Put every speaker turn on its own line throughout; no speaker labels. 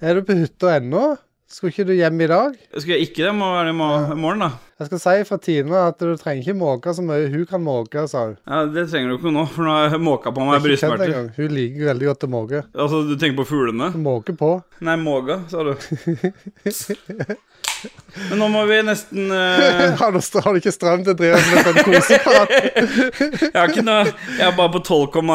Er du på hytta ennå? Skulle ikke du hjem i dag?
Skulle jeg ikke det, må være det i mo- morgen, da.
Jeg skal si fra Tina at du trenger ikke måke så mye. Hun kan måke, sa hun.
Ja, det trenger du ikke nå, for nå har jeg måka på meg
Ikke kjent
brystsmerter.
engang. Hun liker veldig godt å måke.
Altså, du tenker på fuglene?
Måke på.
Nei, måga, sa du. Men nå må vi nesten eh,
Har du, har du ikke strøm til å drive med sånn koseprat?
Jeg har ikke noe Jeg er bare på 12,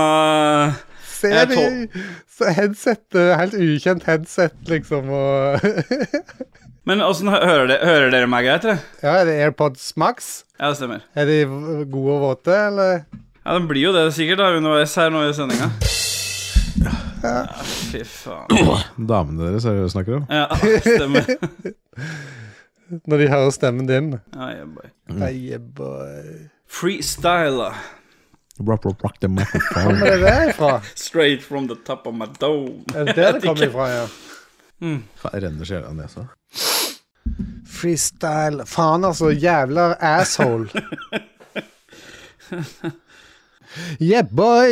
Se
Jeg er
de så headset, eh, helt ukjent headset, liksom, og
Men åssen hører, de- hører dere meg greit, eller?
Ja, er det AirPods Max?
Ja, det stemmer.
Er de v- gode og våte, eller?
Ja, Den blir jo det sikkert da, underveis her nå i sendinga. Ja, fy faen.
Damene deres er det du snakker om?
Ja, stemmer.
Når de hører stemmen din.
Ja, yeah, boy.
Nei, boy.
Freestyler.
Rock, rock, rock the
Hvor
microphone.
er det der ifra?
Straight from the top of my dome.
Er det der det kommer ifra, ja?
Faen, renner så jævla nesa.
Freestyle. Faen, altså. Jævla asshole. Yeah, boy.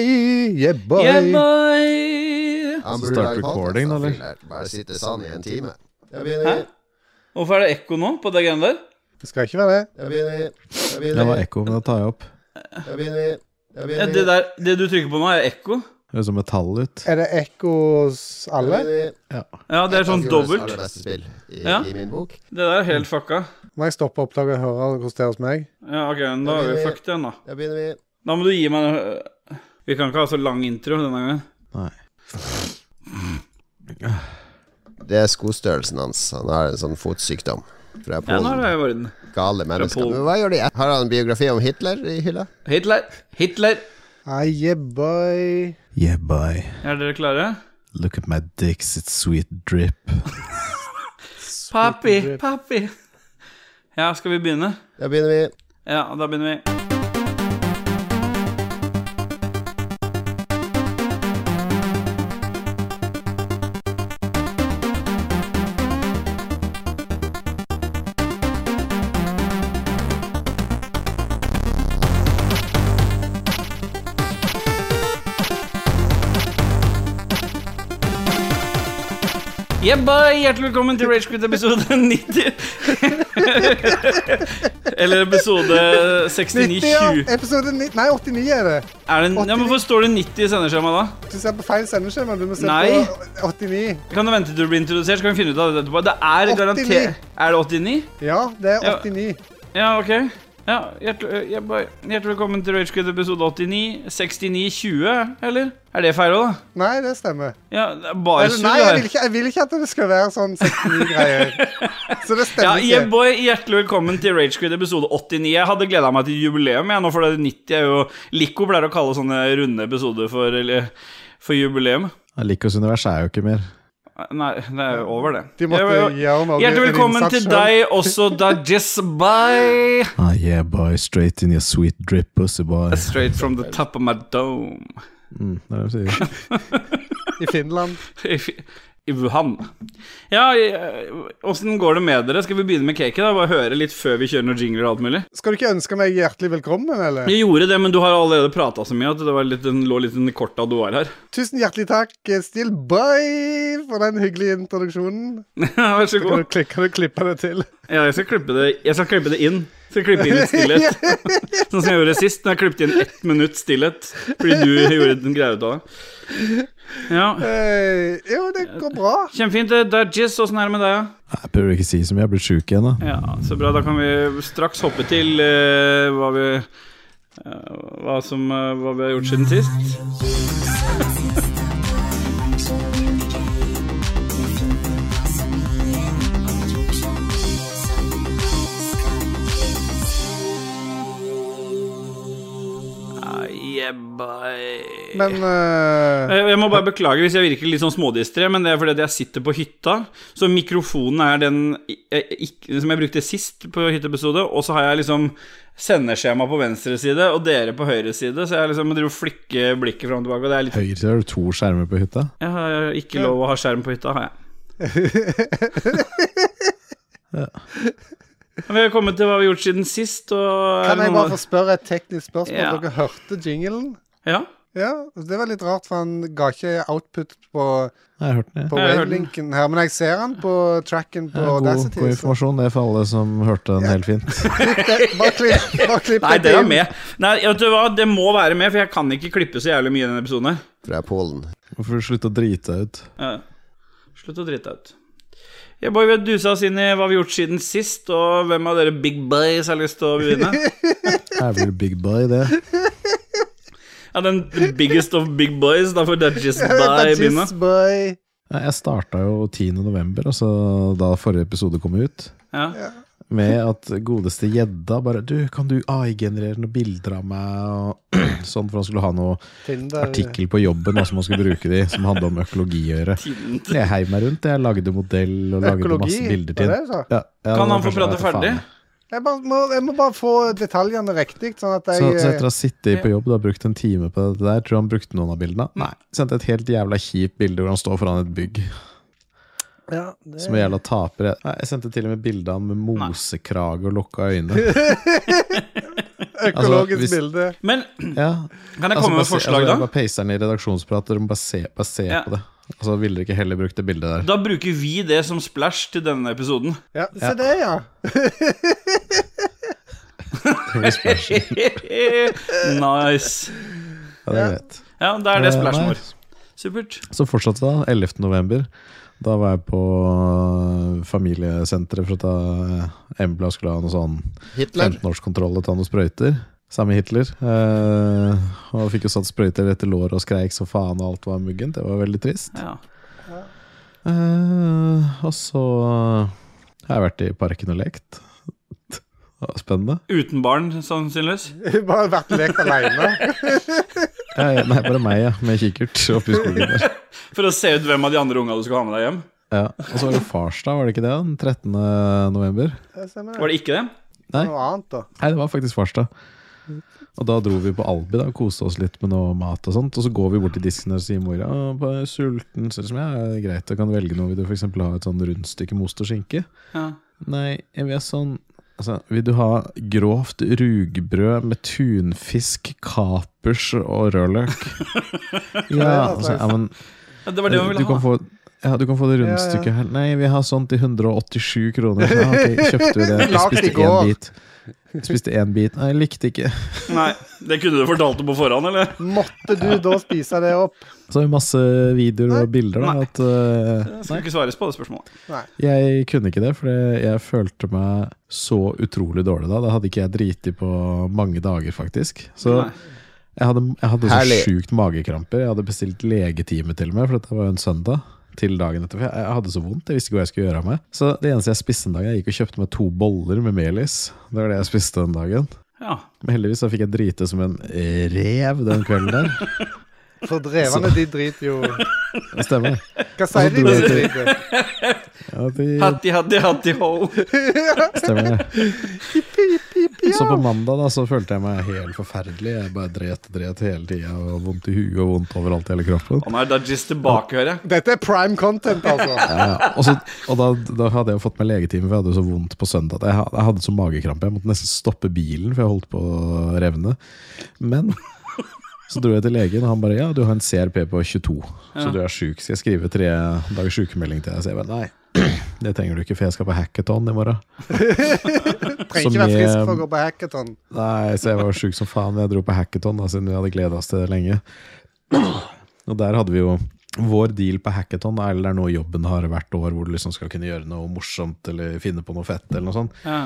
Yeah, boy.
Yeah, boy.
Så
Han
Altså,
burde
start
lage podcast,
recording,
altså,
han
eller?
fyren der. Bare sitte sann i en time. Jeg begynner.
Hvorfor er det ekko nå på det greiene der?
Det skal ikke være det.
Jeg begynner. Jeg begynner.
Det var ekko, men det tar jeg opp.
Jeg begynner. Jeg
Ja,
begynner.
det, der, det du trykker på nå, er ekko?
Det høres som metall ut.
Er det ekko hos alle?
Ja, det er sånn dobbelt.
Det beste spill i,
Ja.
i min bok.
Det der er helt fucka.
Må jeg stoppe opptaket og høre hvordan det er hos meg?
Ja, ok, men da er vi fucked igjen, da.
Jeg begynner vi.
Da må du gi meg noe Vi kan ikke ha så lang intro denne gangen.
Nei.
Det er skostørrelsen hans. Han har en sånn fotsykdom. Fra
Ja, nå er
Polen.
det i orden.
Gale mennesker.
Polen.
Men hva gjør de? Har han en biografi om Hitler i hylla?
Hitler, Hitler.
Ah, yeah, boy.
Yeah, boy.
Er dere klare?
Look at my dicks, it's sweet drip.
Papi, papi. Ja, skal vi begynne?
Jeg begynner vi.
Ja, da begynner vi. Yeah, boy! Hjertelig velkommen til Ragequit episode 90. Eller episode 69
90, ja.
20.
Episode 90, nei, 89 er det.
Er det, ja, men Hvorfor står det 90 i sendeskjemaet da?
Du ser på feil sendeskjema. Du må se
Nei.
på 89.
Kan du vente til du blir introdusert, så kan vi finne ut av det etterpå. Det er
89.
garantert Er det 89?
Ja, det er
Ja.
89.
Ja, OK. Ja, Hjertelig, ja, bare- hjertelig velkommen til Ragequit episode 89. 69 20, eller? Er det feil òg, da?
Nei, det stemmer.
Ja, det er bare
Eller,
surr
nei, jeg vil,
her.
ikke, jeg vil ikke at det skal være sånn 69-greier. Så det
Ja,
stemmer
yeah,
ikke.
boy, Hjertelig velkommen til Ragequit episode 89. Jeg hadde gleda meg til jubileum, jeg nå, for det er 90 er jo Lico pleier å kalle sånne runde episoder for, eller, for jubileum.
Likos univers er jo ikke mer.
Nei, det er jo over, det.
De måtte
Jeg- jeg-
gjøre noe
Hjertelig velkommen til deg også, Dajis Bye.
Ah, yeah, boy, straight in your sweet drip, pussy boy.
Straight from the top of my dome.
Mm, det er det de sier.
I Finland.
I Fi- i Wuhan. Ja, åssen går det med dere? Skal vi begynne med cake? da? Bare høre litt før vi kjører noen jingler og alt mulig?
Skal du ikke ønske meg hjertelig velkommen, eller?
Jeg gjorde det, men du har allerede prata så mye at det var litt, den lå litt i kortet at du var her.
Tusen hjertelig takk, Still Boy, for den hyggelige introduksjonen.
Vær så
Kan
god.
du, kli- kan du klippe det til?
Ja, jeg skal klippe det Jeg skal klippe det inn. Jeg skal klippe inn litt stillhet. sånn som jeg gjorde sist, når jeg klippet inn ett minutt stillhet fordi du gjorde den greia ut av det. Ja.
Eh, jo, det går bra.
Kjempefint. eh, Dajis, åssen er det med deg? da?
Jeg prøver ikke å si så mye, jeg blir sjuk igjen, da.
Ja, så bra. Da kan vi straks hoppe til eh, hva vi eh, hva, som, eh, hva vi har gjort siden sist. Ah, yeah, bye.
Men eh,
Jeg jeg må bare beklage hvis jeg virker litt sånn smådistré, men det er fordi at jeg sitter på hytta. Så mikrofonen er den i- jeg- ikke- som jeg brukte sist på hytteepisode, og så har jeg liksom sendeskjema på venstre side og dere på høyre side, så jeg liksom driver og flikker blikket fram og tilbake, og det er litt
Høyre har du to skjermer på hytta.
Jeg har ikke lov å ha skjerm på hytta, har jeg. Men Vi har kommet til hva vi har gjort siden sist, og er
kan
det
jeg
noe-
bare få spørre et teknisk spørsmål?
Ja.
Dere hørte jinglen?
Ja?
Ja, det var litt rart, for han ga ikke output på,
Jeg har hørt den, jeg.
på
Jeg hørte den.
wavelinken her, men jeg ser han på tracken på
Det er God,
Audacity.
god
så
informasjon, det er for alle som hørte den helt fint.
klipp det- Bare klipp, bare klipp
Nei, det
dette
er
inn.
med. Nei, vet du hva, det må være med, for jeg kan ikke klippe så jævlig mye i denne episoden her.
Fra Polen.
Hvorfor slutte å drite deg ut?
Ja. Slutt å drite deg ut. Ja, boy, vi har dusa oss inn i hva vi har gjort siden sist, og hvem av dere big boys har lyst til å begynne?
Jeg blir big boy, det.
Ja, den biggest of big boys, da får Dudgies
Bare
Bye begynne.
jizz, boy.
Nei, Jeg starta jo 10. november, altså da forrige episode kom ut,
Ja.
med at godeste gjedda bare Du, kan du AI-generere noen bilder av meg? Og sånn, for han skulle ha noe
Tinder.
artikkel på jobben da, som han skulle bruke de, som handla om økologi å gjøre.
Tiden.
Jeg heiv meg rundt, jeg lagde modell og lagde
Økologi,
masse bilder
var
til
det
den.
du sa?
Ja, ja, det
Kan
var
han få
første-
prate
ja, faen.
ferdig?
Jeg, bare må, jeg må bare få detaljene riktig, sånn at jeg
Så, så
eh,
etter å ha sittet på jobb og brukt en time på det der, tror du han brukte noen av bildene? Nei. Sendte et helt jævla kjipt bilde hvor han står foran et bygg.
eh, ja, det,
Som en jævla taper. Jeg- Nei, jeg sendte til og med bilde av ham med mosekrage og lukka øyne.
Økologisk
altså, hvis-
bilde.
Men
Ja.
kan altså, jeg komme med et forslag,
da?
da?
Bare paste den i redaksjonsprat, dere må bare se, bare se
Ja.
på det. Altså, Ville dere ikke heller brukt det bildet der?
Da bruker vi det som splash til denne episoden.
Ja, se det, ja.
nice.
Ja, det er greit.
Ja, da er det
Eh,
splashen
nei.
vår. Supert.
Så fortsatte det, da. 11. november. Da var jeg på øh, familiesenteret for å ta Embla skulle ha noe sånn
Hitler.
15-årskontroll og ta noen sprøyter. Samme Hitler. Eh, og fikk jo satt sprøyter etter låret og skreik så faen, og alt var muggent. Det var veldig trist.
Ja.
Eh, og så har jeg vært i parken og lekt. Det var Spennende.
Uten barn, sannsynligvis.
Bare vært lekt aleine.
Eh, nei, bare meg, ja, med kikkert oppe i skogen der.
For å se ut hvem av de andre unga du skal ha med deg hjem.
Ja. Og så var det farsdag, var det ikke det? Den 13. november?
Var det ikke det?
Nei.
Noe annet, da.
Nei, det var faktisk farsdag. Og da dro vi på Albi da, og koste oss litt med noe mat og sånt. Og så går vi bort til disken og sier mora «Å, bare er sulten. Så liksom, ja, det er greit, jeg kan velge noe. Vil du f.eks. ha et sånn rundstykke med ost og skinke?
Ja.
Nei, jeg vil ha sånn altså, Vil du ha grovt rugbrød med tunfisk, kapers og rødløk? ja, altså, ja, men eh,
Ja, Det var det hun
du
ville
kan
ha.
få ja, du kan få det rundstykket her. Nei, vi har sånt i 187 kroner. Ja, ok, kjøpte vi det. Jeg
Lagt i
spiste
går.
én bit. Spiste én bit. Nei, jeg likte ikke.
Nei, Det kunne du fortalt det på forhånd, eller?
Måtte du da spise det opp?
Så har vi masse videoer og bilder. Da,
Nei.
at, eh,
Skal ikke svares på det spørsmålet.
jeg kunne ikke det, for jeg følte meg så utrolig dårlig da. Da hadde ikke jeg driti på mange dager, faktisk. Så
Nei.
jeg hadde, jeg hadde så
Herlig.
sjukt magekramper. Jeg hadde bestilt legetime til og med, for dette var jo en søndag. Til dagen etter, for jeg, jeg hadde så vondt. Jeg visste ikke hva jeg skulle gjøre av meg. Så det eneste jeg spiste den dagen, jeg gikk og kjøpte meg to boller med melis. Det var det jeg spiste den dagen.
Ja.
Men heldigvis så fikk jeg drite som en rev den kvelden der.
For drevene, de driter jo
Det stemmer.
Hva sier de?
dro
de
jeg til-
driter?
Ja, de
Hatti, hatti, hatti, ho.
Stemmer det. Så på mandag da, så følte jeg meg helt forferdelig. Jeg bare dret og dret hele tida. Vondt i huet og vondt overalt i hele kroppen.
Han er Dudgies tilbake, hører jeg.
Dette er prime content, altså.
Ja, ja. Og, så, og da, da hadde jeg jo fått meg legetime, for jeg hadde jo så vondt på søndag. at Jeg, ha- jeg hadde så magekrampe. Jeg måtte nesten stoppe bilen, for jeg holdt på å revne. Men så dro jeg til legen, og han bare 'ja, du har en CRP på 22, så du er sjuk'. Skal jeg skrive tre dagers sykemelding til deg? Så jeg bare nei. Det trenger du ikke, for jeg skal på hackathon i morgen.
Trenger ikke
Som um,
være
i,
frisk for å gå på hackathon.
Nei, så jeg var sjuk som faen. Jeg dro på hackathon da, siden vi hadde gleda oss til det lenge. Og der hadde vi jo vår deal på hackathon, da, eller det er noe jobben har hvert år, hvor du liksom skal kunne gjøre noe morsomt eller finne på noe fett eller noe sånt.
Ja.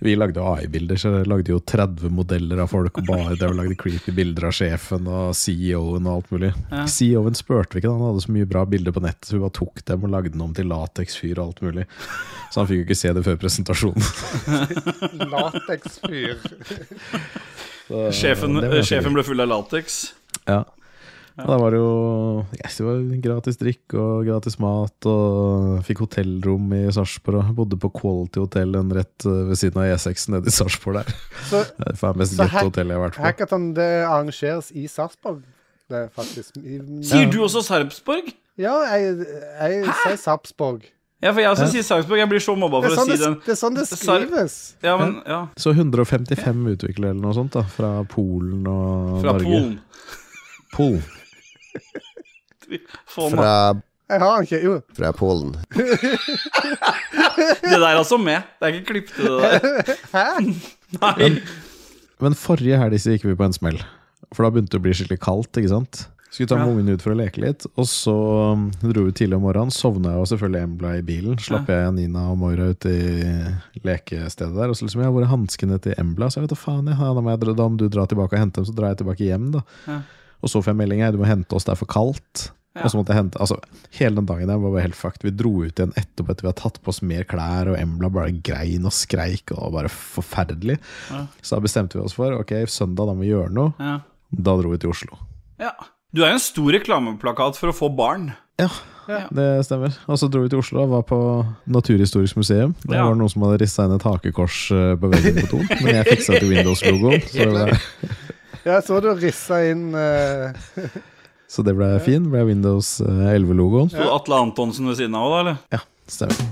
Vi lagde AI-bilder, så jeg lagde jo 30 modeller av folk og bare der lagde creepy bilder av sjefen og CEO-en og alt mulig. CEO-en spurte vi ikke, da. han hadde så mye bra bilder på nettet, så vi bare tok dem og lagde den om til lateksfyr og alt mulig. Så han fikk jo ikke se det før presentasjonen.
Lateksfyr.
Så,
Sjefen,
det var
eh,
fint.
sjefen ble full av lateks.
Ja. Og Da var det jo yes, det var gratis drikk og gratis mat, og fikk hotellrom i Sarpsborg. og Bodde på Quality Hotel en rett eh, ved siden av E6 nede i Sarpsborg der.
Så
Det er faen mest
Så
gøtte
hack-
hotellet jeg har vært på.
hackathon det arrangeres i Sarpsborg, det er faktisk. I-
Sier du også Sarpsborg?
Ja, jeg, jeg sier Sarpsborg.
Ja, for jeg også sier Sarpsborg. Jeg blir så mobba
Det er
for å
sånn
si
det,
den.
det, er sånn det
Sar-
skrives.
Ja, men ja.
Så 155 utviklere eller noe sånt da, fra Polen og
Fra
Norge.
Polen.
Pull.
Få meg.
Fra,
Jeg har den ikke. Jo.
fra Polen.
Det der er altså med. Det er ikke klippet til det der. Nei.
Men forrige helg så gikk vi på en smell. For da begynte det å bli skikkelig kaldt. ikke sant? Skulle ta med
Ja.
ungene ut for å leke litt. Og så um, dro vi tidlig om morgenen. Sovna jeg og selvfølgelig Embla i bilen. Slapp jeg Nina og Moira ut i lekestedet der. Og så liksom, ja, hvor er hanskene til Embla? Så jeg vet da faen, jeg, ja, da, må jeg, dra- da må du dra tilbake og hente dem. Så drar jeg tilbake hjem, da.
Ja.
Og så får jeg melding her, du må hente oss, det er for kaldt.
Ja.
Og så måtte jeg hente, altså Hele den dagen der var bare helt fucked. Vi dro ut igjen etterpå etter vi hadde tatt på oss mer klær, og Embla bare grein og skreik og det var bare forferdelig.
Ja.
Så da bestemte vi oss for ok, søndag da må vi gjøre noe.
Ja.
Da dro vi til Oslo.
ja. Du er jo en stor reklameplakat for å få barn.
Ja, det stemmer. Og så dro vi til Oslo og var på Naturhistorisk museum. Der
Ja.
var det noen som hadde rissa inn et hakekors eh, på veggen på Ton, men jeg fiksa til Windows-logoen, så, det ble-
Jeg så du rissa inn eh,
så det ble fin. Det ble Windows eh, 11-logoen.
Sto Atle Antonsen ved siden av òg, da? eller?
Ja, stemmer.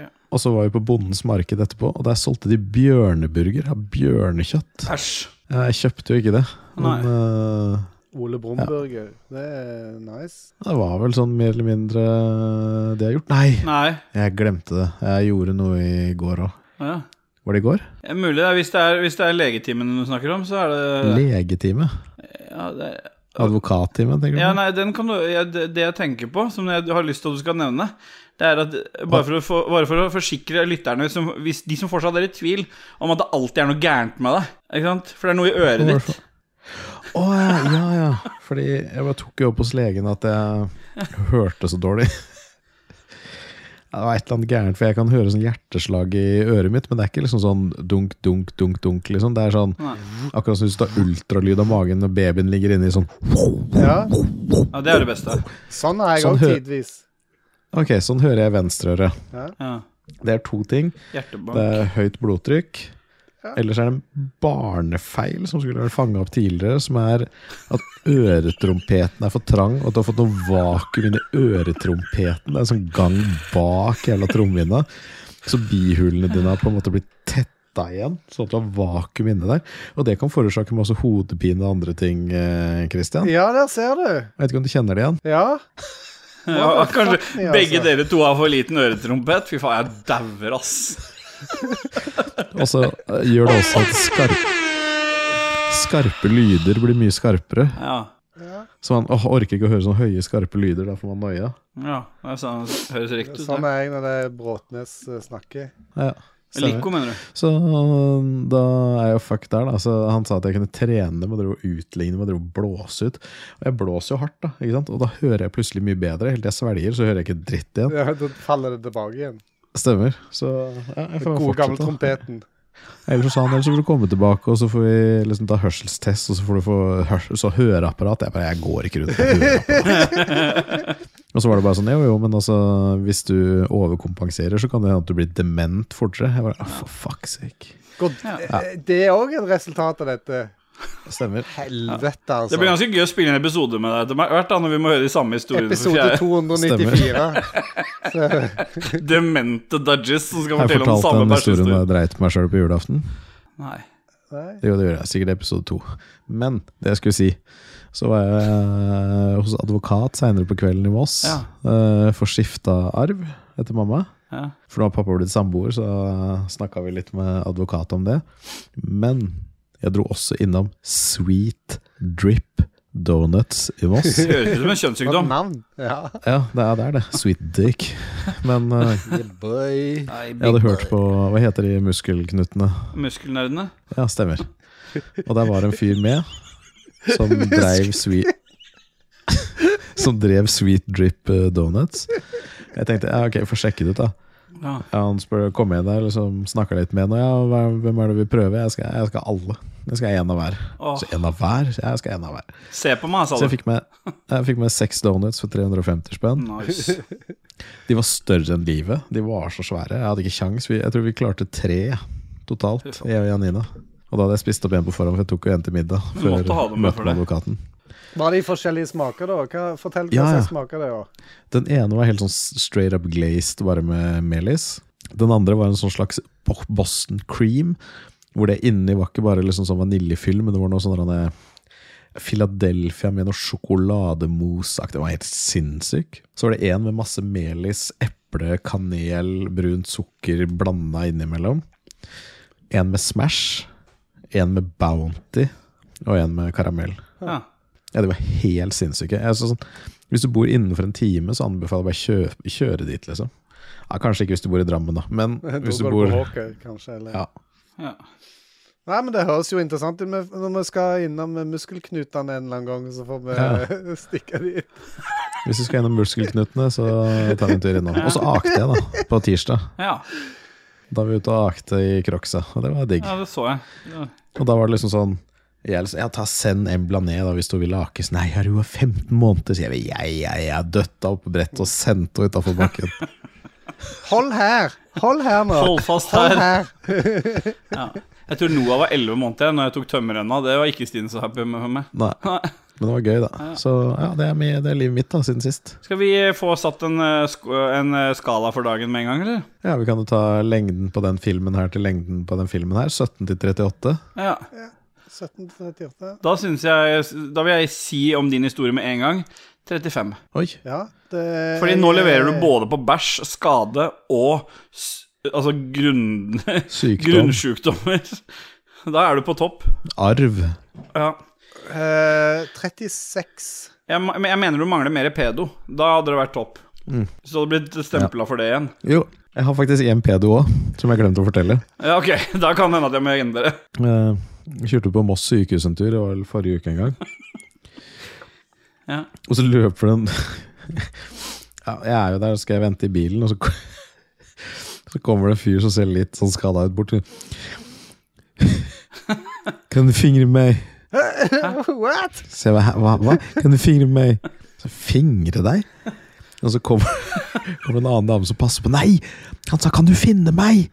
Ja.
Og så var vi på Bondens marked etterpå, og der solgte de bjørneburger av bjørnekjøtt.
Æsj.
Ja, Jeg kjøpte jo ikke det, men eh,
Ole Brumburger. Det er nice.
det var vel sånn mer eller mindre det jeg har gjort. Nei,
Nei.
jeg glemte det. Jeg gjorde noe i går òg.
Ja.
Var det i går?
Ja, mulig det er, hvis, det er, hvis det er legetimen du snakker om, så er det
Legetime?
ja, det er
Advokattime, tenker du?
Ja,
på?
nei, den kan du, ja, det det jeg tenker på, som jeg har lyst til at du skal nevne, det er at bare for å, få, bare for å forsikre lytterne, som, hvis de som fortsatt er i tvil om at det alltid er noe gærent med deg ikke sant? For det er noe i øret ditt.
Å ja, ja, ja. Fordi jeg bare tok jo opp hos legen at jeg hørte så dårlig. Ja, Det var et eller annet gærent, for jeg kan høre sånn hjerteslag i øret mitt, men det er ikke liksom sånn dunk, dunk, dunk, dunk, liksom. Det er sånn
Nei.
akkurat som hvis du tar ultralyd av magen når babyen ligger inne i sånn
Ja.
Ja, det er det beste.
Sånn er jeg
Sånn
òg
hø-
tidvis.
Ok, sånn hører jeg venstreøret.
Ja.
Det er to ting. Det
Hjertebank.
er høyt blodtrykk. Ellers er det en barnefeil som skulle vært fanga opp tidligere, som er at øretrompeten er for trang, og at du har fått noe vakuum inni øretrompeten. Det er en sånn gang bak jævla trommehinna. Så bihulene dine har på en måte blitt tetta igjen, sånn at du har vakuum inni der. Og det kan forårsake masse hodepine og andre ting, eh, Christian. Jeg
Ja, der ser du.
vet ikke om du kjenner det igjen?
Ja.
Ja, kanskje
Ja,
begge
altså.
dere to har for liten øretrompet. Fy faen, jeg dauer, ass.
Og så eh, gjør det også at skarpe, skarpe lyder blir mye skarpere.
Ja.
Så man åh, orker ikke å høre sånne høye, skarpe lyder. Da får man noia.
ja det er sånn, det høres riktig ut.
Sånn
det.
er jeg når det er Bråtnes eh, snakker.
Ja, stemmer.
Lico, mener du?
Så da er jeg jo fuck der, da. Så han sa at jeg kunne trene med å utligne, med å blåse ut. Og jeg blåser jo hardt, da. ikke sant? Og da hører jeg plutselig mye bedre. Helt til jeg svelger, så hører jeg ikke dritt igjen.
Ja, da faller det tilbake igjen.
Stemmer. Så ja, jeg får
Den gode, gamle
fortsette. da.
trompeten.
Ellers så sa han ellers så får du komme tilbake, og så får vi liksom ta hørselstest, og så får du få hørs- så høreapparat. Jeg bare, jeg går ikke rundt med høreapparat. og så var det bare sånn, jo jo, men altså, hvis du overkompenserer, så kan det hende at du blir dement fortere. Jeg bare, ah, for fuck's sake.
God, eh, Det er òg et resultat av dette.
Stemmer.
Helvete,
Det blir
altså.
ganske gøy å spille en episode med deg etter hvert, da, når vi må høre de samme historiene. for
Episode
fjerde-
294.
demente dudges som skal
Jeg
fortelle om
fortalte den
samme
historien da
personhistorie.
jeg dreit på meg sjøl på julaften.
Nei.
Nei.
Jo, det gjorde jeg. Sikkert episode to. Men det jeg skulle si Så var jeg hos advokat seinere på kvelden i Moss
Ja.
eh, for skifta arv etter mamma.
Ja.
For nå har pappa blitt samboer, så snakka vi litt med advokat om det. Men jeg dro også innom Sweet Drip Donuts i Moss.
Det høres ut som en
For et
kjønnssykdom.
navn. Ja.
Ja, det er der, det. Sweet Dick. Men eh, jeg hadde hørt på Hva heter de muskelknutene?
Muskelnerdene.
Ja, stemmer. Og der var en fyr med som dreiv Sweet Som drev Sweet Drip eh, Donuts. Jeg tenkte ja, ok, får sjekke det ut, da.
Ja.
Ja, han spør kom igjen der, liksom, snakka litt med henne. Ja, hva- hvem er det vi prøver? Jeg skal, jeg skal alle. Jeg skal en av hver.
Åh.
Så en av hver? Ja, Jeg skal en av hver.
Se på meg,
Så
sa
jeg
du.
fikk med, jeg fikk med seks donuts for 350 spenn.
Nice.
De var større enn livet. De var så svære. Jeg hadde ikke kjangs. Vi- Jeg tror vi klarte tre totalt,
Fy faen.
jeg og Janina. Og da hadde jeg spist opp en på forhånd, for jeg tok jo en til middag
Du
før
måtte ha dem med
møtet
for
med
det.
advokaten.
Var de forskjellige smaker, da? Hva, fortell hva
Ja, ja.
slags smaker det var.
Den ene var helt sånn straight up glazed, bare med melis. Den andre var en sånn slags bo- Boston cream, hvor det inni var ikke bare liksom sånn vaniljefyll, men det var noe sånn derre- Philadelphia med noe sjokolademousse-aktig. Den var helt sinnssyk. Så var det en med masse melis, eple, kanel, brunt sukker blanda innimellom. En med Smash, en med Bounty og en med karamell.
Ja.
Ja, de var helt sinnssyke. Jeg, så sånn, hvis du bor innenfor en time, så anbefaler jeg bare kjø, kjøre dit, liksom. Ja, kanskje ikke hvis du bor i Drammen, da, men hvis du
Dobbel
bor
på Håker, kanskje, eller?
ja.
Ja.
Nei, men det høres jo interessant ut. men Når vi skal innom muskelknutene en eller annen gang, så får vi eh, stikke de
Hvis du skal gjennom muskelknutene, så tar vi en tur innom. Og så akte jeg, da, på tirsdag.
ja.
Da var vi ute og akte i Crocsa, og det var digg.
ja, det så jeg. Ja.
Og da var det liksom sånn jeg liksom, ja, ta Send Embla ned da, hvis du vil akes. Nei, har du jo 15 måneder, sier jeg. Jeg, jeg, jeg døtta opp på brettet og sendte henne utafor bakken.
Hold her! Hold her nå!
Hold fast
Hold
her.
her!
Ja. Jeg tror Noah var 11 måneder jeg, når jeg tok tømmerrenna. Det var ikke Stine så happy med meg.
Nei, men det var gøy, da. Så ja, det er, mi- det er livet mitt, da, siden sist.
Skal vi få satt en, eh, sk- en eh, skala for dagen med en gang, eller?
Ja, vi kan jo ta lengden på den filmen her til lengden på den filmen her. 17 til 38.
Ja.
1738.
Da synes jeg Da vil jeg si om din historie med en gang 35.
Oi.
Ja, det
Fordi nå leverer du både på bæsj, skade og s- altså grunn,
Sykdom.
grunnsjukdommer. Da er du på topp.
Arv.
Ja.
Eh, 36.
Jeg, ma- men jeg mener du mangler mer pedo. Da hadde det vært topp.
Mm.
Så du hadde blitt stempla for det igjen.
Jo, jeg har faktisk en pedo òg, som jeg glemte å fortelle.
Ja, ok, Da kan det hende at jeg må endre.
Eh, Kjørte på Moss sykehus en tur, det var vel forrige uke en gang.
Ja.
Og så løper den ja, Jeg er jo der, så skal jeg vente i bilen, og så, ko- så kommer det en fyr som ser litt sånn skada ut, bort. Kan du fingre meg?
What?
Se, hva, hva, hva? Kan du fingre meg? Så fingre deg? Og så kommer kommer en annen dame som passer på. Nei! Han sa 'kan du finne meg?'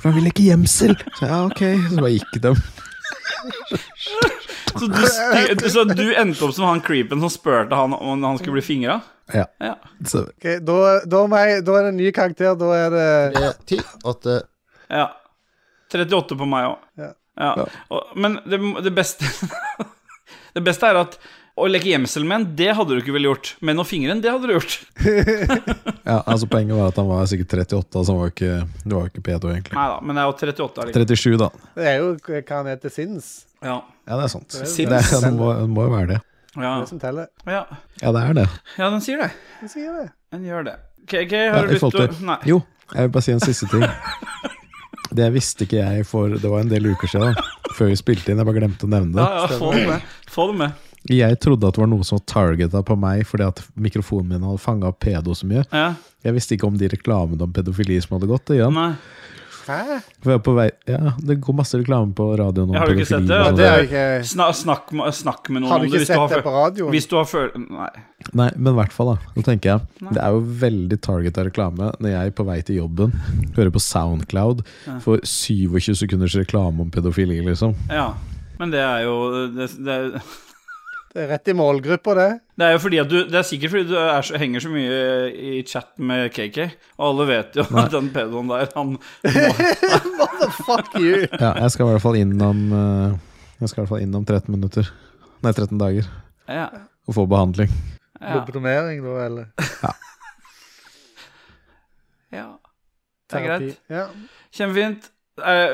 For han ville ikke gjemsel. Så jeg, ja, ok. Så bare gikk de.
Så du, styr- så du endte opp som han creepen som spurte han om han skulle bli fingra?
Ja.
Ja.
Så,
Ok, da, da, må jeg, da er det en ny karakter. Da er det
Tre, ti, åtte
ja. 38 på meg òg.
Ja.
Ja. Og- Men det, det beste Det beste er at å leke gjemsel med en, det hadde du ikke vel gjort. Men å fingre en, det hadde du gjort.
ja, altså Poenget var at han var sikkert 38, så han var jo ikke, det var jo ikke pedo, egentlig.
Nei da, men det er jo 38 allikevel.
37, da.
Det er jo hva han heter sinns.
Ja.
Ja, det er sant.
Det er
Det,
jo
er,
det.
det må, det må jo være det.
Ja.
Det som teller.
ja.
Ja, det er det.
Ja, den sier det.
Hva sier det?
Den gjør det. Ok, ok, har
Ja,
du
i
lyst
forhold
til å
til,
Nei.
jo, jeg vil bare si en siste ting. Det visste ikke jeg for Det var en del uker siden, før vi spilte inn. Jeg bare glemte å nevne
Ja, ja,
det.
få det med. Få det med.
Jeg trodde at det var noe som var targeta på meg fordi at mikrofonen min hadde fanga opp pedo så mye.
Ja.
Jeg visste ikke om de reklamene om pedofili som hadde gått. Igjen.
Nei.
Hæ?
For jeg er på vei, ja, det går masse reklame på radioen om
Jeg har jo ikke sett
pedofili.
det,
Ja,
ja,
og sånn.
det er jo ikke
Sna, snakk, med- snakk med noen
Har du
om det
ikke
hvis du
sett
har
det på
føl-
radioen?
Hvis du har føl... Nei.
Nei, men i hvert fall, da. Nå tenker jeg Det er jo veldig targeta reklame når jeg på vei til jobben hører på Soundcloud for 27 sekunders reklame om pedofili, liksom.
Ja. Men det er jo Det, det, er-
Det er rett i målgruppa, det.
det er jo fordi at du Det er sikkert fordi du er så, henger så mye i chat med KK, og alle vet jo at den pedoen der, han
What the fuck you?
Ja, jeg skal i hvert fall innom eh, Jeg skal i hvert fall innom 13 minutter. Nei, 13 dager.
Ja.
Og få behandling.
ja,
Lobotomering, da, eller?
ja. Det er greit.
Ja.
Kjempefint. Eh,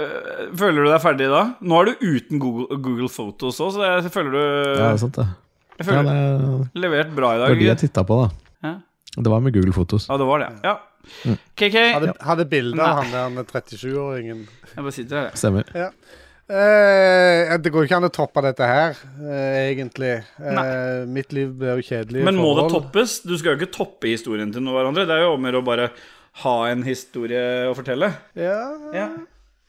Føler du deg ferdig da? Nå er du uten Google, Google Photos òg, så jeg føler du
Ja, det er sant, det.
Jeg
Ja,
føler
det er-
levert bra i
det var
dag.
de jeg
Gitt.
titta på,
Ja.
da. Det var med Google Fotos.
Ja, det var det. Ja. KK,
Hadde, hadde bilde av
Nei.
han der han 37-åringen.
jeg bare sitter her, jeg.
Stemmer.
Eh, det går jo ikke an å toppe dette her, eh, egentlig. Eh,
Nei.
mitt liv blir jo kjedelig. i
Men må det
forhold.
toppes? Du skal jo ikke toppe historien til noen hverandre. Det er jo om å gjøre å bare ha en historie å fortelle.
Ja,
Ja.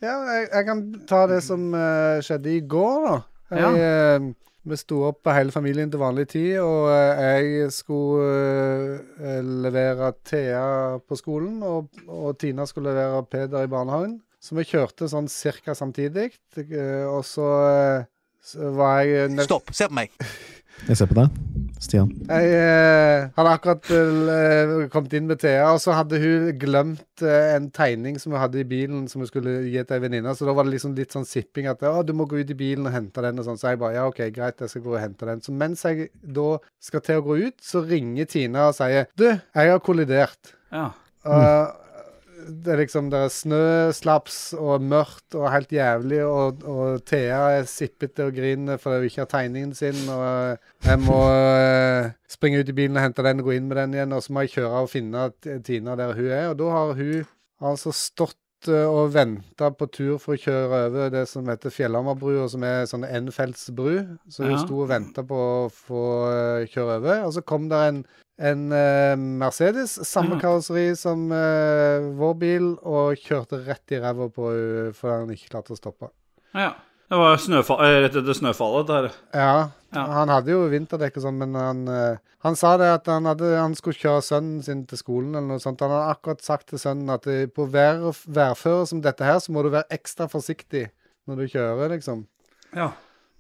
ja jeg, jeg kan ta det som eh, skjedde i går, da. Jeg, eh, vi sto opp hele familien til vanlig tid, og eh, jeg skulle eh, levere Thea på skolen, og, og Tina skulle levere Peder i barnehagen. Så vi kjørte sånn cirka samtidig, eh, og så, eh, så var jeg nødt
Stopp, se på meg.
Jeg ser på deg. Stian?
Jeg eh, hadde akkurat eh, kommet inn med Thea, og så hadde hun glemt eh, en tegning som hun hadde i bilen som hun skulle gi til ei venninne. Så da var det liksom litt sånn sipping at å, du må gå ut i bilen og hente den. og sånn. Så jeg bare ja, OK, greit, jeg skal gå og hente den. Så mens jeg da skal til å gå ut, så ringer Tina og sier du, jeg har kollidert.
Ja.
Og det er liksom det er snø, slaps og mørkt og helt jævlig, og, og Thea er sippete og griner fordi hun ikke har tegningen sin, og jeg må eh, springe ut i bilen og hente den og gå inn med den igjen, og så må jeg kjøre og finne T- Tina der hun er, og da har hun altså stått eh, og venta på tur for å kjøre over det som heter Fjellhammerbrua, som er sånn enfeltsbru. Så hun
Ja.
sto og venta på å få eh, kjøre over. Og så kom der en en eh, Mercedes, samme
Ja.
karosseri som eh, vår bil, og kjørte rett i ræva på henne fordi han ikke klarte å stoppe.
ja. Det var snøfall, eh, rett etter snøfallet. Der.
Ja,
Ja.
han hadde jo vinterdekk og sånn, men han, eh, han sa det at han, hadde, han skulle kjøre sønnen sin til skolen eller noe sånt. Han hadde akkurat sagt til sønnen at eh, på vær, værføre som dette her, så må du være ekstra forsiktig når du kjører, liksom.
Ja.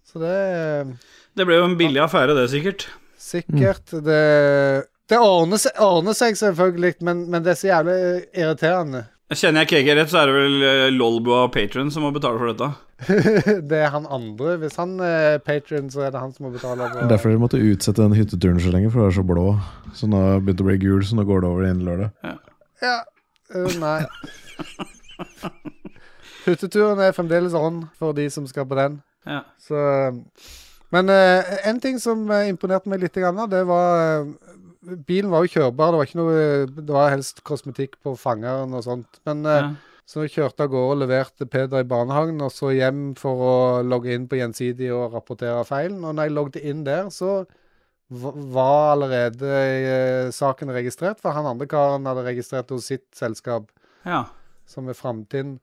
Så det eh, er
Det ble jo en billig affære, det, sikkert.
sikkert Det, det ordner, seg, ordner seg selvfølgelig, men, men det er så jævlig eh, irriterende.
Kjenner jeg KG rett, så er det vel eh, Lolbua Patron som må betale for dette.
Det er han andre. Hvis han er patron, så er det han som må betale.
Det er derfor dere måtte utsette den hytteturen så lenge, for det var så blå. Så nå har det begynt å bli gul, så nå går det over innen lørdag.
Ja. Uh, nei. Hytteturen er fremdeles on for de som skal på den.
Ja.
Så Men eh, en ting som eh, imponerte meg litt, grann, det var eh, Bilen var jo kjørbar. Det var ikke noe Det var helst kosmetikk på fangeren og sånt. Men eh,
Ja.
Så jeg kjørte av gårde og leverte Peder i barnehagen, og så hjem for å logge inn på Gjensidig og rapportere feilen. Og når jeg logget inn der, så v- var allerede eh, saken registrert, for han andre karen hadde registrert hos sitt selskap,
ja.
som er Framtiden.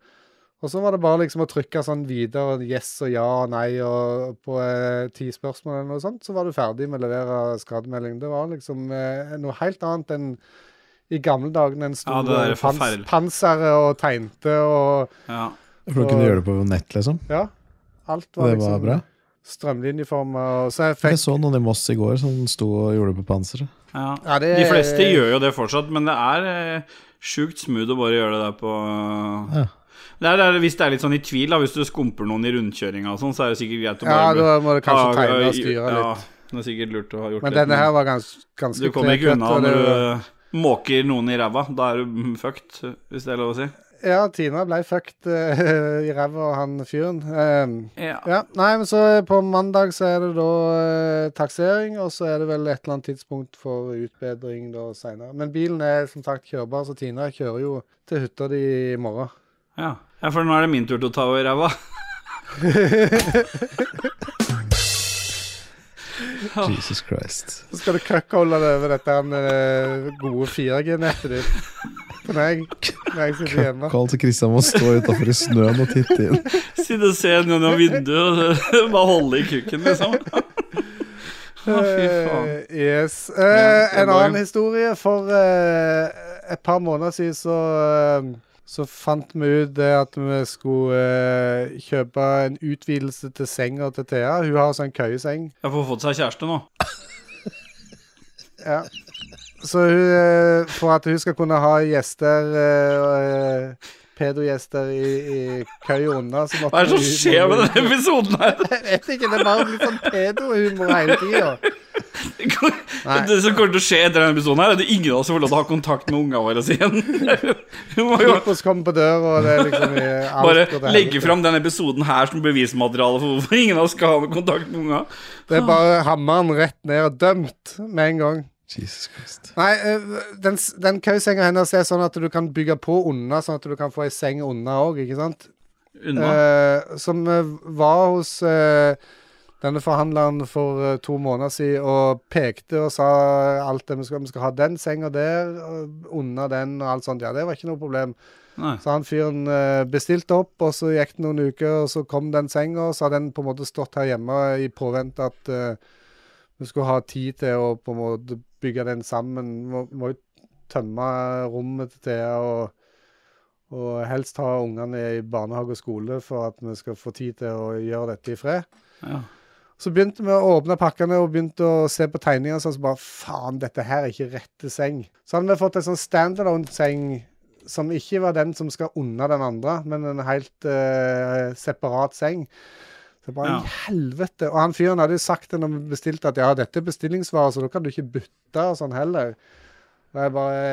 Og så var det bare liksom å trykke sånn videre, yes og ja og nei, og på eh, ti spørsmål eller noe sånt, så var du ferdig med å levere skademelding. Det var liksom eh, noe helt annet enn i gamle dager en
Ja,
stor
det der er
pans
forferdelig.
pansere og tegnte og
ja.
For du kunne gjøre det på nett, liksom.
ja. Alt var
Det
liksom
var bra.
strømlinjeformer. Og så jeg
Jeg
fikk
så noen i Moss i går som sto og gjorde det på panseret.
Ja.
Ja, det-
De fleste gjør jo det fortsatt, men det er eh, sjukt smooth å bare gjøre det der på
Ja.
det er, det er, Hvis det er litt sånn i tvil, da, hvis du skumper noen i rundkjøringa og sånn, så er det sikkert greit å
Ja,
bare
da må du kanskje
Ja,
tegne og
ja,
styre
ja,
litt.
Det er sikkert lurt å ha gjort
Men
det.
denne her var gans, ganske
du kommer
knekket,
ikke unna
og det
når du
var-
eh, måker noen i ræva. Da er du mm, fucked, hvis det er lov å si.
Ja, Tina ble fucked eh, i ræva av han fyren. Ehm,
Ja.
ja, nei, men så eh, på mandag så er det da eh, taksering, og så er det vel et eller annet tidspunkt for utbedring da seinere. Men bilen er som sagt kjørbar, så Tina kjører jo til hytta di i morgen.
Ja. ja, for nå er det min tur til å ta over ræva.
Jesus Christ.
Så skal du cuckolde deg over dette her, eh, gode 4G-nettet ditt. For meg, når jeg sitter hjemme.
Carl til Kristian må stå utafor i snøen og titte inn.
Sitte og se gjennom vinduet og bare holde i kukken, liksom. Å, fy faen.
Eh, yes. Eh,
Ja,
en
det var jo-
annen historie. For eh, et par måneder siden så, eh, så fant vi ut det at vi skulle eh, kjøpe en utvidelse til senga til Thea. Hun har sånn køyeseng.
Jeg får fått seg kjæreste nå.
Ja. Så hun, eh, for at hun skal kunne ha gjester eh, eh, Pedo-gjester i, i køya unna så måtte
Hva er det som
hun-
skjer med denne episoden her?
Jeg vet ikke, det er bare litt sånn pedo-humor hele tida. Nei.
Det som kommer til å skje etter denne episoden, her er at ingen av oss får lov til å ha kontakt med ungene våre igjen. Vi må jo
Kripos kommer på døra, og det er liksom i alt
bare
går til
legge
helvete.
fram denne episoden her som bevismateriale for hvorfor ingen av oss skal ha kontakt med unga.
Det er bare hammeren rett ned og dømt med en gang.
Jesus Christ.
Nei, eh, den, s- den køysenga hennes er sånn at du kan bygge på unna, sånn at du kan få ei seng unna òg, ikke sant?
Unna.
Eh, som eh, var hos eh, denne forhandleren for eh, to måneder siden og pekte og sa alt det vi skal, vi skal ha den senga der, og unna den og alt sånt. Ja, det var ikke noe problem.
Nei.
Så han fyren eh, bestilte opp, og så gikk det noen uker, og så kom den senga, og så hadde den på en måte stått her hjemme i påvente at eh, vi skulle ha tid til å på en måte bygge den sammen. Må, må jo tømme rommet til Thea og og helst ha ungene i barnehage og skole for at vi skal få tid til å gjøre dette i fred.
Ja.
Så begynte vi å åpne pakkene og begynte å se på tegningene. Sånn, så bare faen, dette her er ikke rette seng. Så hadde vi fått en sånn standalone-seng som ikke var den som skal unna den andre, men en helt eh, separat seng. Så bare
Ja.
i helvete. Og han fyren hadde jo sagt det når vi bestilte, at ja, dette er bestillingsvare, så da kan du ikke bytte og sånn heller. Og jeg bare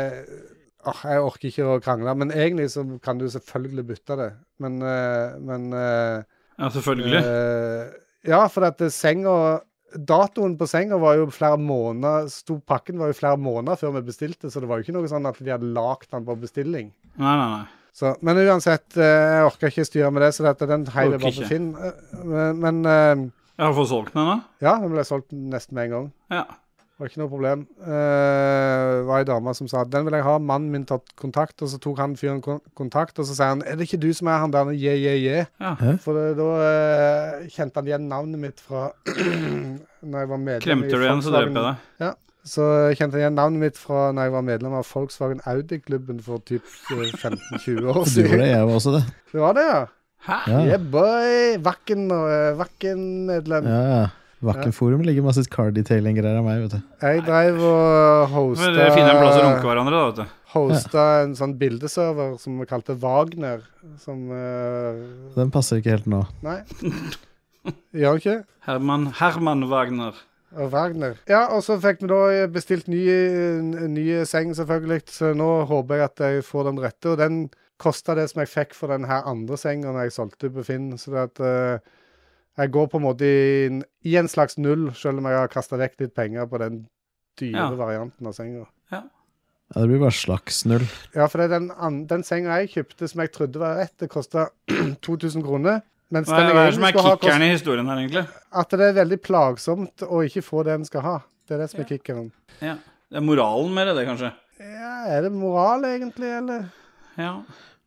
Åh, jeg orker ikke å krangle. Men egentlig så kan du selvfølgelig bytte det. Men, eh, men eh,
Ja, selvfølgelig.
Eh, ja, for at det- senga Datoen på senga var jo flere måneder sto, Pakken var jo flere måneder før vi bestilte, så det var jo ikke noe sånn at de hadde lagd den på bestilling.
Nei, nei, nei.
Så, men uansett, eh, jeg orka ikke styre med det, så dette, den heiv jeg
Orker
bare på
ikke.
Finn. Eh, Men, men eh,
Jeg har fått solgt den ennå.
ja, den ble solgt nesten med en gang.
Ja.
Det var ikke noe problem. Eh, var ei dame som sa den vil jeg ha. Mannen min tatt kontakt, og så tok han fyren kon- kontakt, og så sier han er det ikke du som er han der je-je-je?
Ja.
For det, da eh, kjente han igjen navnet mitt fra når jeg var medlem
Kremter du igjen, så dreper jeg deg.
Så kjente han igjen navnet mitt fra når jeg var medlem av Volkswagen Audi-klubben for typ eh, 15-20 år
Du var det,
siden.
jeg var også det.
Det var det, ja.
Hæ?
Ja, ja.
Yeah, boy! Vakken, eh, Vakken-medlem.
ja. Vakken Forum ligger masse car detailing-greier av meg, vet du.
Jeg dreiv og
Men Dere finner en plass å runke
hosta,
hverandre, da, vet du.
hosta en sånn bildeserver som vi kalte Wagner, som eh,
Den passer ikke helt nå.
Nei. Gjør han ikke?
Herman, Herman Wagner.
Og Wagner. Ja, og så fikk vi da bestilt ny, ny seng, selvfølgelig. Så nå håper jeg at jeg får den rette. Og den kosta det som jeg fikk for den her andre senga når jeg solgte på Finn. Så det at eh, jeg går på en måte i, en- i en slags null, selv om jeg har kasta vekk litt penger på den dyre
Ja.
varianten av senga.
Ja, det blir bare slagsnull.
Ja, for det er den, an- den senga jeg kjøpte som jeg trodde var rett, det kosta 2000 kroner. Mens
Hva
den
er,
jeg
hva er det som
egentlig
er
skulle ha, kost,
kickeren i historien her, egentlig?
at det er veldig plagsomt å ikke få det en skal ha. Det er det som er kickeren.
Ja. Det er moralen med det, det, kanskje.
Ja, er det moral, egentlig, eller?
Ja,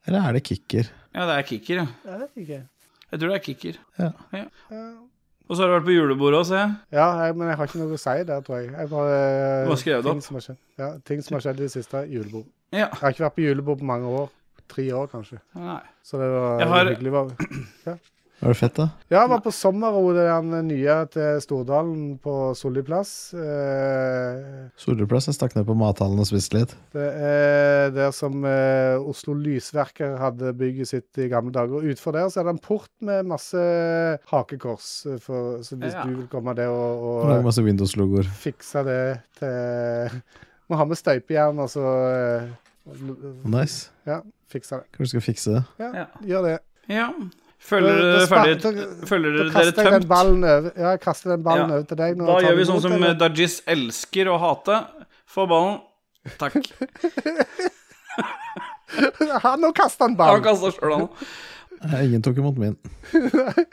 Eller er det kicker?
ja det er kicker, ja.
Jeg vet ikke.
Jeg tror det er kicker.
Ja.
Og så har du vært på julebordet òg, ser jeg.
Ja, jeg, men jeg har ikke noe å si der, tror jeg. Jeg bare
Du har skrevet
ting
opp.
Som har skjedd. Ja, ting som har skjedd i det siste. Julebord.
Ja.
Jeg har ikke vært på julebord på mange år. Tre år, kanskje.
Nei.
Så det var
Jeg har-
hyggelig. Var.
Var det fett, da?
Ja, jeg var på sommerro, det der den nye til Stordalen på Solli plass. Eh,
Solrødplass. Jeg stakk ned på mathallen og spiste litt.
Det er der som eh, Oslo Lysverker hadde bygget sitt i gamle dager. Og utenfor der så er det en port med masse hakekors. eh, For, så hvis
Ja.
du vil komme der og, og
Lagde masse Windows-logoer.
fiksa det til Må ha med støpejern, og så eh,
Nice.
Ja, fiksa det.
Kanskje du skal fikse det?
Ja,
Ja.
Gjør det.
Ja. Føler
Da-
dere
da
ferdig
spa- da-
Føler
Da
dere dere
kaster jeg den
tømt?
ballen over, ja, jeg kaster den ballen
Ja.
over til deg. nå,
Da
og tar
gjør vi
den
sånn
imot,
som
eller?
Dajis elsker å hate. Få ballen. Takk.
Han nå kaster han
Han
ballen!
kasta sjøl, han.
Nei, Ingen tok imot min.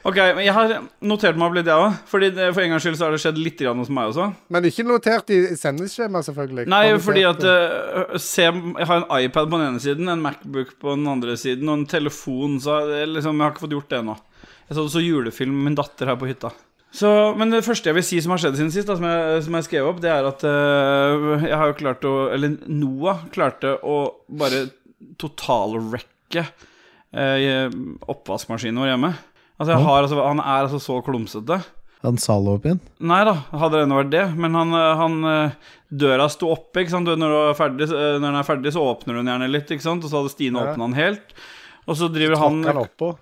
Ok, men jeg har notert meg opp litt, jeg òg. Fordi det- For en gangs skyld så har det skjedd litt grann hos meg også.
Men ikke notert i i sendeskjemaet, selvfølgelig.
Nei,
Har du
fordi
sett
at
det?
eh, se, Jeg har en iPad på den ene siden, en Macbook på den andre siden og en telefon, så jeg, liksom, jeg har ikke fått gjort det ennå. Jeg så også julefilm med min datter her på hytta. Så, men det første jeg vil si som har skjedd siden sist, da, som, jeg, som jeg skrev opp, det er at eh, jeg har jo klart å Eller Noah klarte å bare totalwrecke uh, oppvaskmaskinen vår hjemme. Altså, jeg har, altså, han er altså så klumsete.
Han Salopin.
Nei da, hadde det ennå vært det. Men han, eh, han eh, døra sto oppe. ikke sant? Du, Når, du er ferdig, så- eh, når den er ferdig, så åpner hun gjerne litt. ikke sant? Og så hadde Stine
Ja.
åpna den helt. Og så driver
Tråkker
han
han oppå.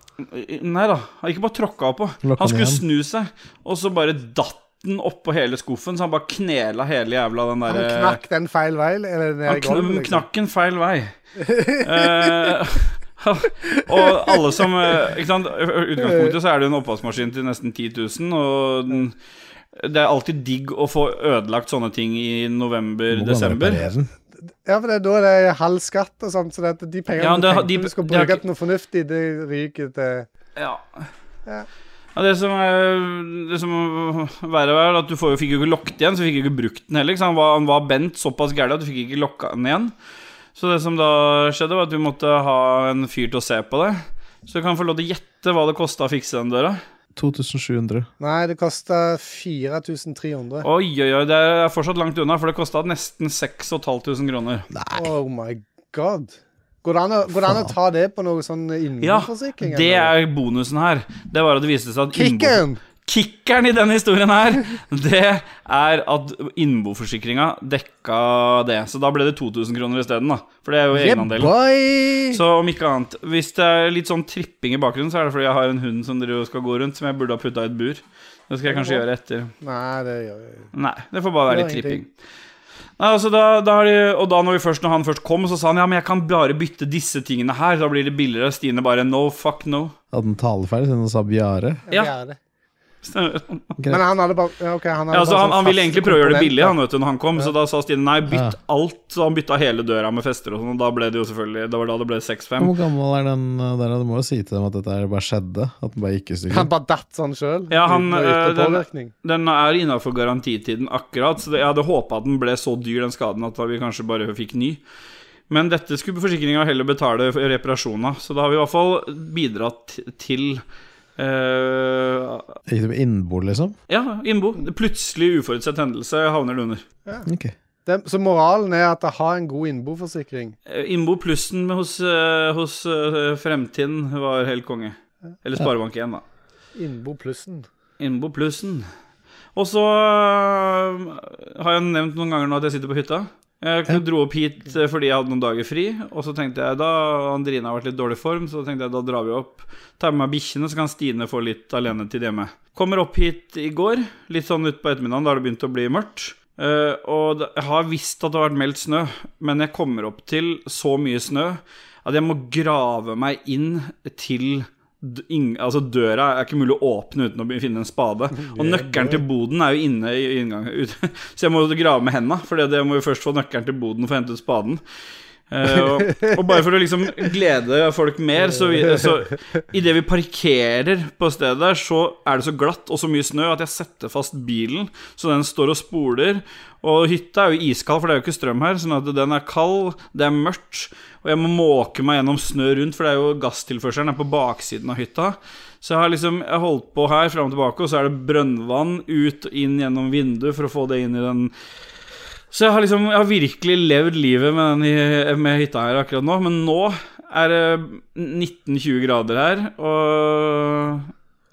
Nei da, han ikke bare tråkka oppå.
Lokka
Han skulle
den
snu seg, og så bare datt den oppå hele skuffen. Så han bare knela hele jævla den eh,
Han
derre
knakk den feil vei, eller ned
han
i gulvet.
kn
liksom.
knakk en feil vei. Eh, og alle som eh, ikke sant? I utgangspunktet så er det jo en oppvaskmaskin til nesten 10 000, og den, det er alltid digg å få ødelagt sånne ting i november-desember.
Ja, for det, er da det er halv skatt og sånt, så det, at de pengene
Ja, det
du
har-
tenkte
de-
du skulle
de har
bruke
ikke-
til noe fornuftig, det ryker til
Ja.
Ja.
Ja, det som, er- det som er verre var, er at du får, jo- fikk jo ikke lokket igjen, så fikk jo ikke brukt den heller. ikke sant? Han var, han var bent såpass gæren at du fikk ikke lokka den igjen. Så det som da skjedde, var at vi måtte ha en fyr til å se på det. Så du kan få lov til å gjette hva det kosta å fikse den døra.
2700.
Nei, det kosta 4300.
Oi, oi, oi, det er fortsatt langt unna, for det kosta nesten 6500 kroner.
Oh my god. Går det an å, går det an å ta det på noe sånn
Ja,
innenforsikring?
det er bonusen her. Det var at det viste seg at innbo-
Kicken!
Kickeren i denne historien her, det er at innboforsikringa dekka det. Så da ble det 2000 kroner isteden, da. For det er jo egenandelen.
boy!
Så om ikke annet Hvis det er litt sånn tripping i bakgrunnen, så er det fordi jeg har en hund som driver og skal gå rundt, som jeg burde ha putta i et bur. Det skal jeg kanskje gjøre etter.
Nei, det gjør jeg ikke.
Nei, det får bare være
Det
litt
var
tripping. Nei, altså da, da har de, og da når, vi først, når han først kom, så sa han ja, men jeg kan bare bytte disse tingene her. Da blir det billigere. Stine bare no, fuck no.
Hadde en taleferdig siden han sa Bjare.
Ja.
Det er det.
Stemmer.
Men han hadde bare ja, ok, han hadde
Ja, altså
bare
han,
sånn
han ville
faste
egentlig prøve å gjøre det billig
komponenter.
han, vet du, når han kom, så da sa Stine nei, bytt
Ja.
alt. Så han bytta hele døra med fester og sånn, og da ble det jo selvfølgelig Det var da det ble 6-5.
Hvor gammel er den uh, der? Du må jo si til dem at dette her bare skjedde. At den bare gikk i stykker.
Han bare datt sånn sjøl?
Ja, han, øh, den-
påvirkning?
Den er innafor garantitiden akkurat, så det, jeg hadde håpa at den ble så dyr, den skaden, at vi kanskje bare fikk ny. Men dette skulle forsikringa heller betale for reparasjonen av, så da har vi i hvert fall bidratt til eh,
Gikk det med innbord, liksom?
Ja, innbo. Plutselig uforutsett hendelse havner du under.
Ok.
Det, så moralen er at ha en god innboforsikring.
Eh, Innbo plussen med hos, eh, hos eh, Fremtiden var helt konge. Eller Sparebank1, da.
Innbo plussen.
Innbo plussen. Og så eh, har jeg nevnt noen ganger nå at jeg sitter på hytta. Jeg dro opp hit eh, fordi jeg hadde noen dager fri, og så tenkte jeg da Andrine har vært litt dårlig i form, så tenkte jeg da drar vi opp. Tar med meg bikkjene, så kan Stine få litt alenetid hjemme. Kommer opp hit i går, litt sånn utpå ettermiddagen, da har det begynt å bli mørkt. Eh, og det- jeg har visst at det har vært meldt snø, men jeg kommer opp til så mye snø at jeg må grave meg inn til d- ing- Altså Døra er ikke mulig å åpne uten å be- finne en spade. Og nøkkelen til boden er jo inne i inngangen. ut- Så jeg må grave med henda, for det det må jo først få nøkkelen til boden for å hente ut spaden. Eh, og, og bare for å liksom glede folk mer, så, vi, så idet vi parkerer på stedet der, så er det så glatt og så mye snø at jeg setter fast bilen, så den står og spoler. Og hytta er jo iskald, for det er jo ikke strøm her, sånn at den er kald, det er mørkt, og jeg må måke meg gjennom snø rundt, for det er jo gasstilførselen er på baksiden av hytta. Så jeg har liksom jeg har holdt på her fram og tilbake, og så er det brønnvann ut og inn gjennom vinduet for å få det inn i den så jeg har liksom jeg har virkelig levd livet med, den i, med hytta her akkurat nå. Men nå er det 19-20 grader her,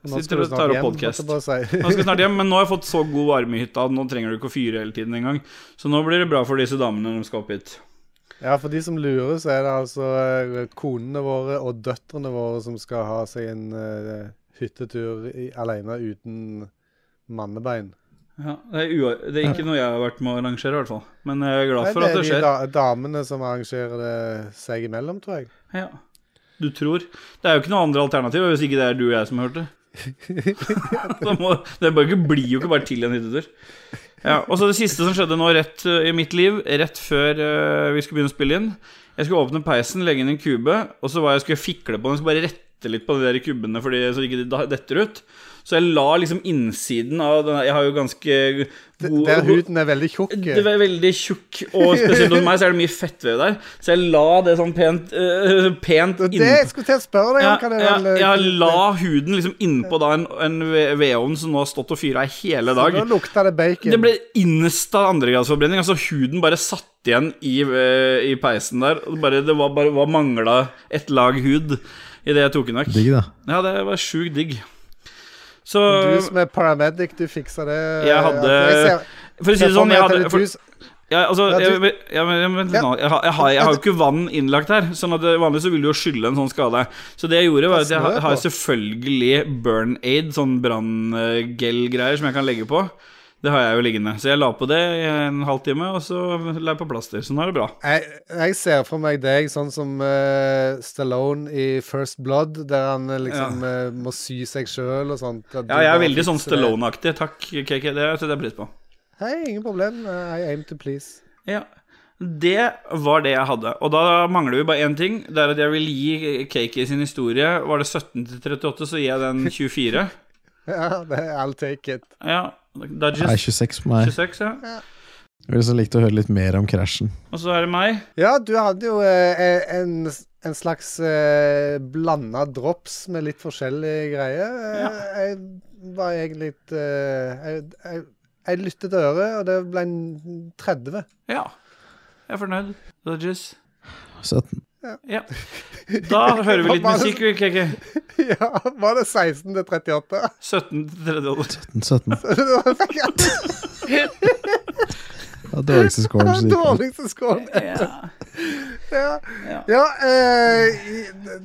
og sitter og tar opp podkast.
måtte jeg bare si.
Nå skal jeg snart hjem, men nå har jeg fått så god varme i hytta at nå trenger du ikke å fyre hele tiden engang. Så nå blir det bra for disse damene når de skal opp hit.
Ja, for de som lurer, så er det altså eh, konene våre og døtrene våre som skal ha seg en eh, hyttetur i, alene uten mannebein.
Ja, det, er uar- det er ikke noe jeg har vært med å arrangere, i hvert fall. Men jeg er glad
Nei,
for at det
er de
skjer.
da, damene som arrangerer det seg imellom, tror jeg.
Ja. Du tror. Det er jo ikke noe andre alternativ hvis ikke det er du og jeg som har hørt det. Da må, det bare ikke, blir jo ikke bare til en hyttetur. Ja, og så det siste som skjedde nå rett eh, i mitt liv, rett før eh, vi skulle begynne å spille inn. Jeg skulle åpne peisen, legge inn en kube, og så var jeg skulle jeg fikle på den. Jeg skulle bare rette litt på de der kubbene fordi, så ikke de da- detter ut. Så jeg la liksom innsiden av den her- Jeg har jo ganske god
Der huden er veldig tjukk.
det var veldig tjukk, og spesielt hos meg så er det mye fettvev der. Så jeg la det sånn pent, øh, pent
Det, det jeg
innpå.
skulle til å spørre deg
Ja,
om. Kan jeg,
ja,
vel, eh,
jeg la huden liksom innpå da en, en ve- vedovn som nå har stått og fyra i hele dag.
Da lukta det bacon.
Det ble insta andregradsforbrenning. Altså huden bare satt igjen i, øh, i peisen der. og Bare, det var bare var mangla et lag hud i det jeg tok den vekk.
Digg, da.
Ja, det var sjukt digg. Så
Du som er paramedic, du fiksa det.
øh, Jeg hadde-
Jeg ser-
For å si
ser
det
for
sånn,
meg
jeg
at
hadde
det
for-
er du-
Ja, altså,
Ja,
jeg,
du-
jeg, jeg, men-
Ja.
jeg, har- jeg, har- jeg har jo ikke vann innlagt her, sånn at det- vanligvis så vil du jo skylle en sånn skade. Så det jeg gjorde, var at jeg har,
Smør på.
har selvfølgelig burn aid, sånn branngel-greier som jeg kan legge på. Det har jeg jo liggende. Så jeg la på det i en halvtime, og så la jeg på plaster. Så nå er det bra.
Jeg, jeg ser for meg deg sånn som eh, Stallone i First Blood, der han eh, liksom eh, må sy seg sjøl og sånt. at du
Ja, jeg er
bare
veldig sånn
fikser det.
Stallone-aktig. Takk, KK. Det setter jeg pris på.
Hei, ingen problem. eh, I aim to please.
Ja. Det var det jeg hadde. Og da mangler vi bare én ting. Det er at jeg vil gi Cakey sin historie Var det 17 til 38, så gir jeg den 24.
Ja, det, I'll take it.
Ja,
Nei,
Dodges
26 på meg.
26, ja.
Jeg ville så likt å høre litt mer om krasjen.
Og så er det meg.
Ja, du hadde jo eh, en, en slags uh, blanda drops med litt forskjellige greier. Eh, Jeg var egentlig litt eh, jeg, jeg, jeg lyttet øret, og det ble en 30.
Ja. Jeg er fornøyd. Dodges.
17.
Ja. Da hører vi litt
Hva var det
musikk, vi, KK.
Ja, var det 16 til 38?
17 til 38.
17.
Det
Ja, dårligste scoren
var
som gikk an.
dårligste scoren.
Ja.
Ja,
Ja.
ja eh, i- det-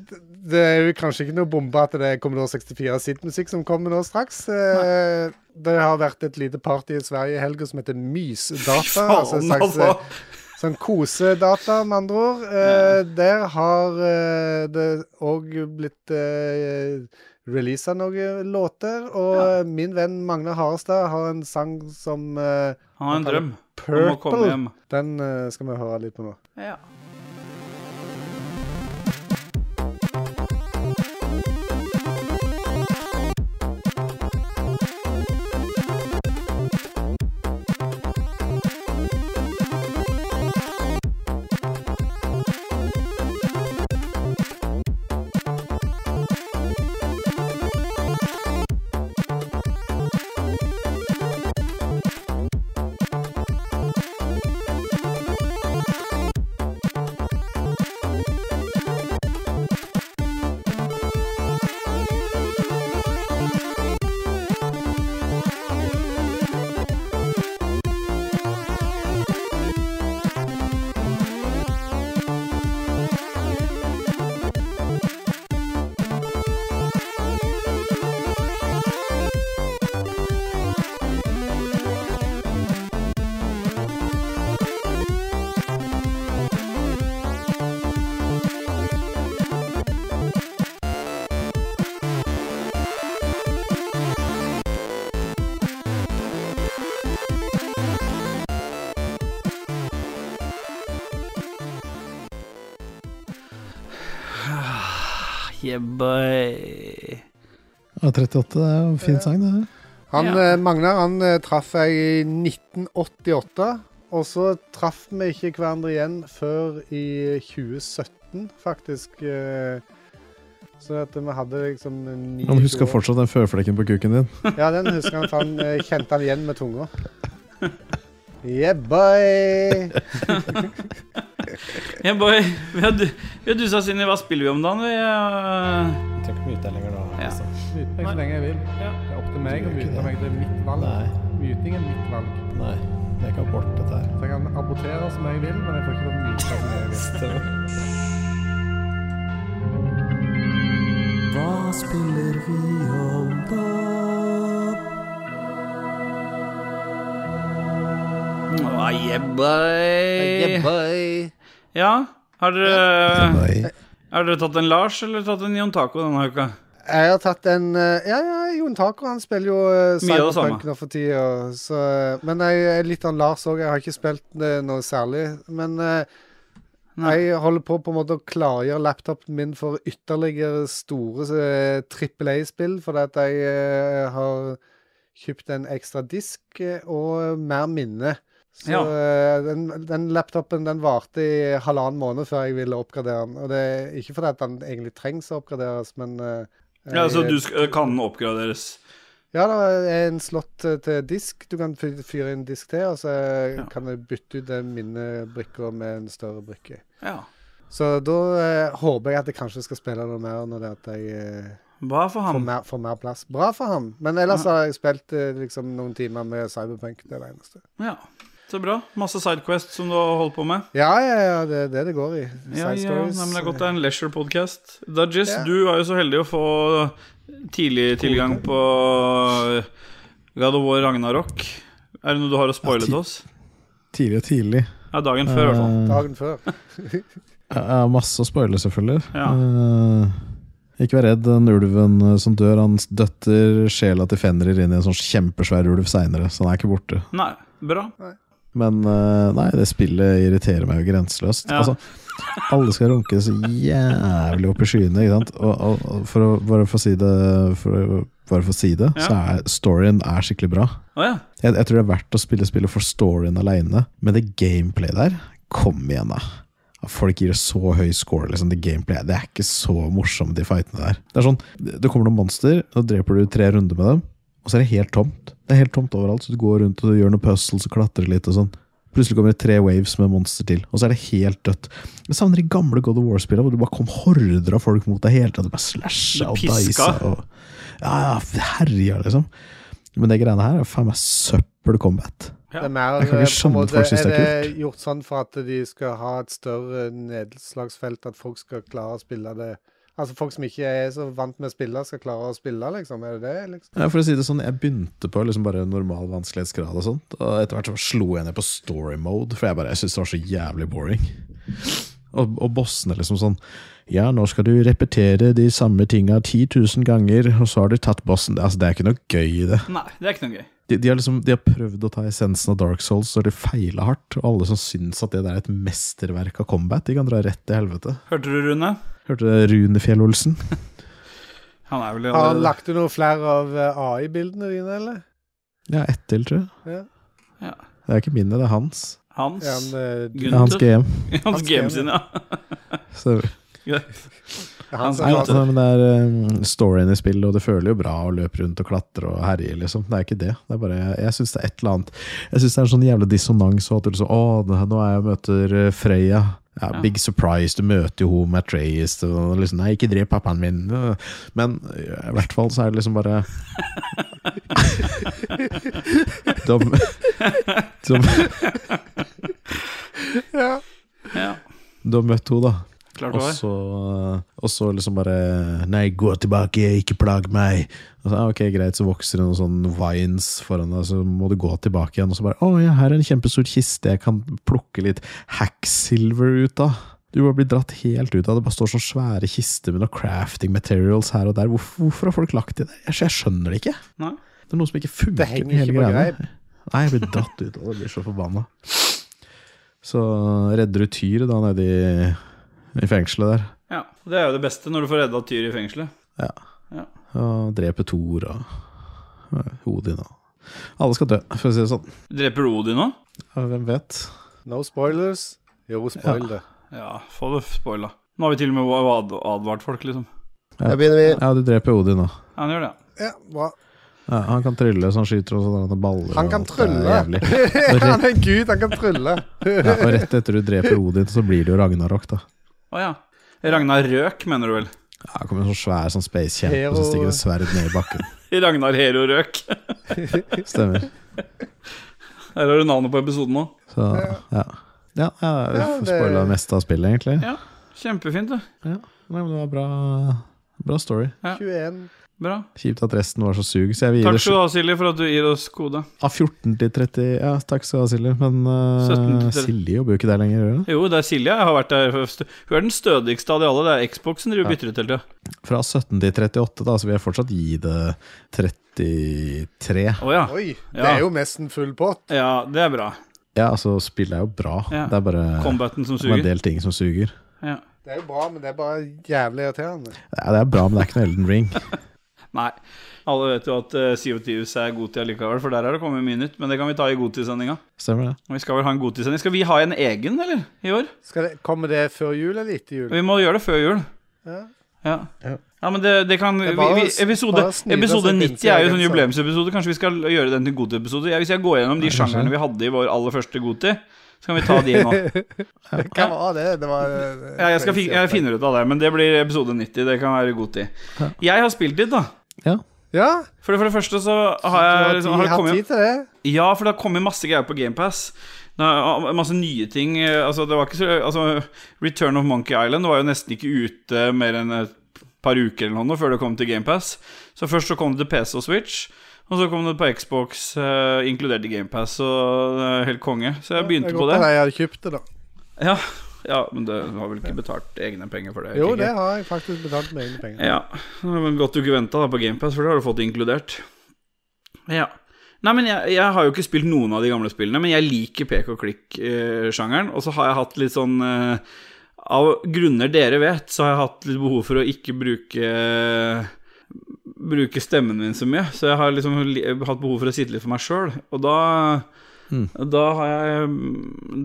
det er jo kanskje ikke noe bombe at det er Commodore 64 sitt musikk som kommer nå straks. Eh, det har vært et lite party i Sverige i helga som heter Mysdata. altså en
Faen,
slags,
altså.
eh, Sånn kosedata, med andre ord. Eh, der har eh, det òg blitt eh, releasa noen låter. Og eh, min venn Magne Harestad har en sang som eh,
Han har en drøm om å komme
Purple.
hjem.
Den eh, skal vi høre litt på nå.
Ja. Yeah, boy.
Ja, 38 er jo en fin sang, det.
Han,
Ja.
eh, Magnar han eh, traff jeg i 1988, og så traff vi ikke hverandre igjen før i 2017, faktisk. eh, Så at vi hadde liksom ni
Han husker
år.
fortsatt den førflekken på kuken din.
Ja, den husker han, for han eh, kjente han igjen med tunga. Yeah, boy!
Yeah, boy. Vi har, du- vi har dusa oss inn i hva spiller vi om dagen, vi. eh,
Jeg trenger ikke mute deg lenger nå. liksom.
Ja.
Kristian.
Myte meg
så
lenge jeg vil.
Ja.
Det er opp til
meg å myte meg.
Det er mitt
Nei,
Myting er mitt valg.
nei. Jeg kan borte dette her.
Så jeg kan abortere som jeg vil, men jeg får ikke lov til å myte som jeg vil.
Hva spiller vi om da?
Ah, yeah, boy. Ja, har dere,
Nei.
har dere tatt en Lars eller tatt en Jon Taco denne uka?
Jeg har tatt en eh, Ja, ja, Jon Taco han spiller jo eh,
Mye av
Cyberpunk
det samme.
nå for tida. Så, eh, men jeg er litt av Lars òg. Jeg har ikke spilt eh, noe særlig. Men eh,
Nei.
jeg holder på på en måte å klargjøre laptopen min for ytterligere store eh, trippel A-spill, fordi at jeg eh, har kjøpt en ekstra disk eh, og mer minne. Så
Ja.
eh, den, den laptopen den varte i halvannen måned før jeg ville oppgradere den. Og det er ikke fordi at den egentlig trengs å oppgraderes, men eh,
Ja, så
jeg-
du sk eh, kan oppgraderes.
ja, det er en slott eh, til disk. Du kan fy- fyre inn disk til, og så eh,
Ja.
kan du bytte ut den minnebrikka med en større brikke.
Ja.
Så da eh, håper jeg at jeg kanskje skal spille noe mer når det er at jeg eh,
Hva for
får,
ham?
mer, får mer plass. Bra for ham. Men ellers har jeg spilt eh, liksom noen timer med Cyberpunk. Det er det eneste.
Ja, så bra. Masse sidequest som du har holdt på med.
Ja, ja, ja. Det er det det går i.
Ja,
Side
ja, nei,
stories.
men det er godt det er en leisure podcast. Dudges,
Ja.
du var jo så heldig å få tidlig tilgang på God of War Ragnarok. Er det noe du har å spoile til oss?
Tidlig og tidlig.
Ja, dagen før, i hvert fall.
Dagen før.
Ja, ja, masse å spoile, selvfølgelig.
Ja.
Eh, ikke vær redd, den ulven eh, som dør, han døtter sjela til Fenrir inn i en sånn kjempesvær ulv seinere, så han er ikke borte.
Nei, bra.
Men eh, nei, det spillet irriterer meg jo grenseløst.
Ja.
Altså, alle skal runke så jævlig opp i skyene, ikke sant. Og, og, og for å bare få si det, for å, bare for å si det
Ja.
så er storyen er skikkelig bra.
Å ja.
Jeg, jeg tror det er verdt å spille spillet for storyen aleine, men det gameplay der Kom igjen, da. At Folk gir det så høy score. Liksom, det gameplay Det er ikke så morsomt, de fightene der. Det er sånn, det det kommer noen monster, og dreper du tre runder med dem, og så er det helt tomt. Det er helt tomt overalt, så du går rundt og gjør noen puzzles og klatrer litt og sånn. Plutselig kommer det tre waves med monster til, og så er det helt dødt. Jeg savner de gamle God of War-spillene hvor det bare kom horder av folk mot deg hele tida. Du bare slasha og
Du piska.
dicea og Ja, ja, herja, liksom. Men det greiene her er faen meg søppel combat.
Det er mer,
Jeg
eh, på
kan ikke
en
skjønne at
måte,
folk synes det er
er det gjort sånn for at de skal ha et større nedslagsfelt, at folk skal klare å spille det Altså folk som ikke er så vant med å spille, skal klare å spille, liksom? Er det det? liksom?
Ja, for å si det sånn, Jeg begynte på liksom bare normal vanskelighetsgrad, og sånt Og etter hvert så slo jeg ned på story mode, for jeg bare, jeg syntes det var så jævlig boring. Og, og bossene liksom sånn Ja, nå skal du repetere de samme tinga 10 000 ganger, og så har du tatt bossen. Det, altså, det er ikke noe gøy i det.
Nei, det er ikke noe gøy.
De, de, har liksom, de har prøvd å ta essensen av Dark Souls, og de feila hardt. Og alle som syns at det der er et mesterverk av combat, de kan dra rett til helvete.
Hørte du, Rune?
Hørte du Rune Fjell-Olsen?
Han er vel
Har han
allerede-
lagt ut noen flere av eh, AI-bildene dine, eller?
Ja, ett til, tror jeg.
Ja.
Ja.
Det er ikke mine, det er hans.
Hans.
Er han, eh,
Det er hans
Gunther.
GM.
Hans,
Hans
game
game,
sin, ja.
Så
han
Nei,
som
Hans-
har
altså, men det er um, storyen i spillet, og det føler jo bra å løpe rundt og klatre og herje, liksom. Det er ikke det. det er bare, jeg syns det er et eller annet Jeg synes det er en sånn jævla dissonans. Og at du liksom, å, det- nå er jeg og møter uh, Freya. Ja,
Ja.
Big surprise, du møter jo henne med Atreas. og Liksom, nei, ikke drep pappaen min. øh. Men øh, i hvert fall så er det liksom bare de, de,
ja.
de møtte henne, da.
Klart du
Og
har.
så, og så liksom bare Nei, gå tilbake, ikke plag meg. Og så, «Ah, ok, Greit, så vokser det noen sånne vines foran deg, så må du gå tilbake igjen. Og så bare Å ja, her er en kjempestor kiste jeg kan plukke litt hacksilver ut av. Du bare blir dratt helt ut av det. bare står sånne svære kister med noe crafting materials her og der. Hvorfor, hvorfor har folk lagt det der? Jeg, jeg skjønner det ikke.
Nei.
Det er noe som ikke funker.
Det henger
med hele
ikke på
greia.
greip.
Nei, jeg blir dratt ut av det, jeg blir så forbanna. Så redder du Tyret da nede i, i fengselet der.
Ja. Det er jo det beste når du får redda Tyr i fengselet.
Og dreper Thor og og Odin og Alle skal dø, for å si det sånn.
Dreper du Odin nå?
Ja, Hvem vet?
No spoilers. Jo, spoil det.
Ja, få det spoila. Nå har vi til og med ad- advart folk, liksom.
Ja.
Da begynner vi.
Ja, du dreper Odin òg.
Ja, han gjør det. ja.
Ja, bra.
Ja, han kan trylle, så han skyter og sånn han baller.
Han
og
kan
alt er
trylle.
jævlig.
han er en gud, han kan trylle.
Ja, og rett etter du dreper Odin, så blir det jo Ragnarok, da.
Å ja. Ragnar Røk, mener du vel?
Ja, det kommer en sånn svær sånn space-kjempe
Hero.
som stikker et sverd ned i bakken.
Ragnar Hero Røk.
Stemmer.
Her har du navnet på episoden nå.
Så ja. Ja, ja, vi
Ja,
får
det-
spoila det meste av spillet, egentlig.
Ja. Kjempefint, det.
Nei, men det var bra, bra story.
21.
Bra.
Kjipt at resten var så sug, så jeg vil gi
Takk
det
skal du ha, Silje, for at du gir oss kode.
Av 14 til 30 Ja, takk skal du ha, Silje. Men eh,
17 til 30.
Silje jobber jo ikke der lenger. Gjør hun?
Jo, det er Silje. Jeg har vært der først. Hun er den stødigste av de alle. Det er Xbox som driver og bytter ut hele tida.
Fra 17 til 38, da, så vil jeg fortsatt gi det 33.
Å ja.
Oi, det
Ja.
er jo nesten full pott.
ja. Det er bra.
Ja, altså, spillet er jo bra.
Ja.
Det er bare
Combaten som
det er en
suger.
del ting som suger.
Ja.
Det er jo bra, men det er bare jævlig irriterende.
Ja, det er bra, men det er ikke noe Elden Ring.
Nei. Alle vet jo at eh, Sea of Thieves er god til allikevel, for der er det kommet mye nytt. Men det kan vi ta i godtidssendinga.
Stemmer det?
Og Vi skal vel ha en godtidssending. Skal vi ha en egen, eller? I år?
Skal det, kommer det før jul eller etter jul?
Vi må gjøre det før jul.
Ja.
Ja.
Ja.
ja, men det, det kan
Det er bare
vi, vi,
å-
episode,
bare å snyte
episode
seg inn
90
til
er jo
egen sak.
sånn jubileumsepisode. Kanskje vi skal gjøre den til godteepisode? Ja, hvis jeg går gjennom de
Ja, kanskje.
sjangerne vi hadde i vår aller første godtid, så kan vi ta de nå.
Hva var det? Det var
Ja, jeg, skal fi, jeg finner ut av det, men det blir episode 90. Det kan være godtid. Jeg har spilt litt, da.
Ja,
For det, for det første så
du
har
har,
jeg liksom, har det
hatt
kommet
tid til det?
Ja, for det har kommet masse greier på GamePass. Masse nye ting. eh, Altså, det var ikke så, altså, Return of Monkey Island var jo nesten ikke ute mer enn et par uker eller noe før det kom til GamePass. Så først så kom det til PC og Switch, og så kom det på Xbox, eh, inkludert i GamePass. Så det er helt konge. Så jeg begynte
Jeg
på
håper
det.
at Jeg hadde kjøpt det, da.
Ja, ja, men det har vel ikke betalt egne penger for det?
Jo,
tenker
det
jeg.
har jeg faktisk betalt med egne penger.
Ja, det var godt du ikke venta på GamePass, for det har du fått inkludert. Ja. Nei, men jeg, jeg har jo ikke spilt noen av de gamle spillene, men jeg liker pek og klikk-sjangeren. Og så har jeg hatt litt sånn eh, Av grunner dere vet, så har jeg hatt litt behov for å ikke bruke Bruke stemmen min så mye. Så jeg har liksom li hatt behov for å sitte litt for meg sjøl. Og da da har jeg,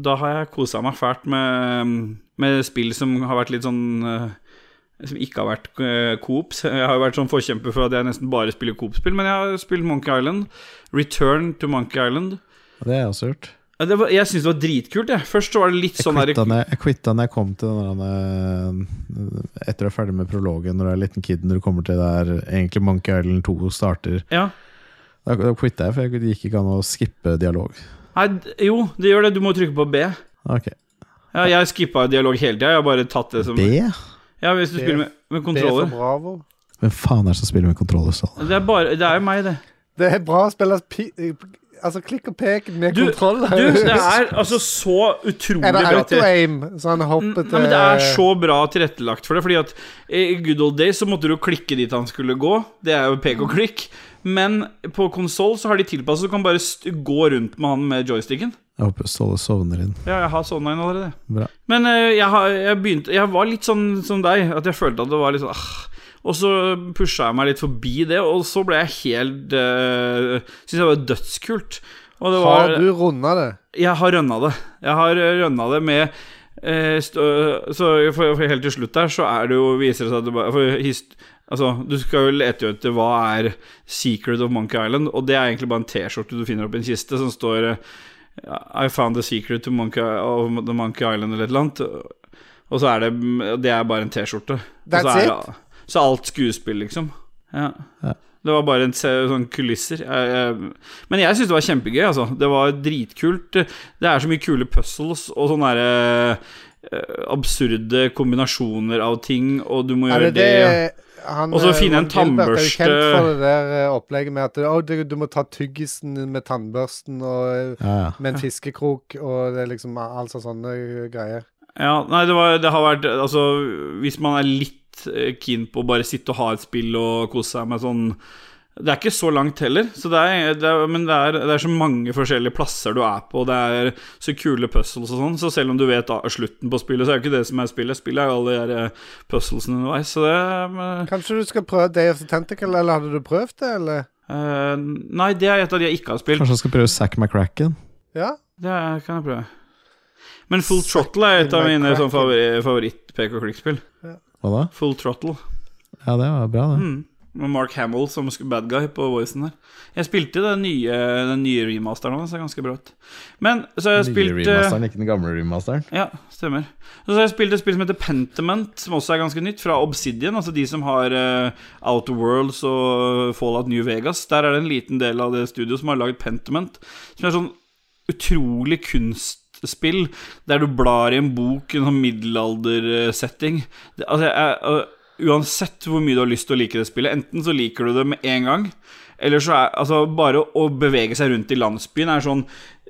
da har jeg kosa meg fælt med, med spill som har vært litt sånn eh, som ikke har vært eh, Coop. Jeg har jo vært sånn forkjemper for at jeg nesten bare spiller Coop-spill, men jeg har spilt Monkey Island. Return to Monkey Island.
Det har jeg også gjort.
Ja, det var, jeg syns det var dritkult, jeg. Først så var det litt
Jeg
sånn der
quitta når jeg, quitta når jeg kom til den der, eh, Etter å være ferdig med prologen, når du er liten kid, når du kommer til der egentlig Monkey Island 2 starter.
ja.
Da, da quitta jeg, for jeg- det gikk ikke an å skippe dialog.
Nei, d- jo, det gjør det. Du må trykke på B.
Ok,
Ja, jeg skippa dialog hele tida. Jeg har bare tatt det som
Det?
Ja, hvis du
B-
spiller med,
B
med
for
kontroller.
Bravo.
Hvem faen er det som spiller med kontrollerstall?
Det er bare Det er jo meg, det.
Det er bra å spille pi Altså, klikk og pek med
Du-
kontroll.
Du, det er altså så utrolig
er det
bra til
auto-aim? Så han hopper
Nei, Mm, men Det er så bra tilrettelagt for det. Fordi at I Good Old Days så måtte du klikke dit han skulle gå. Det er jo pek og klikk. Men på konsoll så har de tilpasset så du kan bare st gå rundt med han med joysticken.
Jeg håper Ståle sovner inn.
Ja, jeg har sånn en allerede.
Bra.
Men eh, jeg, har, jeg begynte Jeg var litt sånn som deg, at jeg følte at det var litt sånn ah. Og så pusha jeg meg litt forbi det, og så ble jeg helt uh, Syns jeg var dødskult. Og det var,
Har du runda det?
jeg har rønna det. Jeg har rønna det med eh, stå, Så for, for helt til slutt der, så er det jo Viser det seg at det bare for hist, Altså, du skal jo lete etter hva er Secret of Monkey Island, og det er egentlig bare en T-skjorte du finner opp i en kiste som står eh, I found the secret to Monkey, of the Monkey Island eller et eller annet. Og så er det Det er bare en T-skjorte. Og så
That's
er det- Så er alt skuespill, liksom. Ja.
Ja.
Det var bare en se- sånn kulisser. Jeg, jeg, men jeg syns det var kjempegøy, altså. Det var dritkult. Det er så mye kule puzzles og sånne derre eh, absurde kombinasjoner av ting, og du må
Er
gjøre
det
det,
det han,
Og så
eh,
finne en
Ron Gilbert er jo Kjent
tannbørste.
for det der eh, opplegget med at å, du, du må ta tyggisen med tannbørsten og eh,
Ja, ja.
med en fiskekrok og det er liksom altså sånne eh, greier.
Ja, nei, det, var, det har vært Altså, hvis man er litt eh, keen på å bare sitte og ha et spill og kose seg med sånn Det er ikke så langt heller, så det er, det er, men det er, det er så mange forskjellige plasser du er på, og det er så kule puzzles og sånn, så selv om du vet da, slutten på spillet, så er det ikke det som er spillet. Spillet er jo alle de der eh, puzzlesene underveis, så det men,
Kanskje du skal prøve Day of the Tentacle, eller hadde du prøvd det, eller?
eh, Nei, det er et av de jeg ikke har spilt.
Kanskje han skal prøve Zack McCracken?
Ja?
Det er- kan jeg prøve. Men Full
Zack
Throttle er et av
in my
mine sånn,
crack.
favoritt-pek-og-klikk-spill.
Hva da?
Full Throttle.
Ja, det var bra, det.
Mm. Med Mark Hamill som sk- bad guy på voicen der. Jeg spilte den nye, den nye remasteren hans, det er ganske bra ut. Men så har jeg spilt eh,
ikke den gamle remasteren.
Ja, stemmer. Og så har jeg spilt et spill som heter Pentiment, som også er ganske nytt, fra Obsidian. Altså de som har eh, Outer Worlds og Fallout New Vegas. Der er det en liten del av det studioet som har lagd Pentiment, som er sånn utrolig kunstspill der du blar i en bok, en sånn middelaldersetting. Det- Altså, jeg, jeg, uansett hvor mye du har lyst til å like det spillet, enten så liker du det med en gang, eller så er altså bare å bevege seg rundt i landsbyen er sånn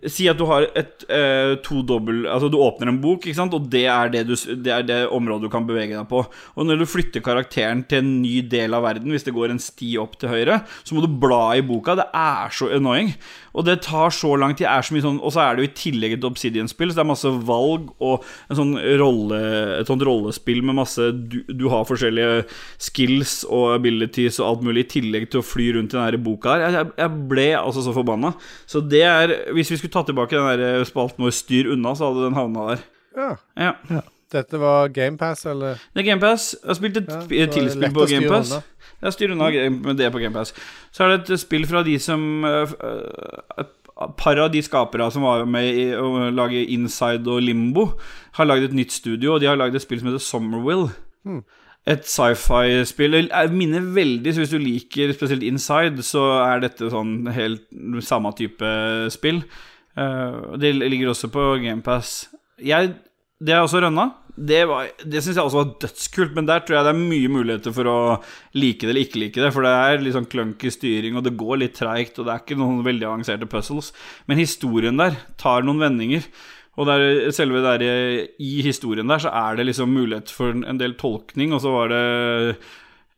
Si at du har et eh, to dobbel Altså du åpner en bok, ikke sant, og det er det, du, s- det er det området du kan bevege deg på. Og når du flytter karakteren til en ny del av verden, hvis det går en sti opp til høyre, så må du bla i boka. Det er så annoying. Og det tar så lang tid. Er så mye sånn, og så er det jo i tillegg et Obsidian-spill, så det er masse valg og en sånn rolle, et sånt rollespill med masse du, du har forskjellige skills og abilities og alt mulig, i tillegg til å fly rundt i den her boka her. Jeg, jeg, jeg ble altså så forbanna. Så det er Hvis vi skulle tatt tilbake den der spalten vår Styr unna, så hadde den havna der.
ja.
Ja.
Dette var GamePass, eller?
Det er GamePass. Jeg har spilt et
Ja, så
sp-
er det
tilspill
lett
på
å styre Mm.
GamePass.
unna.
Jeg styrer unna game- med det på GamePass. Så er det et spill fra de som øh, øh, Et par av de skapere som var med i å lage Inside og Limbo, har lagd et nytt studio, og de har lagd et spill som heter Summerwill.
Mm.
Et sci-fi-spill. Jeg minner veldig, så hvis du liker spesielt Inside, så er dette sånn helt samme type spill. Eh, Det ligger også på GamePass. Jeg Det er også rønna. Det, var- det syns jeg også var dødskult, men der tror jeg det er mye muligheter for å like det eller ikke like det, for det er litt sånn clunky styring, og det går litt treigt, og det er ikke noen veldig avanserte puzzles, men historien der tar noen vendinger. Og der, selve der, eh, i historien der så er det liksom mulighet for en- en del tolkning, og så var det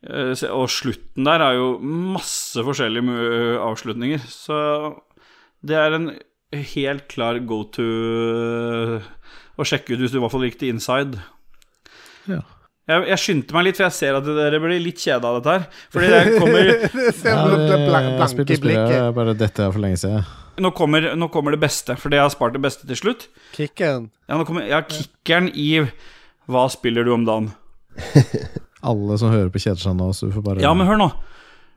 eh, se- Og slutten der er jo masse forskjellige mu- avslutninger, så det er en helt klar go to eh, å sjekke ut hvis du i hvert fall likte Inside.
Ja.
Jeg, jeg skyndte meg litt, for jeg ser at dere blir litt kjeda av dette her. Fordi jeg kommer
Det ser
Ja,
ut som bl-
det-
bl-
jeg
blanke
spilte
i blikket.
spillet, bare dette er for lenge siden.
Nå kommer, nå kommer det beste, fordi jeg har spart det beste til slutt.
Kickeren.
Ja, nå kommer, jeg har kickeren i Hva spiller du om dagen?
Alle som hører på, kjeder seg nå, så du får bare
Ja, men hør nå.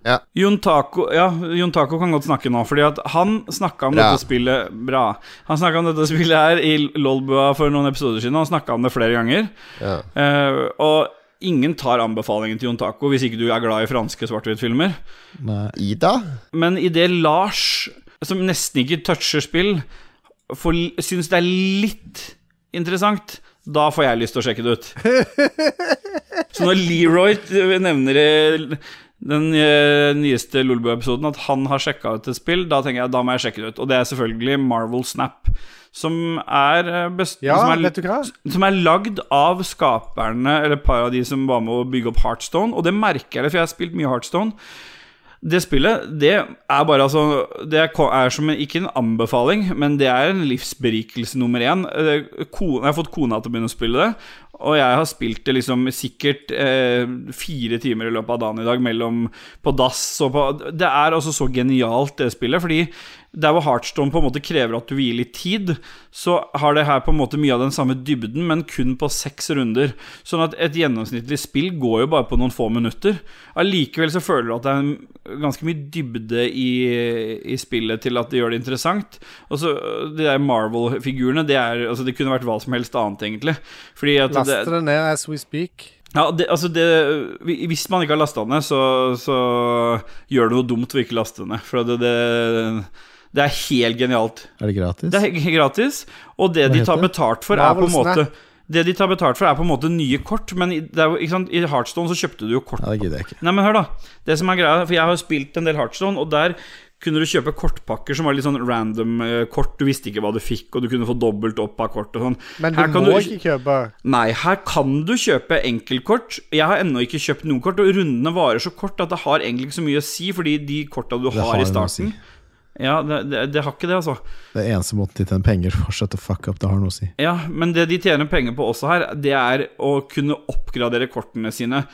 Ja.
Jon Taco, ja, Jon Taco kan godt snakke nå, Fordi at han snakka om
Bra.
dette spillet Bra. Han snakka om dette spillet her i Lolbua for noen episoder siden, og han snakka om det flere ganger.
Ja.
Eh, og ingen tar anbefalingen til Jon Taco hvis ikke du er glad i franske svart-hvitt-filmer.
Nei.
Ida?
Men idet Lars, som nesten ikke toucher spill, får- syns det er litt interessant, da får jeg lyst til å sjekke det ut. Så når Leroy eh, nevner i den eh, nyeste Lolbua-episoden at han har sjekka ut et spill, da tenker jeg da må jeg sjekke det ut. Og det er selvfølgelig Marvel Snap, som er eh, best...
Ja,
som er,
vet du hva?
som er lagd av skaperne, eller et par av de som var med å bygge opp Heartstone. Og det merker jeg, for jeg har spilt mye Heartstone. Det spillet, det er bare altså Det er ko- er som en, ikke en anbefaling, men det er en livsberikelse nummer én. Eh, ko- Jeg har fått kona til å begynne å spille det, og jeg har spilt det liksom sikkert eh, fire timer i løpet av dagen i dag, mellom på dass og på Det er altså så genialt, det spillet, fordi der hvor Heartstone på en måte krever at du vil gi litt tid, så har det her på en måte mye av den samme dybden, men kun på seks runder. Sånn at et gjennomsnittlig spill går jo bare på noen få minutter. Allikevel så føler du at det er en- ganske mye dybde i, i spillet til at det gjør det interessant. Og så øh, de der Marvel-figurene, det er Altså, det kunne vært hva som helst annet, egentlig. Fordi at det,
Laste det ned as we speak.
ja, det, altså det, hvi- hvis man ikke har lasta ned, så, så gjør det noe dumt å ikke laste ned. For det, det, det er helt genialt.
Er det gratis?
Det er he- gratis, og det
Hva
de
heter
tar
det?
betalt for, er på en
Marvel
måte Det de tar betalt for, er på en måte nye kort, men i- det er, jo- ikke sant? i Heartstone så kjøpte du jo kort.
Nei, det gidder jeg ikke.
Nei, men hør, da. Det som er greia, for jeg har jo spilt en del Heartstone, og der kunne du kjøpe kortpakker som var litt sånn random eh, kort, du visste ikke hva du fikk, og du kunne få dobbelt opp av kort og sånn.
Men
Her
du
kan
må ikke kjøpe.
Nei, her kan du kjøpe enkeltkort. Jeg har ennå ikke kjøpt noen kort, og rundene varer så kort at det har egentlig ikke så mye å si, fordi de korta du har,
har
i
jo noe å
starten
si.
Ja, det, det, det har ikke det, altså.
Det er eneste måten de tjener penger på, shut the fuck up, det har noe å si.
Ja, men det de tjener penger på også her, det er å kunne oppgradere kortene sine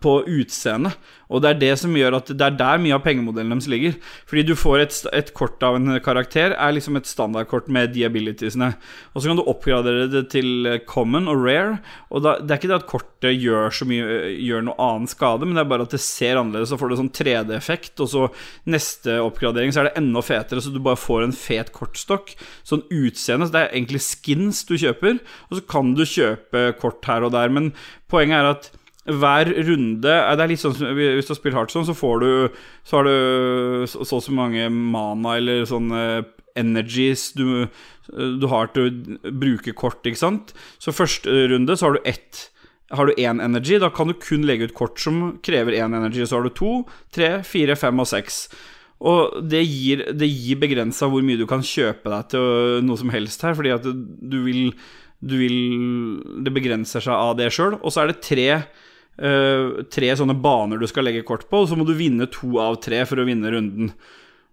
på utseende. Og det er det som gjør at det er der mye av pengemodellen deres ligger. Fordi du får et, st- et kort av en karakter, er liksom et standardkort med de abilitiesene. Og så kan du oppgradere det til eh, common og rare. Og da, det er ikke det at kortet gjør så mye Gjør noe annen skade, men det er bare at det ser annerledes, så får du sånn 3D-effekt, og så neste oppgradering så er det enda fetere, så du bare får en fet kortstokk. Sånn utseende, så det er egentlig skins du kjøper, og så kan du kjøpe kort her og der, men poenget er at hver runde eh, Det er litt sånn som hvis du har spilt Heartstone, så får du Så har du så så og så mange mana eller sånne energies du, eh, du har til å bruke kort, ikke sant? Så første runde så har du ett har du én energy, da kan du kun legge ut kort som krever én energy. Så har du to, tre, fire, fem og seks. Og det gir, det gir begrensa hvor mye du kan kjøpe deg til øh, noe som helst her, fordi at du vil, du vil Det begrenser seg av det sjøl. Og så er det tre øh, Tre sånne baner du skal legge kort på, og så må du vinne to av tre for å vinne runden.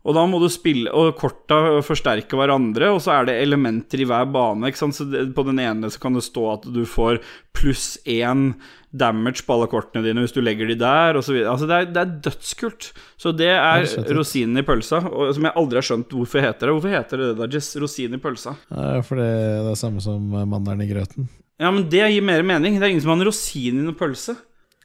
Og da må du spille Og korta forsterker hverandre, og så er det elementer i hver bane. Ikke sant? Så det, på den ene så kan det stå at du får pluss én damage på alle kortene dine hvis du legger de der, osv. Altså det, er- det er dødskult. Så det er
søtt ut.
rosinen i pølsa, og, som jeg aldri har skjønt hvorfor heter det. Hvorfor heter det det da, Jess? Rosin i pølsa?
Ja, for det det er samme som eh, mandelen i grøten.
Ja, men det gir mer mening. Det er ingen som har en rosin i en pølse.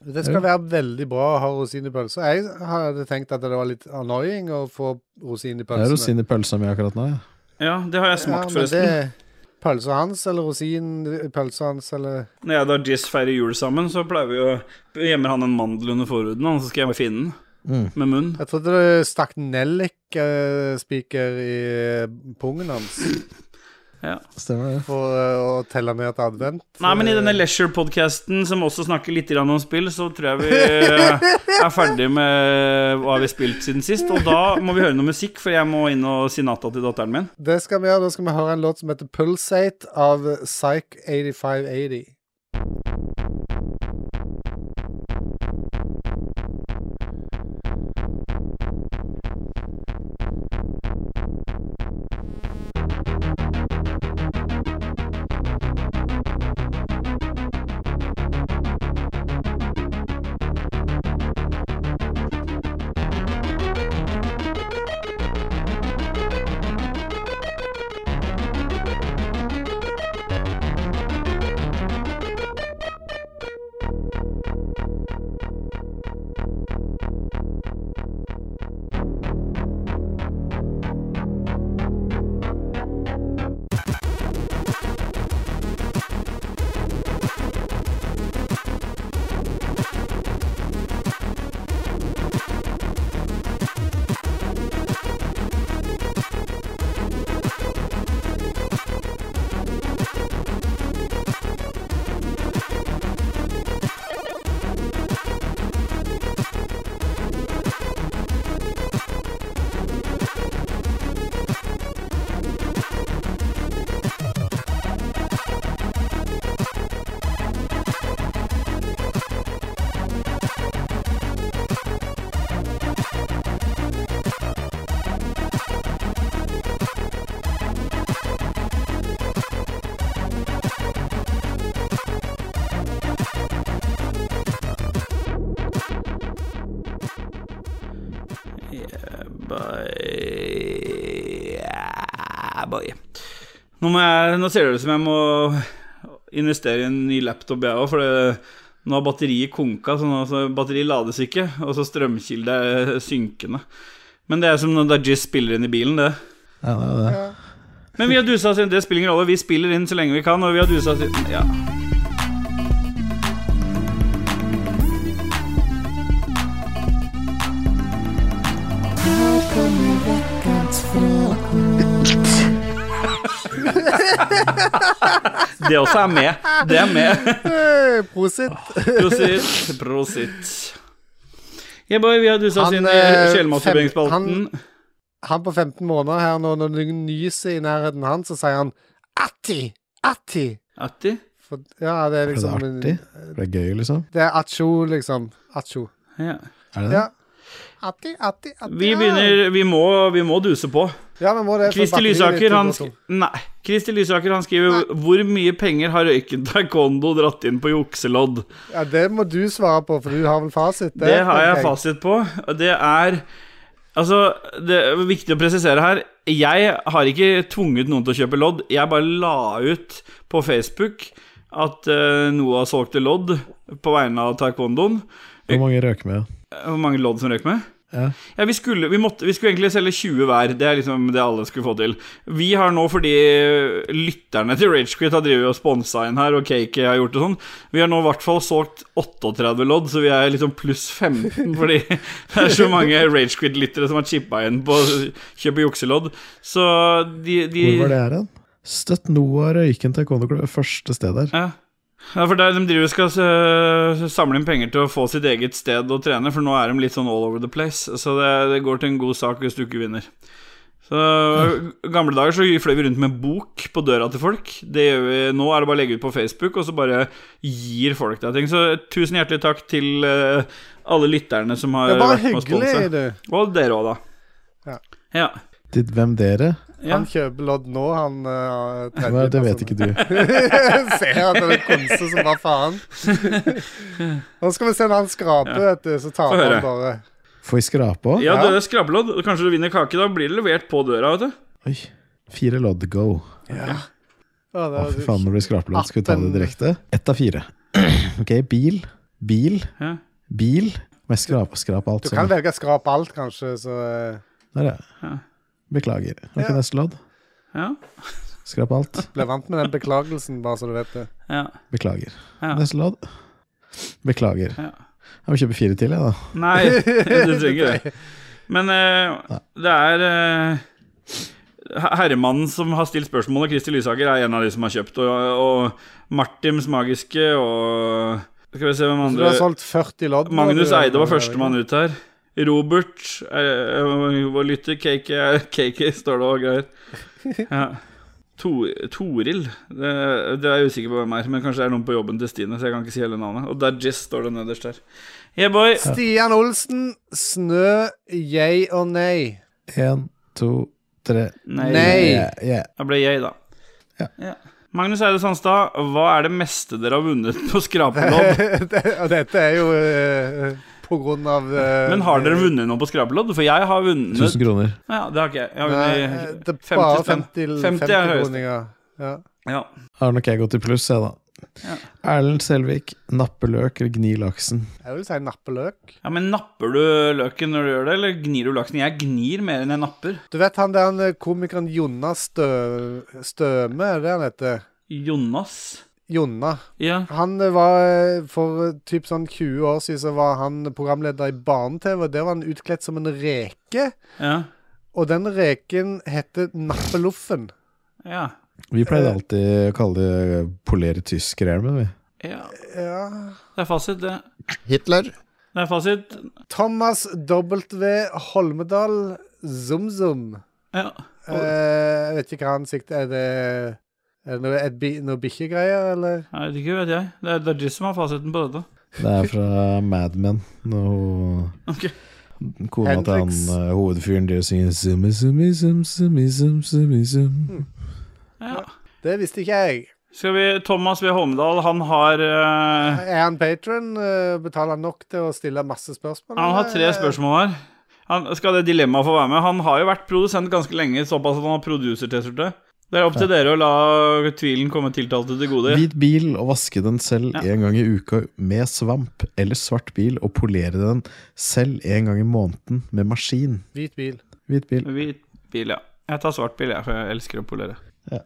Det skal være veldig bra å ha rosin i pølsa. Jeg hadde tenkt at det var litt annoying å få rosin i
Det er
pølsene.
rosin i pølsa mi akkurat nå, ja.
Ja, det har jeg
Ja,
smakt,
men
forresten.
det Pølsa hans eller rosin i pølsa hans eller
Når jeg og da Jizz feirer jul sammen, så pleier vi å gjemmer han en mandel under forhuden, og så skal jeg finne den.
Mm,
Med munn.
Jeg trodde du stakk nellikspiker i pungen hans
Stemmer det.
for eh, å telle ned til advent.
Nei, men i denne Leisure-podkasten som også snakker litt grann om spill, så tror jeg vi eh, er ferdig med hva vi har spilt siden sist. Og da må vi høre noe musikk, for jeg må inn og si natta til datteren min.
Det skal vi gjøre. Da skal vi høre en låt som heter 'Pulsate' av Psych 8580.
Yeah, boy. Nå, må jeg, nå ser det ut som jeg må investere i en ny laptop, jeg òg, for det, nå har batteriet konka, så nå, så batteriet lades ikke, og så strømkilde er synkende. Men det er som når Dajis spiller inn i bilen, det.
Ja, det er det.
Men vi har dusa oss inn, det spiller ingen rolle. Vi spiller inn så lenge vi kan, og vi har dusa oss inn Ja. Det også er med. Det er med.
Hey, Prosit.
Prosit. Prosit. Yeah, boy, vi har dusa oss
Han,
inn i
eh,
sjelmasturberingsspalten.
fem- Han på 15 måneder her, når når det nyser i nærheten han, så sier han Atti! Atti!
Atti?
For, ja, det er
Er det
liksom en-
artig? Er det gøy, liksom?
Det er atsjo, liksom. Atsjo.
Ja.
Er det det?
Ja. Atti, atti, atti.
Vi
ja.
begynner Vi må, vi må duse på.
Ja, vi må det. for
Kristi
batteriet er
Lysaker,
tom
han
og tom.
sk- Nei. Kristi Lysaker, han skriver 'Hvor mye penger har røyken taekwondo dratt inn på jukselodd?'
Ja, det må du svare på, for du har vel fasit?
Det har jeg
tenker
fasit på. og Det er Altså, det er viktig å presisere her. Jeg har ikke tvunget noen til å kjøpe lodd. Jeg bare la ut på Facebook at eh, Noah solgte lodd på vegne av taekwondoen.
Hvor mange røker med?
Hvor mange lodd som røk med?
Ja.
Ja, vi skulle, vi, måtte, vi skulle egentlig selge 20 hver. Det er liksom det alle skulle få til. Vi har nå, fordi lytterne til Ragequit har drevet og sponsa inn her, og Cakey har gjort det sånn, vi har nå i hvert fall solgt 38 lodd, så vi er liksom pluss 15, fordi det er så mange Ragequit-lyttere som har chippa inn på å kjøpe jukselodd. Så de, de
Hvor var det her hen? Støtt Noah Røyken taekwondo-klubb. Første sted der.
Ja. Ja, for der de driver og skal øh, samle inn penger til å få sitt eget sted å trene, for nå er de litt sånn all over the place, så det, det går til en god sak hvis du ikke vinner. Så I gamle dager så fløy vi rundt med bok på døra til folk. Det gjør vi Nå er det bare å legge ut på Facebook, og så bare gir folk deg ting. Så eh, tusen hjertelig takk til øh, alle lytterne som har
Det er bare
vært med å sponse.
hyggelig, du.
Og dere òg, da.
Ja.
Ja.
Til hvem dere?
Ja.
Han kjøper lodd nå, han uh,
Nei, det vet ikke du.
Ser at det er konse som bare faen. Nå skal vi se når han skraper, vet du, så
Få
taper
høre.
han bare.
Får vi skrape òg?
ja, det er skrapelodd. Kanskje du vinner kake. Da blir det levert på døra, vet du.
Oi. Fire lodd go.
Å,
Å,
det
fy
var
faen, når det blir skrapelodd, skal vi ta det
Atten.
direkte? Ett av fire. Ok, bil, bil,
Ja.
bil. Må jeg skrape, skrape alt
du kan
sånn?
velge å skrape alt, kanskje, så eh,
Der, ja.
Ja.
Beklager. Ok,
Ja.
neste lodd.
Ja.
Skrap alt.
bli vant med den beklagelsen, bare så du vet det.
ja.
Beklager.
Ja.
Neste lodd. Beklager.
Ja.
Jeg må kjøpe fire til, jeg, da.
Nei, du trenger det. Men eh, det er eh, Herremannen som har stilt spørsmålet, Kristi Lysaker, er en av de som har kjøpt. Og, og Martims Magiske og Skal vi se hvem
Så sånn- du har
andre
solgt 40 lodd? nå,
Magnus
du,
Eide var
eller?
førstemann ut her. Robert, eh, vår lytter, KK, er- KK står det og greier. Ja. Tor, Toril det, det er jeg usikker på hvem er, men kanskje det er noen på jobben til Stine. Så jeg kan ikke si hele navnet Og Dajis står det nederst der. Yeah, boy.
Stian Olsen, snø, yay og nei.
Én, to, tre.
Nei.
Nei.
Yeah, yeah.
Da ble jeg, da.
Ja.
Magnus Eide Sandstad, hva er det meste dere har vunnet på skrapelodd?
Det, og dette er jo eh, på grunn av eh,
Men har dere vunnet noe på skrapelodd? For jeg har vunnet
1000 kroner.
Ja, det har ikke jeg. Jeg har
Nei,
vunnet
det er
50
bare
spenn.
50,
50
50,
er høyest.
kroninger. Ja.
Ja.
Har nok jeg gått i pluss, jeg, da.
Ja.
Erlend Selvik, nappe løk eller gni laksen?
Jeg vil si nappeløk.
ja, men napper du løken når du gjør det, eller gnir du laksen? Jeg gnir mer enn jeg napper.
Du vet han der han, eh, komikeren Jonna Stø Støme, er det han heter?
Jonas.
Jonna.
Ja.
Han eh, var eh, for eh, typ sånn 20 år siden så var han programleder i Barne-TV, og der var han utkledd som en reke.
Ja.
Og den reken heter Nappeloffen.
Ja.
Vi pleide alltid å kalle det polere tysk-hjelmen, vi.
ja.
Ja
Det er fasit, det.
Hitler.
Det er fasit.
Thomas W. Holmedal Zumzum.
Ja.
Eh, jeg vet ikke hva han sikter Er det, er det noe, et bi- noe bikkjegreier, eller?
Jeg vet ikke, vet jeg. Det er Dajis som har fasiten på dette.
Det er fra Mad Men. Når hun-
Ok.
kona til han
Hendrix.
eh, hovedfyren driver og synger summi, summi, sum, summi, sum, summi,
Mm.
sum.
Ja.
Det visste ikke jeg.
Skal vi Thomas V. Holmedal, han har eh,
eh, Er han patron? Betaler han nok til å stille masse spørsmål?
Han har
eller?
tre spørsmål her. Han skal det dilemmaet få være med. Han har jo vært produsent ganske lenge, såpass at han har producer-T-skjorte. Det er opp til dere å la tvilen komme tiltalte til gode.
Hvit bil og vaske den selv en gang i uka med svamp, eller svart bil og polere den selv en gang i måneden med maskin.
Hvit bil.
Hvit bil.
Hvit bil, ja. Jeg tar svart bil, jeg, for jeg elsker å polere.
Ja.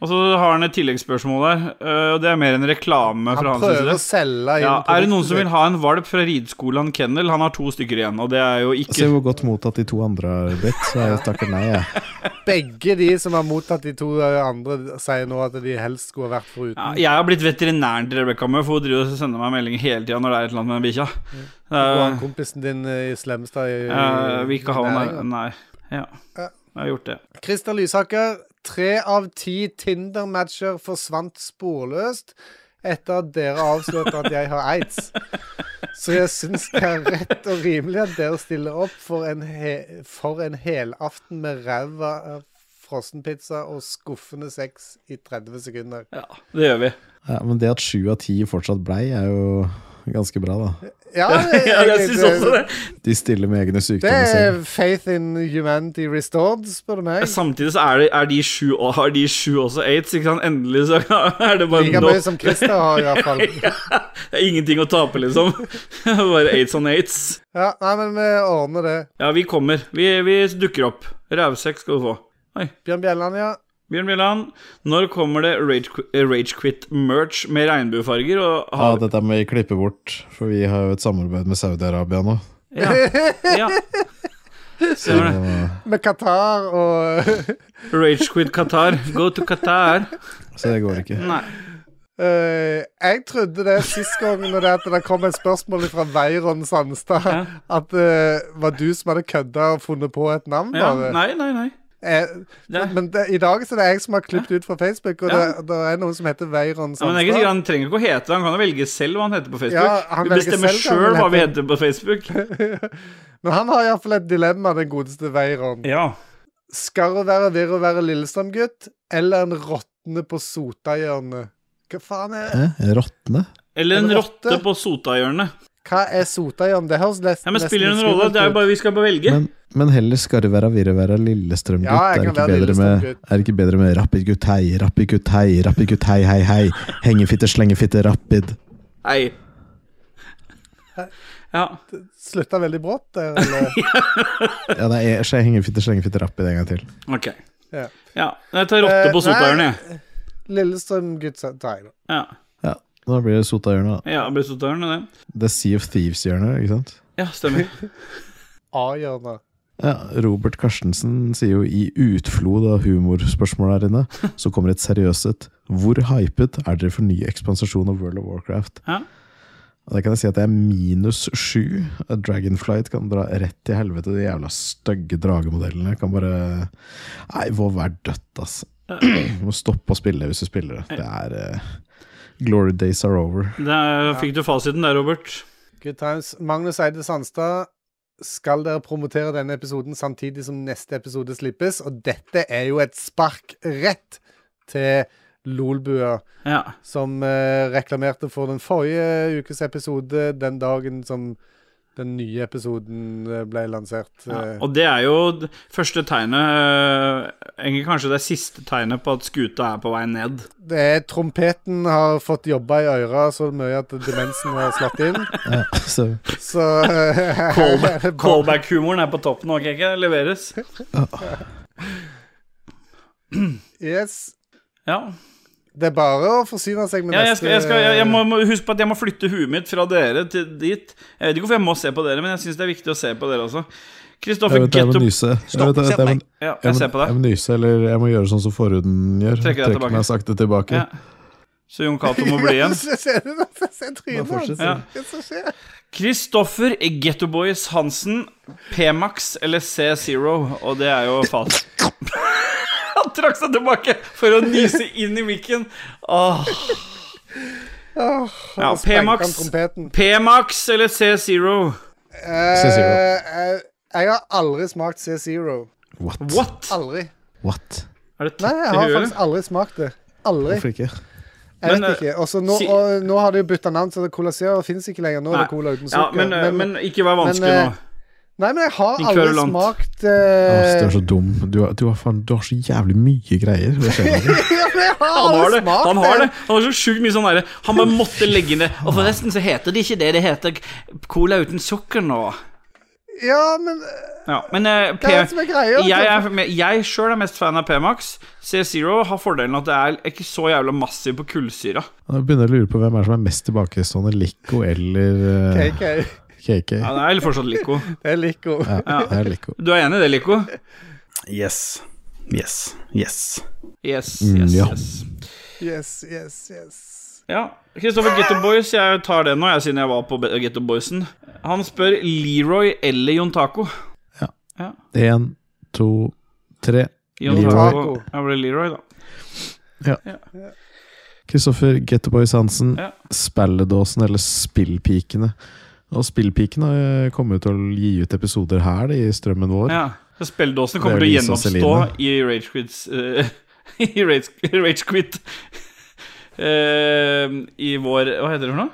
Og så har han et tilleggsspørsmål der, øh, og det er mer en reklame fra
Han
hans
prøver
side.
å selge inn
Ja, er det noen
produktet
som vil
sitt.
ha en valp fra rideskolen Kennel? Han har to stykker igjen, og det er jo
Se
ikke
hvor godt mottatt de to andre har blitt, så jeg takker nei, jeg.
Begge de som har mottatt de to eh, andre, sier nå at de helst skulle ha vært foruten.
ja, Jeg har blitt veterinæren til Rebekka med, for hun driver og sender meg meldinger hele tida når det er et eller annet med den bikkja.
Og
Eh,
han kompisen din eh, i Slemstad i,
eh, vil ikke ha henne
næringen.
Nei. Ja. Jeg har gjort det.
Christer Lysaker, tre av ti Tinder-matcher forsvant sporløst etter at dere avslørte at jeg har aids. Så jeg syns det er rett og rimelig at dere stiller opp for en, he for en helaften med ræva av frossenpizza og skuffende sex i 30 sekunder.
Ja, det gjør vi.
Ja, men det at sju av ti fortsatt blei, er jo ganske bra, da.
Ja,
Ja, jeg syns også det.
De stiller med egne
Det
sykdommer
er
selv.
faith in humanity restored, spør du meg.
Samtidig så er, det, er de sju og har de sju også aids, ikke sant? Endelig så er det bare
Like
nå.
mye som Christer har, i hvert fall.
Det er ingenting å tape, liksom. bare aids on aids.
Ja, nei, men vi ordner det.
Ja, vi kommer. Vi, vi dukker opp. Rævsekk skal du få. Oi.
Bjørn Bjelland, ja.
Bjørn Bjelland, når kommer det Ragequit-merch med regnbuefarger? Og
Ja,
har...
dette må vi klippe bort, for vi har jo et samarbeid med Saudi-Arabia nå.
Ja. ja.
Så,
Stemmer det.
Med Qatar og
Ragequit Qatar. Go to Qatar.
så det går ikke.
Nei.
Eh, Jeg trodde det sist gang når det, at det kom et spørsmål fra Veiron Sandstad, at det var du som hadde kødda og funnet på et navn,
Ja.
bare.
Nei, nei, nei.
Eh,
Det-
men det, i dag så er det jeg som har klippet ut fra Facebook, og
Ja.
det, det er noen som heter Veiron
Ja, men det er ikke sikkert
Sandstad.
Han trenger ikke å hete det, han kan jo velge selv hva han heter på Facebook.
Ja, han
vi
velger
bestemmer
selv hva han
sjøl hva vi
heter.
heter på Facebook.
Men han har iallfall et dilemma, den godeste Veiron.
Ja.
Skal hun være virr å være Lillestrøm-gutt, eller en råtne på Sotahjørnet? Hva faen er
Mm.
Hæ? Råtne?
Eller en
En
rotte
rotte?
på Sotahjørnet.
Hva er Sotahjørnet? Det høres les-
Ja, men
nesten
spiller det
litt
en rolle?
skummelt
Det er jo
ut.
bare, vi skal bare velge.
Men, men heller skal det være Virreværa Lillestrøm-gutt.
Ja, jeg
er, det
kan
ikke
være
bedre med-
Lillestrøm-gutt.
er det ikke bedre med Rapid gutt hei, Rapid gutt hei, Rapid gutt hei, hei, hei. Hengefitte, slengefitte, Rapid.
Nei. Ja.
Slutta veldig brått der, eller?
Ja, det er så hengefitte, slengefitte, Rapid en gang til.
Ok.
Ja.
Ja. Jeg tar rotte
Eh,
på Sotahjørnet, jeg.
Lillestrøm-gutt Nei da.
Ja.
Ja, nå blir det Sotahjørnet. da.
ja, det blir Sotahjørnet, det.
Det er Sea of Thieves-hjørnet, ikke sant?
Ja, stemmer.
A-hjørnet.
Ja, Robert Karstensen sier jo i utflod av humorspørsmål her inne, så kommer et seriøst et. Hvor hypet er dere for ny ekspansasjon av World of Warcraft?
Ja.
Og det kan jeg si at det er minus sju. Dragonflight kan dra rett til helvete. De jævla stygge dragemodellene kan bare Nei, Vov er dødt, ass. Må stoppe å spille hvis du spiller det. Det er eh, Glory days are over.
Der fikk du fasiten der, Robert.
Good times. Magnus Eide Sandstad, skal dere promotere denne episoden samtidig som neste episode slippes? Og dette er jo et spark rett til Lolbua,
Ja.
som eh, reklamerte for den forrige ukes episode den dagen som den nye episoden eh, ble lansert.
ja.
Eh,
Og det er jo d- første tegnet øh, Egentlig kanskje det er siste tegnet på at skuta er på vei ned.
Det er Trompeten har fått jobba i øra så mye at demensen har slått inn.
Ja, så,
Så eh,
Callback- Callback-humoren er på toppen nå, ok? ikke? Det leveres.
Yes.
Ja.
Det er bare å forsyne seg med
Ja, jeg,
neste
skal, jeg, skal, jeg, jeg må, må huske på at jeg må flytte huet mitt fra dere til dit. Jeg vet ikke hvorfor jeg må se på dere, men jeg syns det er viktig å se på dere også.
jeg
Kristoffer
vet jeg må
Getto
nyse. Jeg, vet, jeg, jeg, må-
Ja,
jeg,
jeg
må-
ser på
jeg
deg.
må nyse, eller jeg må gjøre sånn som forhuden gjør.
Trekker deg
Trekke
tilbake.
meg sakte tilbake.
Ja. Så Jon Cato må bli igjen.
Se- se- se- Se trynet
Bare
hans.
fortsett.
Hva er det som skjer?
Kristoffer Gettoboys Hansen, P-Max eller C0, og det er jo fast. Han trakk seg tilbake for å nyse inn i mikken. Åh. Ja,
Nå sprengte han
P-Max.
trompeten.
P-Max eller C0?
Eh,
C-Zero.
eh, jeg har aldri smakt C-Zero.
What?
What?
Aldri.
What?
Er det
Nei,
tatt i
jeg har
huet?
faktisk
eller?
aldri smakt det. Aldri.
Hvorfor ikke?
Jeg
Men, eh,
vet ikke. Og så nå,
si-
og, nå har de jo bytta navn, så det Cola Zero fins ikke lenger. Nå er det
Nei.
Cola uten
Ja, eh,
sukker.
men, men ikke vær vanskelig
men, eh,
nå.
Nei, men jeg har aldri
Inquerulant.
smakt
Åh,
eh,
du er så dum. Du, har- du, har, faen, du har så jævlig mye greier. Det skjer ikke.
ja, men jeg har
Han har
aldri
det.
smakt
Han har det Han har så sjukt mye sånn derre Han bare måtte legge inn det. Og forresten så heter det ikke det. Det heter cola uten sukker nå.
Ja, men eh,
Ja, men eh,
hva er
P
det som er greia?
jeg, er, jeg selv er mest fan av P-Max. C-Zero har fordelen at det er ikke så jævla massiv på kullsyra.
Jeg begynner å lure på hvem er det som er mest tilbakestående, Lico eller eh,
KK.
KK.
Ja, det er litt fortsatt Lico.
Det er litt god.
Ja, det er Lico.
Du er enig i det, Lico?
Yes. Yes. Yes.
Yes,
Mm,
yes,
ja.
yes.
Yes, yes, yes.
Ja. Kristoffer Getto Boys, jeg tar det nå, jeg, siden jeg var på Be- Getto Boysen. Han spør Leroy eller Jon Taco.
Én, to, tre.
Jon
Leroy.
Taco. Jeg ble Leroy, da.
Kristoffer Getterboys Hansen.
Ja.
Spelledåsen eller Spillpikene. Og Spillpikene eh, kommer jo til å gi ut episoder her de, i strømmen vår.
Ja. Så spilledåsen
Det
kommer til
er
å
Lisa og
gjenoppstå i Rage Quids eh, I Rage, Rage Quit Eh, I vår Hva heter det for noe?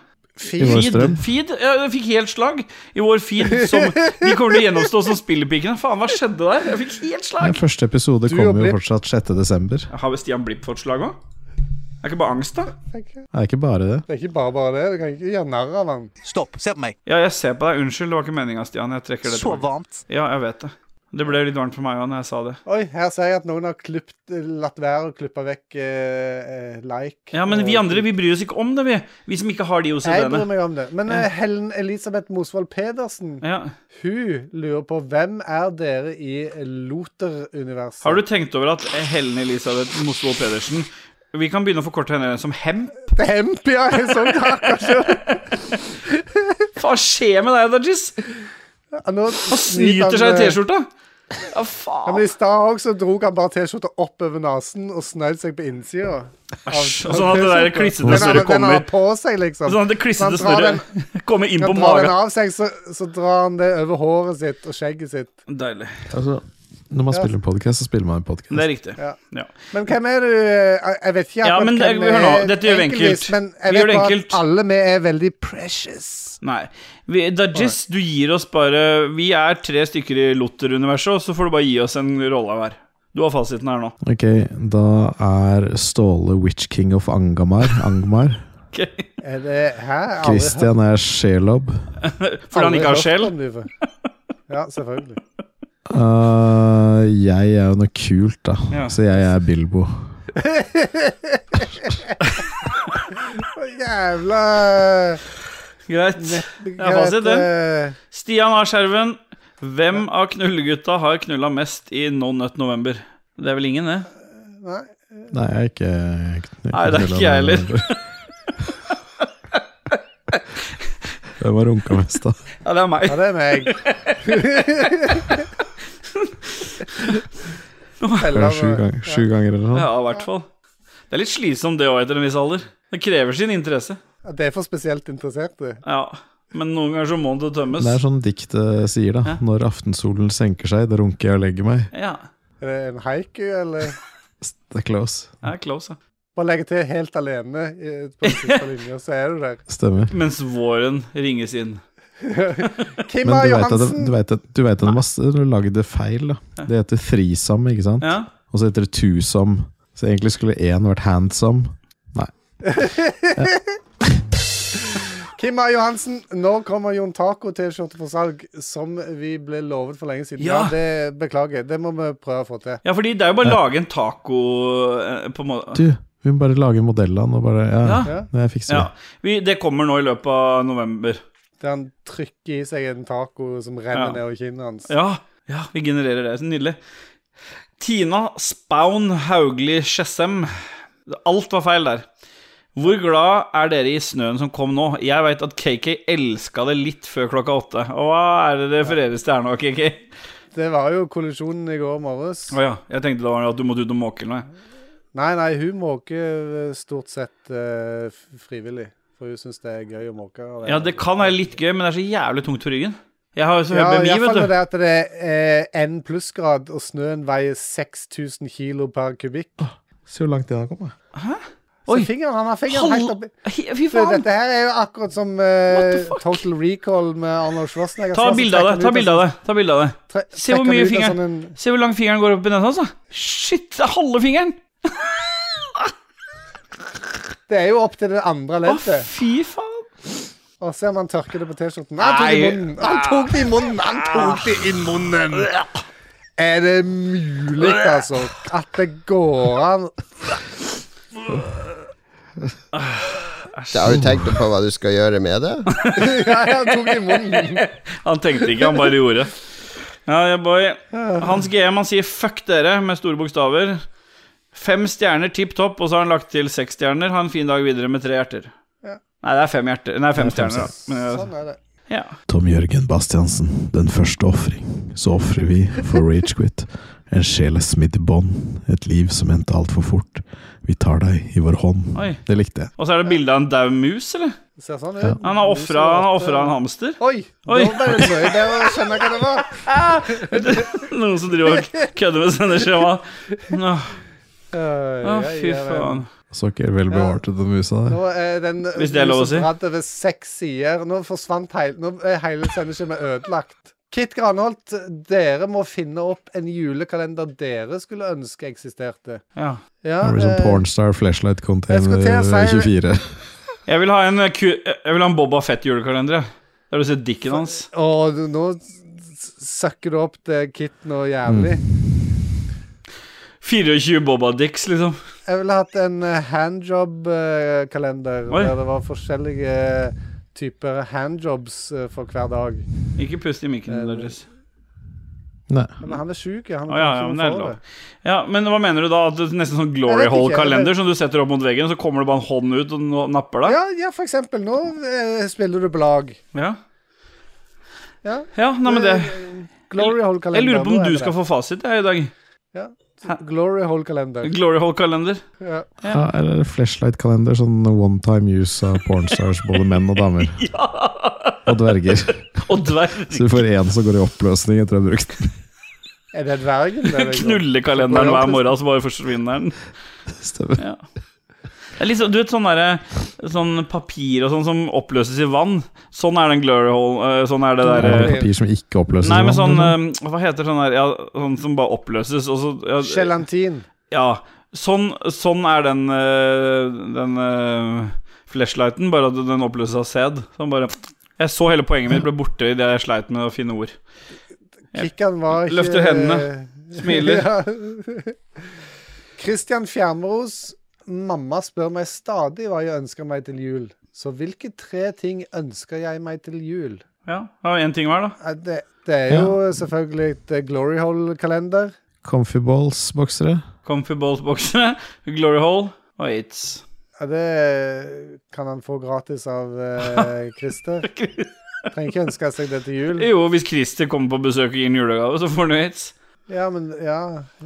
I vår
Feed,
strøm.
feed? Ja, jeg fikk helt slag i vår feed. Som, de kommer til å gjennomstå som spillpikene. Faen, hva skjedde der? Jeg fikk helt
Den
slag.
første episode
Du og
kommer
Blipp.
jo fortsatt 6.12.
Har vel Stian Blipp fått slag òg? Er ikke bare angst, da?
Det
Det er ikke bare det.
er ikke bare bare det. Du kan ikke gjøre narr av han.
Stopp, se på meg.
Ja, jeg ser på deg. Unnskyld, det var ikke meninga, Stian. Jeg trekker det
Så
tilbake.
varmt.
Ja, jeg vet det. Det ble litt varmt for meg òg når jeg sa det.
Oi, her ser jeg at noen har klippt, latt være å klippe vekk eh, eh, like.
Ja, men
og-
vi andre vi bryr oss ikke om det, vi. Vi som ikke har de
Jeg bryr
OCD-ene.
meg om det. Men
Ja.
eh, Helen Elisabeth Mosvold Pedersen
Ja.
Hun lurer på hvem er dere i Loter-universet?
Har du tenkt over at Helen Elisabeth Mosvold Pedersen Vi kan begynne å forkorte henne som Hemp.
Hemp, ja! En sånn kake.
Hva skjer med deg, Dajis?
Nå
Snyter seg i
eh,
T-skjorta. Ja,
Ja,
faen.
men I stad òg så dro han bare T-skjorta opp over nesen og snøyd seg på innsida.
Æsj, og sånn at det der klissete snørret
Den han har
kommer.
på seg, liksom.
Sånn at det klissete
Så han drar
snørret kommer inn
Når
på
han drar den
magen.
av seg, så, så drar han det over håret sitt og skjegget sitt.
Deilig.
Altså, når man
Ja.
spiller en podkast, så spiller man en podkast.
Det er riktig.
Ja.
Ja.
Men hvem er du eh, Jeg vet ikke
Ja,
akkurat
men
hvem
det- hør nå, dette gjør vi enkelt.
Men
Vi
jeg
gjør
vet
det
bare
enkelt.
at alle vi er veldig precious.
Nei. Vi- Dajis, du gir oss bare Vi er tre stykker i Lotter-universet, og så får du bare gi oss en rolle hver. Du har fasiten her nå.
Ok, da er Ståle Witch King of Angamar. Angmar.
Ok.
Er det Hæ? Jeg har aldri hørt-
Christian er Shelob.
Fordi han
aldri
ikke har
hørt
sjel.
om det før. Ja, selvfølgelig.
Eh, jeg er jo noe kult, da.
Ja.
Så jeg er Bilbo.
Å, Jævla
Greit. Det er fasit, det.
det.
Stian har skjerven. Hvem av knullegutta har knulla mest i No Nut November? Det er vel ingen, det?
Nei.
Nei, jeg er ikke
Nei, det er ikke jeg heller.
Hvem har runka mest, da?
Ja, det er meg.
Ja, det er meg.
Er det Sju ganger, sju ganger eller noe?
Ja, i hvert fall. Det er litt slitsomt det òg, etter en viss alder. Det krever sin interesse.
Ja, Det er for spesielt interesserte.
Ja, Men noen ganger så må det tømmes.
Det er sånn diktet sier, da. Når aftensolen senker seg, da runker jeg og legger meg.
Ja,
Er det en haiku, eller
Det er close.
det er close, ja.
Bare legge til 'helt alene' i- på den siste linja, så er du der.
Stemmer.
Mens våren ringes inn.
Kim
Men
A.
du veit at det-
Johansen.
du vet at- du vet at det er masse Du har lagd det feil, da. Det heter threesome, ikke sant?
Ja,
Og så heter det twosome. Så egentlig skulle én vært handsome.
Kim A. Johansen, når kommer Jon Taco-T-skjorte for salg, som vi ble lovet for lenge siden?
Ja.
Ja, det Beklager, det må vi prøve å få til.
ja fordi det er jo bare å lage en taco eh, på en måte.
Du, vi må bare lage modellene og bare Ja,
Ja.
ja. jeg fikser det.
Ja, vi, Det kommer nå i løpet av november.
Der han trykker i seg en taco som renner
Ja.
ned over kinnet hans.
Ja, ja, vi genererer det. Så nydelig. Tina Spaun Haugli Skjessem. Alt var feil der. Hvor glad er dere i snøen som kom nå? Jeg veit at KK elska det litt før klokka åtte. Og hva er det det refereres til her nå, KK?
Det var jo kollisjonen i går morges.
Å ja, jeg tenkte det var at du måtte ut og måke eller noe.
Nei, nei, hun måker eh, stort sett eh, f- frivillig. For hun syns det er gøy å måke. og
Ja, det kan være litt gøy, men det er så jævlig tungt på ryggen. Jeg har jo så høy
Ja, i
BMI,
hvert fall med
vet du.
det at det er én plussgrad, og snøen veier 6000 kilo per kubikk.
Se hvor langt den har kommet.
Så
Oi.
fingeren, han har fingeren helt
Hall-
oppi
Hi- Fy
Så
faen!
Dette her er jo akkurat som eh,
What the fuck?
Total Recall med Arnold Schwarzenegger.
Ta bilde av det. ta bilde av det, ta bilde av det Se hvor mye fingeren
Sånn en,
Se hvor lang fingeren går opp i nesa, altså. Shit, det er halve fingeren!
det er jo opp til det andre
Å,
leddet.
fy faen.
Og se om han tørker det på T-skjorten. Han tok det i munnen! Han tok det i
Nei.
munnen! Han tok det i munnen! Er det mulig, altså, at det går an
Har du tenkt på hva du skal gjøre med det?
Ja, han tok det i munnen.
Han tenkte ikke, han bare gjorde. Ja, ja, boy.
Ah.
Hans GM han sier 'fuck dere' med store bokstaver. Fem stjerner tipp topp, og så har han lagt til seks stjerner. Ha en fin dag videre med tre hjerter. Nei, det er fem hjerter Nei, fem stjerner. da. Men,
Sånn er det.
ja.
Tom Jørgen Bastiansen, den første ofring, så ofrer vi for Ragequit en sjelesmidd bånd, et liv som endte altfor fort. Vi tar deg i vår hånd.
Oi.
Det likte jeg.
Og så er det bilde av en daud mus, eller?
Det Ser sånn
Ja.
ut.
Han har ofra han har offret en hamster.
Oi!
Oi.
Nå ble det mye bedre å skjønne hva det var.
Noen som driver og kødder med sendeskjemaet. Å,
Oi,
å,
oi,
fy
oi, oi.
faen.
Så ikke vel bevart ut den musa der.
Nå er den
Hvis det er lov å si.
Dratt over seks sider. Nå forsvant hele Nå er hele sendeskjemaet ødelagt. Kit Granholt, dere må finne opp en julekalender dere skulle ønske eksisterte.
Ja.
Ja,
Det blir sånn
eh,
Pornstar Flashlight Container
Jeg skulle til å si-
24.
Jeg vil ha en, eh, ku- jeg vil ha en Boba Fett-julekalender. jeg. Der du ser dikken hans.
og du- nå s- søkker du opp det Kit noe
Mm.
jævlig.
24 Boba-dicks, liksom.
Jeg ville hatt en eh, handjob-kalender
Oi.
der det var forskjellige eh, typer handjobs eh, for hver dag.
Ikke pust i mikken deres.
Nei.
Men han er sjuk, ja. Han
Å, ja, ja,
kan
men
ikke
det er
få
lov. Ja, men hva mener du da? At det er Nesten sånn glory
Jeg vet ikke,
hole-kalender som du setter opp mot veggen, så kommer det bare en hånd ut og no- napper deg?
Ja, ja, for eksempel. Nå eh, spiller du på lag.
Ja.
Ja.
ja, nei, men det
Glory Hole-kalender.
Jeg lurer på
nå
om
er
du
det
skal få fasit jeg, i dag.
det. Glory Hole-kalender.
Glory hole-kalender.
Ja.
Ja, eller Flashlight-kalender, sånn one time use av pornstars, både menn og damer. Og dverger.
Og dverg.
Så du får én som går i oppløsning etter å ha brukt den.
Er det dvergen? det er det ikke?
Knullekalenderen hver morgen, så bare forsvinner den.
Stemmer.
Ja. Det er liksom, du vet sånn derre Sånn papir og sånn som oppløses i vann. Sånn er den glory hole eh, Sånn er det
Er
derre
det papir som ikke oppløses.
Nei, men
i vann,
sånn
eller?
eh, Hva heter sånn der ja, Sånn som bare oppløses, og så ja,
Gelatin.
ja. Sånn, sånn er den eh, Den eh, flashlighten, bare at den oppløses av sæd. Sånn bare Jeg så hele poenget mitt ble borte idet jeg sleit med å finne ord.
Kikkan var ikke
Løfter hendene. Smiler.
Kristian Fjermeros. Mamma spør meg stadig hva jeg ønsker meg til jul. Så hvilke tre ting ønsker jeg meg til jul?
Ja, ja Én ting hver, da.
Eh, Det, det er jo selvfølgelig et eh, Glory Hole-kalender.
Comfy balls-boksere.
Comfy balls-boksene, glory hole og aids.
Ja, det kan han få gratis av eh, Christer. Trenger ikke ønske seg det til jul.
Jo, hvis Christer kommer på besøk og gir en julegave, så får han jo aids.
Ja, men, ja,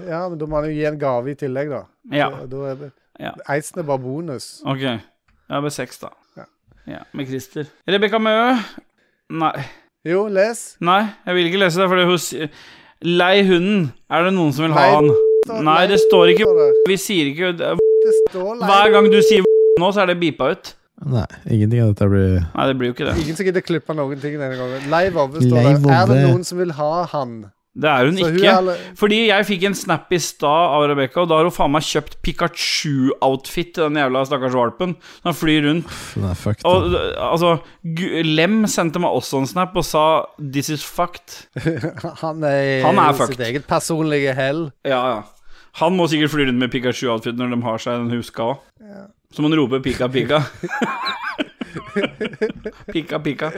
ja, men da må han jo gi en gave i tillegg, da.
Ja.
Så da er det,
Ja.
Eisen er bare bonus.
Ok. Jeg ble seks, da.
Ja.
Ja, med Christer. Rebekka Mø. Nei.
Jo, les.
Nei, jeg vil ikke lese det, fordi hun sier Lei hunden. Er det noen som vil ha
Lei-
han?
Står-
Nei, det
nei,
står ikke
står det.
Vi sier ikke
Det står lei.
Hver gang du sier nå, så er det beepa ut.
Nei, ingenting av dette blir
Nei, det blir jo ikke det.
Ingen som gidder klippe noen ting denne gangen. Lei Vovve
Lei
står det. Er det
Vovve.
noen som vil ha han?
Det er hun
Så hun
ikke.
er alle-
Fordi jeg fikk en snap i stad av Rebekka, og da har hun faen meg kjøpt Pikachu-outfit til den jævla stakkars valpen. Han flyr rundt
Pff, Den er fucked. da.
Og altså, Gu- Lem sendte meg også en snap og sa 'this is fucked'.
Han er,
Han er
sitt
fucked.
eget personlige hell.
Ja, ja. Han må sikkert fly rundt med Pikachu-outfit når de har seg den huska òg. Så må han rope 'pika, pika'. pika, pika.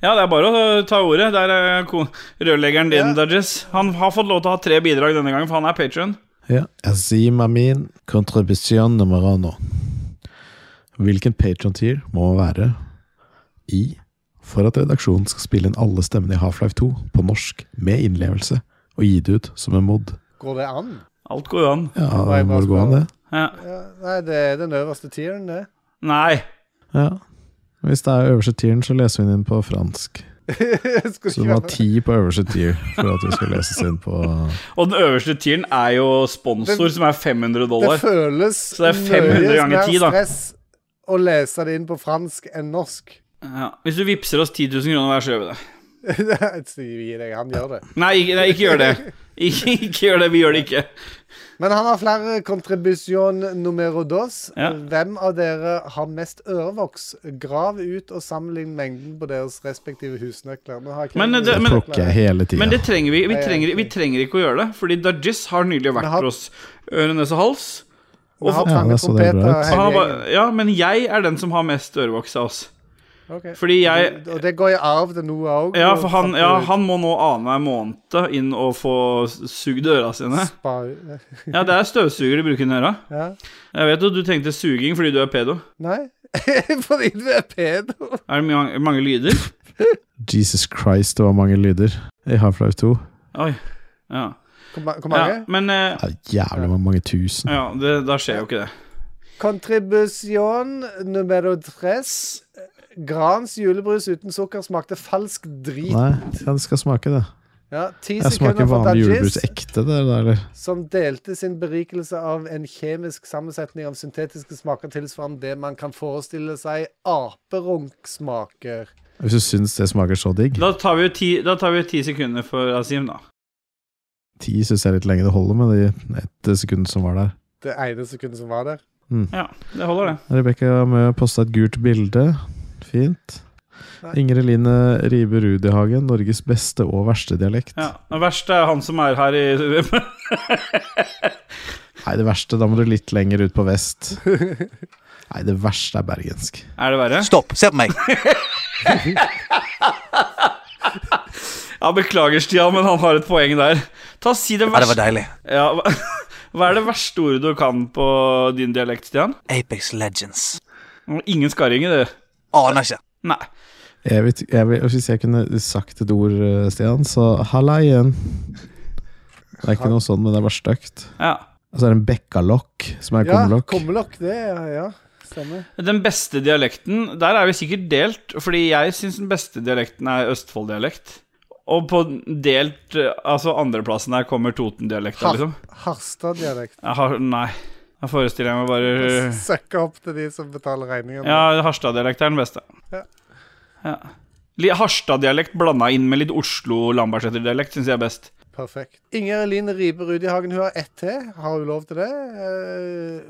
Ja, det er bare å ta ordet. Der er ko- rørleggeren din, Dodges. Han har fått lov til å ha tre bidrag denne gangen, for han er patron.
Ja. Azim Amin, kontribusjon nummer uno. Hvilken patrontier må man være i for at redaksjonen skal spille inn alle stemmene i Half-Life 2 på norsk med innlevelse og gi det ut som en mod?
Går det an?
Alt går jo an.
Ja,
må jeg
det må
bare
det gå an, det.
Ja.
Ja, nei, det er den øverste tieren, det.
Nei.
Ja. Hvis det er øverste tieren, så leser vi den inn på fransk.
Skulle
Så du
ikke
må
være
ha ti på øverste tier for at vi skal leses inn på
Og den øverste tieren er jo sponsor, som er 500
Det
dollar.
føles
Så det er 500
mye
ganger
mer
10, da.
stress å lese det inn på fransk enn norsk.
Ja. Hvis du vippser oss 10 000 kroner hver, så gjør vi det.
Så Gi deg, han gjør det.
Nei, ikke, nei, ikke gjør det. Ikke, ikke gjør det. Vi gjør det ikke.
Men han har flere contribution numero dos.
Ja.
Hvem av dere har mest ørevoks? Grav ut og sammenlign mengden på deres respektive husnøkler. Nå har jeg ikke-
Men det-
Det
men-
plukker jeg hele tida.
Men det trenger vi. Vi trenger, vi trenger ikke å gjøre det. Fordi Dajis har nylig vært
Men han-
for oss øre, nese og hals.
Vi har
Ja,
trange
det så det
trompeter,
bra
hele
ut.
Han har
gjengen.
bare, ja, men jeg er den som har mest ørevoks av oss.
Ok.
Fordi jeg
Og det går i arv til Noah òg.
Ja, for han, ja, han må nå annenhver måned inn og få sugd øra sine. Ja, det er støvsuger de bruker under øra.
ja.
Jeg vet jo, du tenkte suging fordi du er pedo.
Nei, fordi du er pedo.
Er det mange, mange lyder?
Jesus Christ, det var mange lyder i Half-Life 2.
Oi. Ja.
Hvor ma- hvor
ja
mange?
men eh,
Ja, jævlig mange tusen.
Ja, det, da skjer jo ikke det.
Contribution numero tres. Grans julebrus uten sukker smakte falsk drit.
Nei, ja, det skal smake, det.
Ja, Ti
Jeg
sekunder
smaker
for
vanlig
Dajis,
julebrus ekte, det der, eller?
som delte sin berikelse av en kjemisk sammensetning av syntetiske smaker tilsvarende det man kan forestille seg aperunksmaker.
Hvis du syns det smaker så digg.
Da tar vi jo ti, da tar vi jo ti sekunder for Asim, da.
Ti syns jeg er litt lenge. Det holder med de ett sekund som var der.
Det ene sekundet som var der.
Ja, det holder, det.
Rebekka Mø posta et gult bilde. Fint. Ingrid Line Ribe Rudihagen, Norges beste og verste dialekt.
Ja, Det verste er han som er her i
Nei, det verste, da må du litt lenger ut på vest. Nei, det verste er bergensk.
Er det verre?
Stopp, se på meg.
Ja, Beklager, Stian, men han har et poeng der. Ta Si det
Ja, det var
verste
deilig.
ja, hva, hva er det verste ordet du kan på din dialekt, Stian?
Apex Legends.
Ingen skarring i det.
Aner ikke.
Nei.
Jeg vet, jeg vil- hvis jeg kunne sagt et ord, eh, Stian, så halla igjen. Det er ikke noe sånn, men det er bare stygt.
Ja.
Og så er det en bekkalokk, som er
Ja,
kumlokk.
kummelokk. Det, er- ja. Stemmer.
Den beste dialekten Der er vi sikkert delt, fordi jeg syns den beste dialekten er Østfold-dialekt. Og på delt eh, Altså andreplassen her kommer Toten-dialekta,
Har,
liksom.
Harstad-dialekt.
Jeg har, nei. Da forestiller jeg meg bare
Søkke opp til de som betaler regningen.
Eh. Ja, Harstad-dialekt er den beste.
Ja.
Ja. Li- Harstad-dialekt blanda inn med litt Oslo-Lambertseter-dialekt syns jeg er best.
Perfekt. Inger Elin Ribe Rudihagen, hun har ett til. Har hun lov til det? Eh,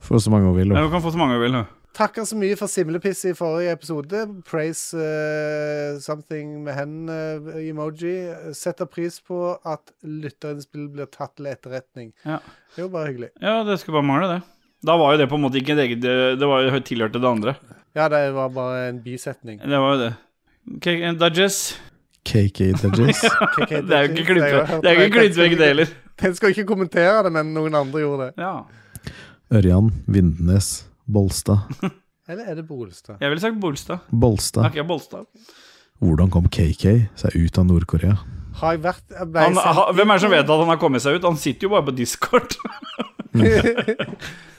For så mange hun vil.
Ja, Du
og-
kan få så mange du vil. du.
takker så mye for simlepiss i forrige episode. Praise eh, something med hen-emoji. Setter pris på at lytterinnspill blir tatt til etterretning.
Ja.
Det er jo bare hyggelig.
Ja, det skulle bare mangle, det. Da var jo det på en måte ikke et eget Det det var jo tilhørte det andre.
Ja, det var bare en bisetning.
Det var jo det. Okay, Dudges.
KK Dudges.
Det er jo ikke klippet- det er jo ikke klippvegg, det heller.
Jeg skal ikke kommentere det, men noen andre gjorde det.
Ja.
Ørjan Vindenes Bolstad.
Eller er det Bolstad?
Jeg ville sagt Bolstad.
Bolstad.
Akkurat Bolstad.
Hvordan kom KK seg ut av Nord-Korea?
Har jeg vært jeg ble
Han,
sendt
ha, hvem er
dit?
det som vet at han har kommet seg ut? Han sitter jo bare på Discord.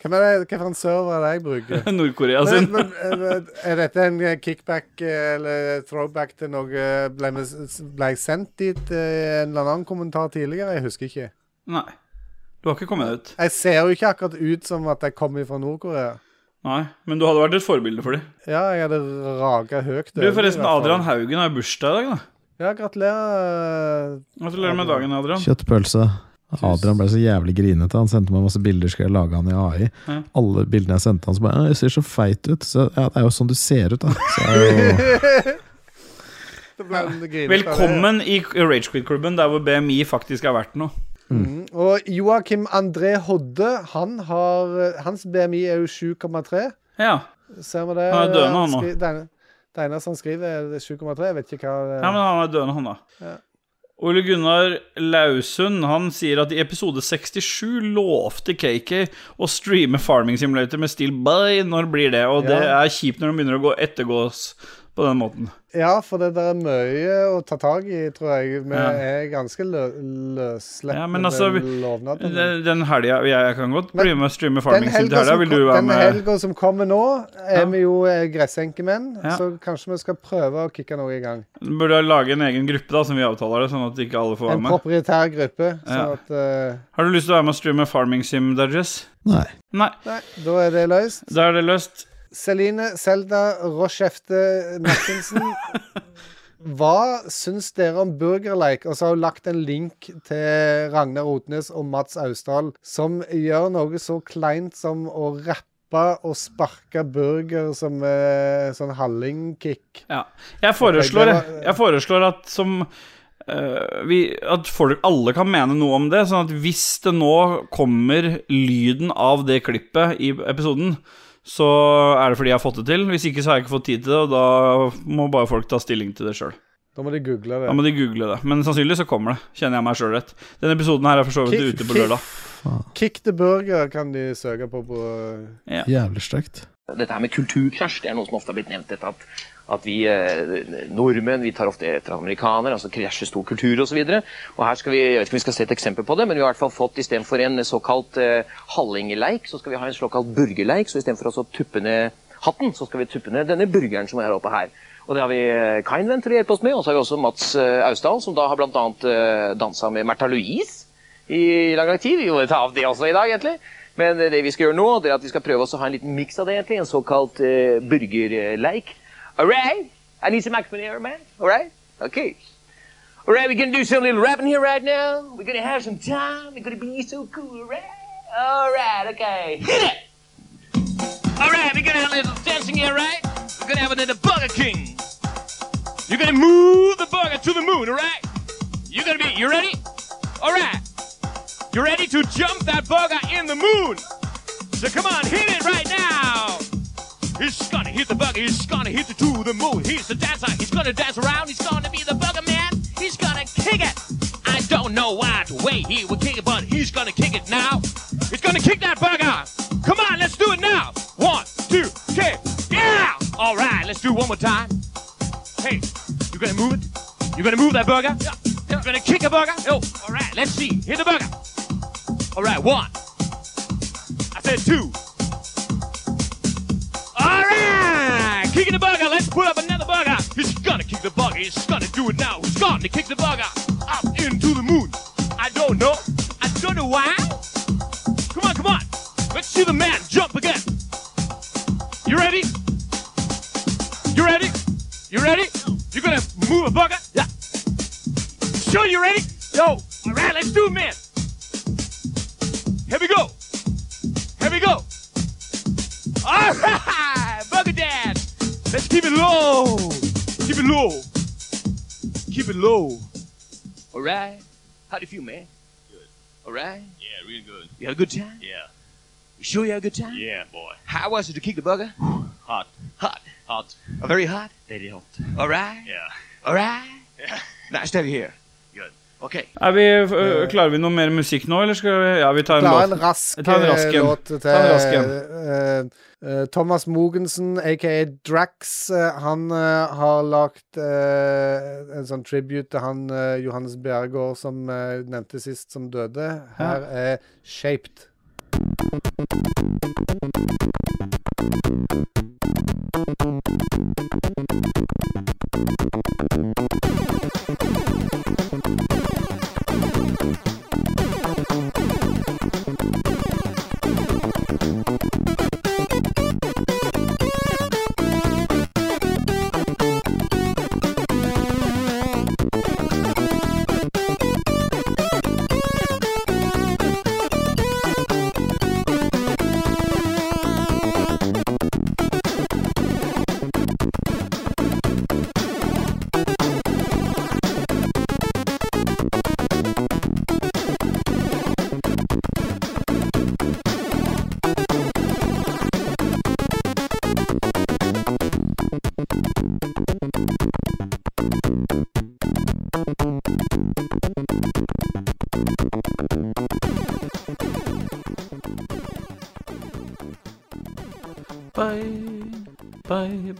Hvem er det, hvilken server er det jeg bruker?
Nord-Korea
Men,
sin.
men, eh, er dette en eh, kickback eh, eller throwback til noe eh, Ble, vi s- ble jeg sendt dit eh, en eller annen kommentar tidligere? Jeg husker ikke.
Nei. Du har ikke kommet deg ut.
Jeg ser jo ikke akkurat ut som at jeg kommer fra Nord-Korea.
Nei, men du hadde vært et forbilde for dem.
Ja, jeg hadde raga høyt.
Du,
over, i hvert
forresten,
fall.
Adrian Haugen har bursdag i dag, da.
Ja, gratulerer. eh,
Gratulerer med dagen, Adrian.
Kjøttpølse. Adrian ble så jævlig grinete. Han sendte meg masse bilder skulle jeg lage han i AI.
Ja.
Alle bildene jeg sendte han, så bare «Å, 'Jeg ser så feit ut'. Så ja, det er jo sånn du ser ut, da. Så er jo,
det ble en grinete av det.
Velkommen i Ragequit-klubben, der hvor BMI faktisk er verdt noe.
Mm. Og Joakim André Hodde, han har, eh, hans BMI er jo 7,3.
Ja.
Ser vi det?
Han er døende, han nå.
skri- Det ene- det eneste han skriver, er 7,3. Jeg vet ikke hva eh, det
ja, men han er døende, han, da.
Ja.
Ole Gunnar Lausund han sier at i episode 67 lovte KK å streame Farming Simulator med Steel By. Når blir det? Og det
Ja.
er kjipt når de begynner å gå ettergås på på den måten.
Ja, for det der er mye å ta tak i, tror jeg. Vi
Ja.
er ganske lø løssleppende
Ja, men altså, vi-
lovnader.
Den, den helga jeg, jeg kan godt
Men
bli med og streame
Den
Farming Sim
helga
til helga.
som,
Vil du
ko-
være
den
med?
helga som kommer nå, er
Ja.
vi jo eh, gressenkemenn,
Ja.
så kanskje vi skal prøve å kicke noe i gang.
Burde jeg lage en egen gruppe, da, som vi avtaler det, sånn at ikke alle får
En
være med?
proprietær gruppe. Sånn
Ja.
at eh,
Har du lyst til å være med og streame Farming Sim, Dudges?
Nei.
Nei,
Nei, da er det løst.
da er det løst.
Celine Selda Rochefte Martinsen. Hva syns dere om Burgerleik? Og så har hun lagt en link til Ragnar Odnes og Mats Austdal, som gjør noe så kleint som å rappe og sparke burger som eh, sånn hallingkick.
Ja. Jeg foreslår, jeg foreslår at som eh, vi, At folk alle kan mene noe om det. Sånn at hvis det nå kommer lyden av det klippet i episoden, så er det fordi jeg har fått det til. Hvis ikke så har jeg ikke fått tid til det, og da må bare folk ta stilling til det sjøl.
Da må de google
Da
det.
må de google det. Men sannsynligvis så kommer det, kjenner jeg meg sjøl rett. Denne episoden her er for så vidt
Kick-
ute på lørdag.
Kick the burger kan de søke på på eh,
Jævlig stygt.
Dette her med kulturkrasj, det er noe som ofte har blitt nevnt. Dette at, at vi eh, nordmenn vi tar ofte etter amerikanere, altså krasjer stor kultur osv. Og her skal vi, jeg vet ikke om vi skal se et eksempel på det, men vi har i hvert fall fått istedenfor en såkalt eh, hallingeleik, så skal vi ha en såkalt burgerleik. Så istedenfor å tuppe ned hatten, så skal vi tuppe ned denne burgeren som er her oppe her. Og det har vi eh, Kindven til å hjelpe oss med, og så har vi også Mats eh, Austdal, som da har bl.a. Eh, dansa med Märtha Louise i lang, lang tid. Vi må ta av det også i dag, egentlig. Men eh, det vi skal gjøre nå, det er at vi skal prøve oss å ha en liten miks av det, egentlig. En såkalt eh, burgerleik. All right? I need some action here, man. All right? Okay. All right, we're gonna do some little rapping here right now. We're gonna have some time. We're gonna be so cool, all right? All right, okay. Hit it! All right, we're gonna have a little dancing here, right? We're gonna have another Burger King. You're gonna move the burger to the moon, all right? You're gonna be, you ready? All right. You ready to jump that burger in the moon? So come on, hit it right now. He's gonna hit the burger, he's gonna hit it to the moon. oh, He's the dancer, he's gonna dance around, he's gonna be the burger man. He's gonna kick it. I don't know what way he would kick it, but he's gonna kick it now. He's gonna kick that burger. Come on, let's do it now. One, two, kick. Yeah! All right, let's do it one more time. Hey, you gonna move it? You gonna move that burger? Yeah. You gonna kick a burger? Oh, all right, let's see. Hit the burger. All right, one. I said two. All right, kicking the burger. Let's put up another burger. He's gonna kick the burger. He's gonna do it now. He's gonna kick the burger up into the moon. I don't know. I don't know why. Come on, come on. Let's see the man jump again. You ready? You ready? You ready? You gonna move a burger? Yeah. Sure, you ready? Yo, all right, let's do it, man. Here we go. Here we go. All right, Burger Dance. Let's keep it low. Keep it low. Keep it low. All right. How do you feel, man? Good. All right. Yeah, really good. You had a good time? Yeah. You sure you had a good time? Yeah, boy. How was it to kick the burger? hot. Hot. Hot. very hot. Very hot. All right. Yeah. All right. Yeah. Nice to have you here. Good. Okay.
Er vi, øh, klarer vi noe mer musikk nå, eller skal vi Ja, vi tar en
Klare en
låt.
rask
Ta en rask
eh,
en.
låt til
Ta en rask en.
eh, eh, Thomas Mogensen, aka Drax, eh, han eh, har lagt eh, en sånn tribute til han eh, Johannes Bjerregaard som eh, nevnte sist, som døde. Her er Shaped.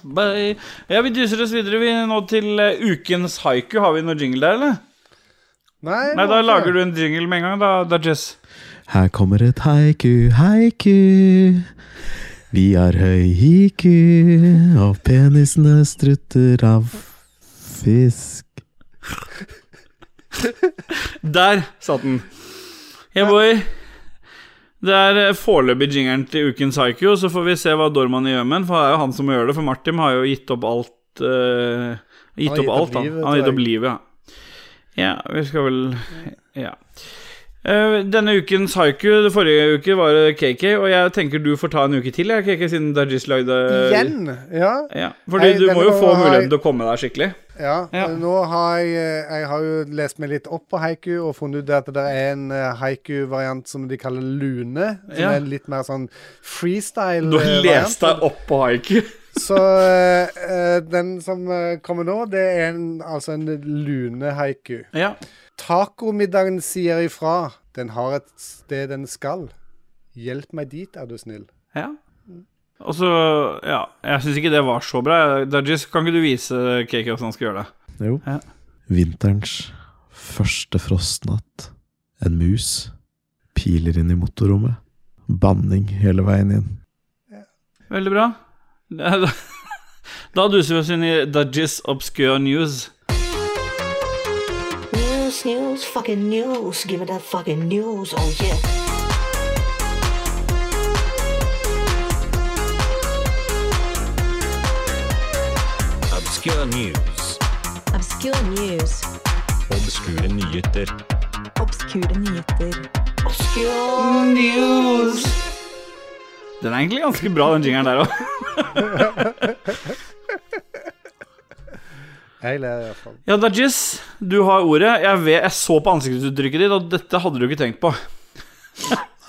Bye. Ja, vi duser oss videre vi nå til eh, ukens haiku. Har vi noe jingle der, eller?
Nei,
Nei, da lager du en jingle med en gang, da, da Jess.
Her kommer et haiku, haiku. Vi har høy hiku, og penisene strutter av fisk.
Der satt den. Hey boy. Det er eh, foreløpig jingeren til ukens haiku, så får vi se hva Dorman gjør med den. For det er jo han som må gjøre det, for Martin har jo gitt opp alt. eh, gitt
Han har
opp
gitt opp
alt,
livet,
han. Han har
tror
gitt opp livet, ja. Ja, vi skal vel Ja. Eh, denne ukens haiku, det forrige uke, var det KK, og jeg tenker du får ta en uke til, jeg, KK, siden Dajis lagde
Igjen? Ja.
Ja, fordi
Nei,
du
denne
må jo
gangen
få
har jeg-
muligheten til å komme deg skikkelig.
ja.
Ja.
Eh, Nå har jeg eh, Jeg har jo lest meg litt opp på haiku og funnet ut at det er en eh, haiku-variant som de kaller lune. Som
Ja.
er en litt mer sånn freestyle-variant.
Du har lest deg opp på haiku.
Så eh, eh, den som eh, kommer nå, det er en, altså en lune-haiku.
Ja.
Tacomiddagen sier ifra. Den har et sted den skal. Hjelp meg dit, er du snill.
Ja. Og så Ja, jeg syns ikke det var så bra. Dudgies, kan ikke du vise KK hvordan han skal gjøre det?
Jo.
Ja.
Vinterens første frostnatt. En mus. Piler inn i motorrommet. Banning hele veien inn.
Veldig bra. Da, da duser vi oss inn i Dudgies Obscure News.
News, news, fucking news. Give me that fucking news. Oh yeah.
Obscure news. Obskure nyheter.
Den er egentlig ganske bra, den jingeren der òg.
Jeg ler iallfall.
Ja, Dudgies, du har ordet. Jeg, vet, jeg så på ansiktsuttrykket ditt, og dette hadde du ikke tenkt på.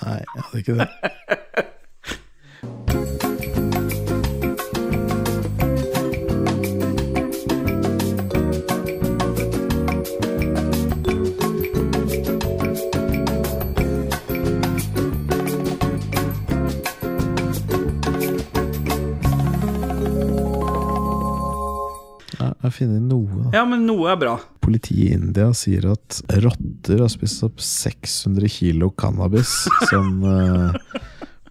Nei, jeg hadde ikke det. Ja, Jeg har funnet noe. da.
Ja, men noe er bra.
Politiet i India sier at rotter har spist opp 600 kilo cannabis som eh,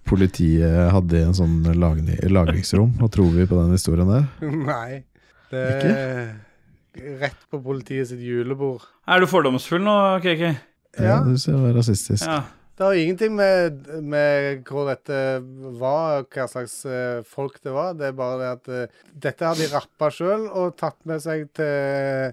politiet hadde i en sånn lagni- lagringsrom. Hva tror vi på den historien der?
Nei. Det er rett på politiet sitt julebord.
Er du fordomsfull nå, KK?
Ja.
Det synes jeg var rasistisk.
Ja.
Det har ingenting med, med hvor dette var, hva slags eh, folk det var. Det er bare det at eh, dette har de rappa sjøl og tatt med seg til,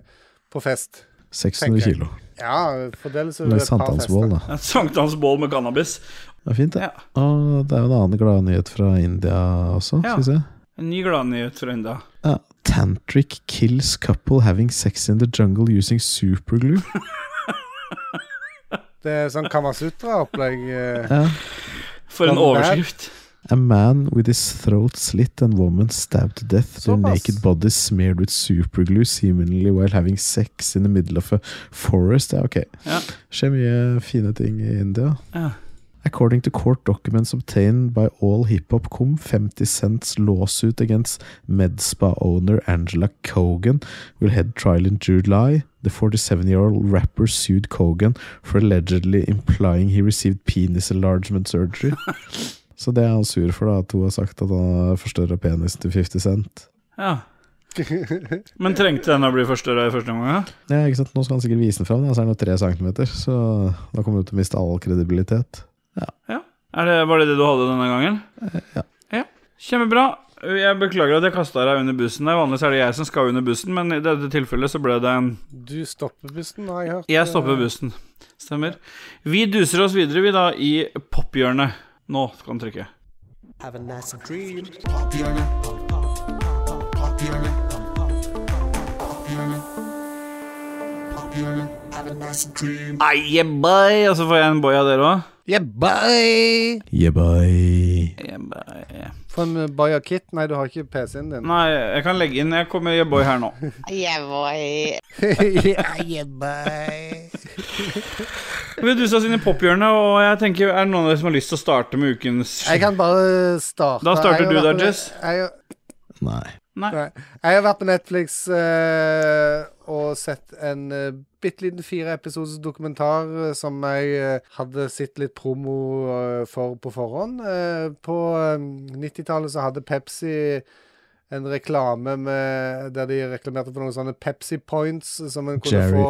på fest.
600
Tenker jeg.
kilo.
Ja, fordeles over
Med
liksom et par fester.
sankthansbål, da.
Et Sankthansbål med cannabis.
Det er fint, det.
Ja.
Og det er jo en annen gladnyhet fra India også,
Ja.
synes jeg.
En ny gladnyhet fra India.
Ja. Tantric kills couple having sex in the jungle using superglue.
Det er sånn Kamasutra-opplegg. eh.
Ja.
For en
Kan det-
overskrift.
A man with his throat slit and woman stabbed to death, their
Såpass.
naked bodies smeared with superglue seemingly while having sex in the middle of a forest. Ja, ok.
Ja.
Skjer mye fine ting i India.
Ja.
According to court documents obtained by all hiphop.com, 50 Cent's lawsuit against MedSpa owner Angela Kogan will head trial in July. The 47 year old rapper sued Kogan for allegedly implying he received penis enlargement surgery. Så det er han sur for, da, at hun har sagt at han har forstørra penisen til 50 Cent.
Ja. Men trengte den å bli forstørra i første omgang? ja?
Ja, ikke sant? Nå skal han sikkert vise den fram, da, så er den jo tre centimeter. Så da kommer hun til å miste all kredibilitet.
Er det, var det det du hadde denne gangen? Ja. Kjempebra. Jeg beklager at jeg kasta deg under bussen. der. Vanligvis er det jeg som skal under bussen, men i dette tilfellet så ble det en
Du stopper bussen, har jeg hørt.
Jeg stopper bussen. Stemmer. Vi duser oss videre, vi, da, i pophjørnet. Nå skal den trykke.
Have a nice dream.
Ai, yeah, boy. Og så får jeg en boy av dere òg.
Yeah, bye.
Få en eh, Bayer Kit. Nei, du har ikke PC-en din.
Nei, jeg kan legge inn. Jeg kommer i boy her nå. Vi duser oss inn i pophjørnet, og jeg tenker, er det noen av dere som har lyst til å starte med ukens
Jeg kan bare starte.
Da starter
Jeg har
du da,
vært-
Jess.
Jeg,
Nei.
Nei.
Jeg har vært på Netflix eh, og sett en eh, bitte liten fireepisodes dokumentar eh, som jeg eh, hadde sett litt promo eh, for på forhånd. Eh, på eh, 90-tallet så hadde Pepsi en reklame med, der de reklamerte for noen sånne Pepsi Points som en kunne få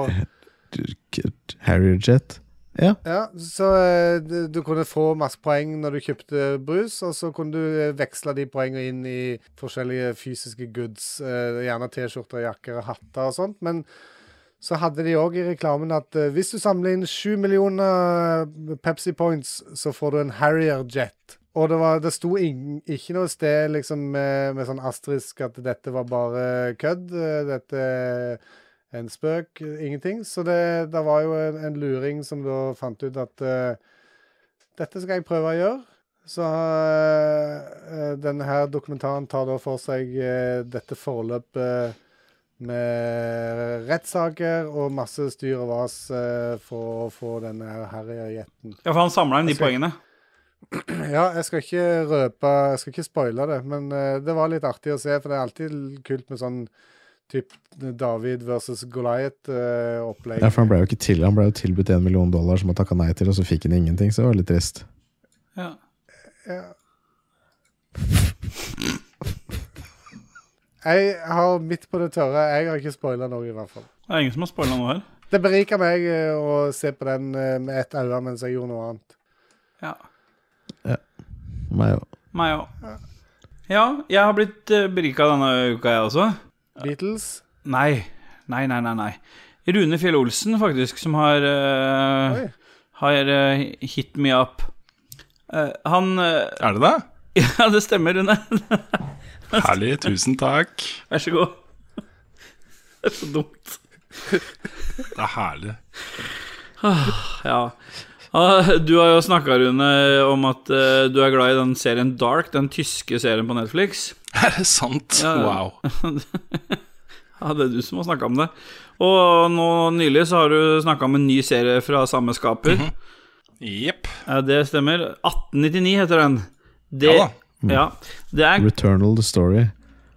Jerry Harrier Jet. Ja.
ja, så eh, du, du kunne få masse poeng når du kjøpte brus, og så kunne du eh, veksle de poengene inn i forskjellige fysiske goods, eh, gjerne T-skjorter, jakker og hatter og sånt, men så hadde de òg i reklamen at eh, hvis du samler inn sju millioner eh, Pepsi Points, så får du en Harrier Jet. Og det, var, det sto ing- ikke noe sted liksom, med, med sånn asterisk at dette var bare kødd. eh, Dette er en spøk. eh, Ingenting. Så det, det var jo en, en luring som da fant ut at eh, dette skal jeg prøve å gjøre. Så eh, eh, denne her dokumentaren tar da for seg eh, dette forløpet eh, med rettssaker og masse styr og vas eh, for å få denne her harryjetten.
Ja, for han samla inn de
Jeg skal-
poengene.
Ja, jeg skal ikke røpe Jeg skal ikke spoile det, men eh, det var litt artig å se, for det er alltid l- kult med sånn typ David versus eh, Goliat-opplegg.
Ja, for han ble jo ikke til Han ble jo tilbudt én million dollar, som han takka nei til, og så fikk han ingenting, så det var litt trist.
Ja.
Jeg har midt på det tørre. Jeg har ikke spoila noe, i hvert fall.
Det er ingen som har spoila noe her.
Det beriker meg eh, å se på den eh, med ett øye mens jeg gjorde noe annet.
Ja.
Meg jo.
Meg òg. Ja, jeg har blitt eh, berika denne uka, jeg også.
Beatles?
Nei. Nei, nei, nei. nei. Rune Fjell Olsen, faktisk, som har eh,
Oi.
Har eh, hit me up. Eh, han eh,
Er det det?
Ja, det stemmer, Rune.
Herlig, tusen takk.
Vær så god. Det er så dumt.
Det er herlig.
Ja. Ah, Du har jo snakka, Rune, om at eh, du er glad i den serien Dark, den tyske serien på Netflix.
Er det sant?
Ja, ja.
Wow.
Ja, det er du som har snakka om det. Og nå nylig så har du snakka om en ny serie fra samme skaper.
Mhm. Jepp.
Ja, det stemmer. 1899 heter den. Det,
Ja da. Mm.
ja. det er
Returnal the Story.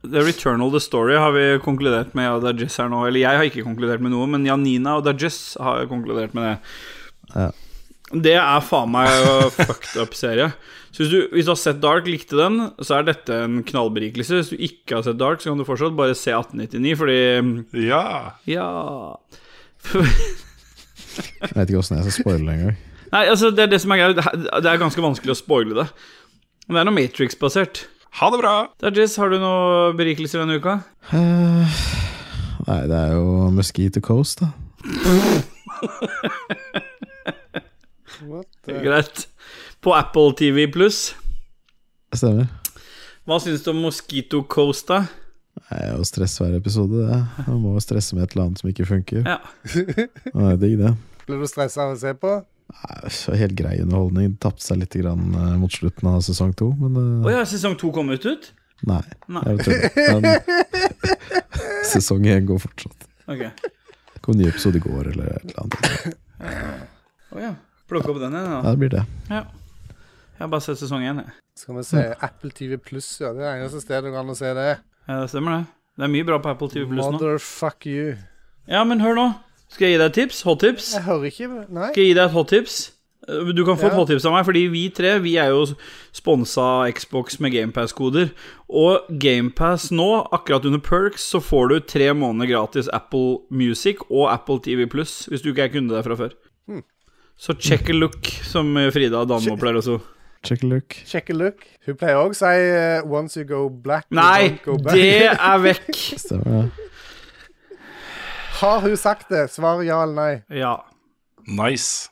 The Returnal The Story har vi konkludert med, og Dajess her nå. Eller jeg har ikke konkludert med noe, men Janina og Dajess har konkludert med det.
Ja.
Det er faen meg en fucked up-serie. Så hvis du, hvis du har sett Dark, likte den, så er dette en knallberikelse. Hvis du ikke har sett Dark, så kan du fortsatt bare se 1899, fordi mm,
Ja.
Ja.
Jeg vet ikke åssen jeg skal spoile det engang.
Nei, altså, det er det som er greia. Det er ganske vanskelig å spoile det. Men det er noe Matrix-basert.
Ha det bra.
Dajess, har du noen berikelser denne uka?
Eh, Nei, det er jo Mosquito Coast, da.
What? the-
Greit. På Apple TV pluss.
Stemmer.
Hva syns du om Mosquito Coast, da?
Det er jo stress hver episode, det. Man må jo stresse med et eller annet som ikke funker.
Ja.
Og Det er digg, det.
Ble du stressa av å se på?
Nei, det var Helt grei underholdning. Tapte seg litt grann, eh, mot slutten av sesong to, men eh,
Å ja, sesong to kom ut ut?
Nei,
Nei.
jeg tuller. Men sesong én går fortsatt.
Ok.
Det Kom en ny episode i går, eller et eller annet.
Å ja. Plukke opp den igjen,
Ja, det blir det.
da. Ja. Jeg har bare sett sesong én, jeg.
Skal vi
Mm.
se Apple TV Pluss, ja. Det er det eneste stedet du kan se det.
Ja, det stemmer, det. Det er mye bra på Apple TV pluss nå.
Motherfuck you.
Ja, men hør nå. Skal jeg gi deg et tips? Hot tips?
Jeg hører ikke Nei.
Skal jeg gi deg et hot tips? Eh, Du kan få et
Ja.
hot tips av meg, fordi vi tre vi er jo sponsa av Xbox med GamePass-koder. Og GamePass nå, akkurat under Perks, så får du tre måneder gratis Apple Music og Apple TV Pluss, hvis du ikke er kunde der fra før. Så check a look, som Frida Danmo pleier å si.
Check a look.
Check a look. Hun pleier òg å si eh, 'once you go black, you
Nei,
don't go back'.
det er vekk!
Stemmer det.
Har hun sagt det? Svar ja eller nei.
Ja.
Nice.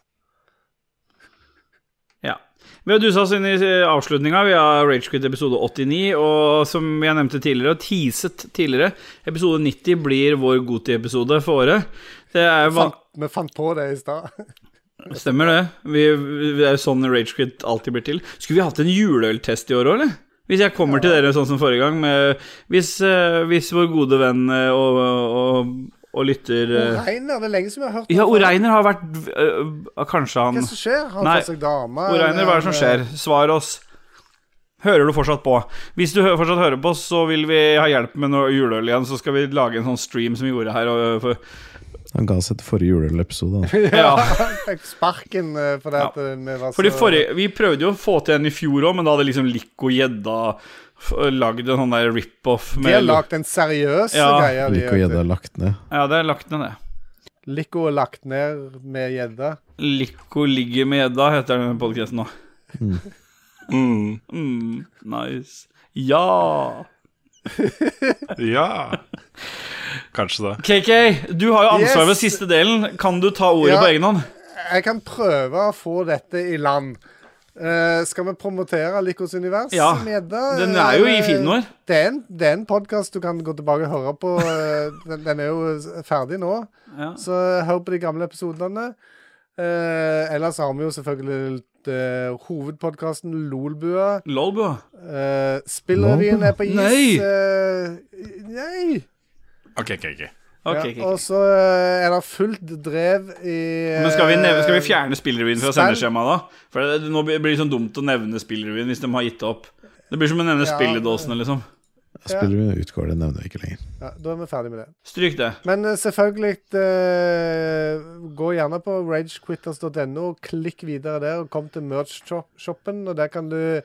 Ja. Vi har dusa oss inn i avslutninga. Vi har Ragequit episode 89, og som jeg nevnte tidligere, og teaset tidligere, episode 90 blir vår Goti-episode for året. Det er jo van
Fant, vi fant på det i stad.
Stemmer det. Vi, vi- det er jo sånn Ragequit alltid blir til. Skulle vi hatt en juleøltest i år òg, eller? Hvis jeg kommer til dere sånn som forrige gang med Hvis, eh, hvis vår gode venn eh, og, og, og lytter eh,
Reiner, det er lenge siden vi har hørt
Ja,
noe fra-
Oreiner har vært eh, Kanskje
Hva er
han
det som skjer? Har
Nei.
han fått seg dame?
Oreiner,
eller-
hva er det som skjer? Svar oss. Hører du fortsatt på? Hvis du hø- fortsatt hører på, så vil vi ha hjelp med noe juleøl igjen. Så skal vi lage en sånn stream som vi gjorde her. Og, eh, for,
Han ga oss etter forrige juleølepisode. han.
Ja. Fikk sparken eh, fordi at eh, vi var så
fordi forrige, vi prøvde jo å få til en i fjor òg, men da hadde liksom Lico Gjedda f- lagd en sånn der rip-off.
De
med-
har lagd en seriøs
Ja.
greie. de,
Lico og
vet du.
gjedde er lagt ned.
Ja, det er lagt ned, det.
Lico er lagt ned med gjedde.
Lico ligger med gjedda, heter den podkasten nå.
Mm.
Mm.
Mm, nice. Ja!
Ja. Kanskje det.
KK, du har jo ansvar ved
Yes.
siste delen. Kan du ta ordet
Ja.
på egen hånd?
Jeg kan prøve å få dette i land. Eh, skal vi promotere Likos univers
Ja.
med gjedde?
Den er jo i
Eh,
Finnoer.
Det er en, det er en podkast du kan gå tilbake og høre på. eh, Den, den er jo s- ferdig nå,
Ja.
så eh, hør på de gamle episodene. Eh, ellers har vi jo selvfølgelig eh, hovedpodkasten Lolbua.
Lolbua.
Eh, Spillrevyen er på is.
Nei!
Eh, nei.
Ok, ok, ok.
Ok,
Ja,
ok, ok.
Og så eh, er det fullt drev i eh,
Men skal vi, neve, skal vi fjerne spillrevyen fra
Spenn.
sendeskjemaet, da? For det, nå blir det sånn dumt å nevne spillrevyen hvis de har gitt opp. Det blir som å nevne
Ja.
spilledåsene, liksom.
Spiller vi utgår, det nevner vi ikke lenger.
ja, Da er vi ferdig med det.
Stryk det.
Men eh, selvfølgelig eh, Gå gjerne på ragequitters.no, klikk videre der, og kom til merch-shoppen. Og der kan du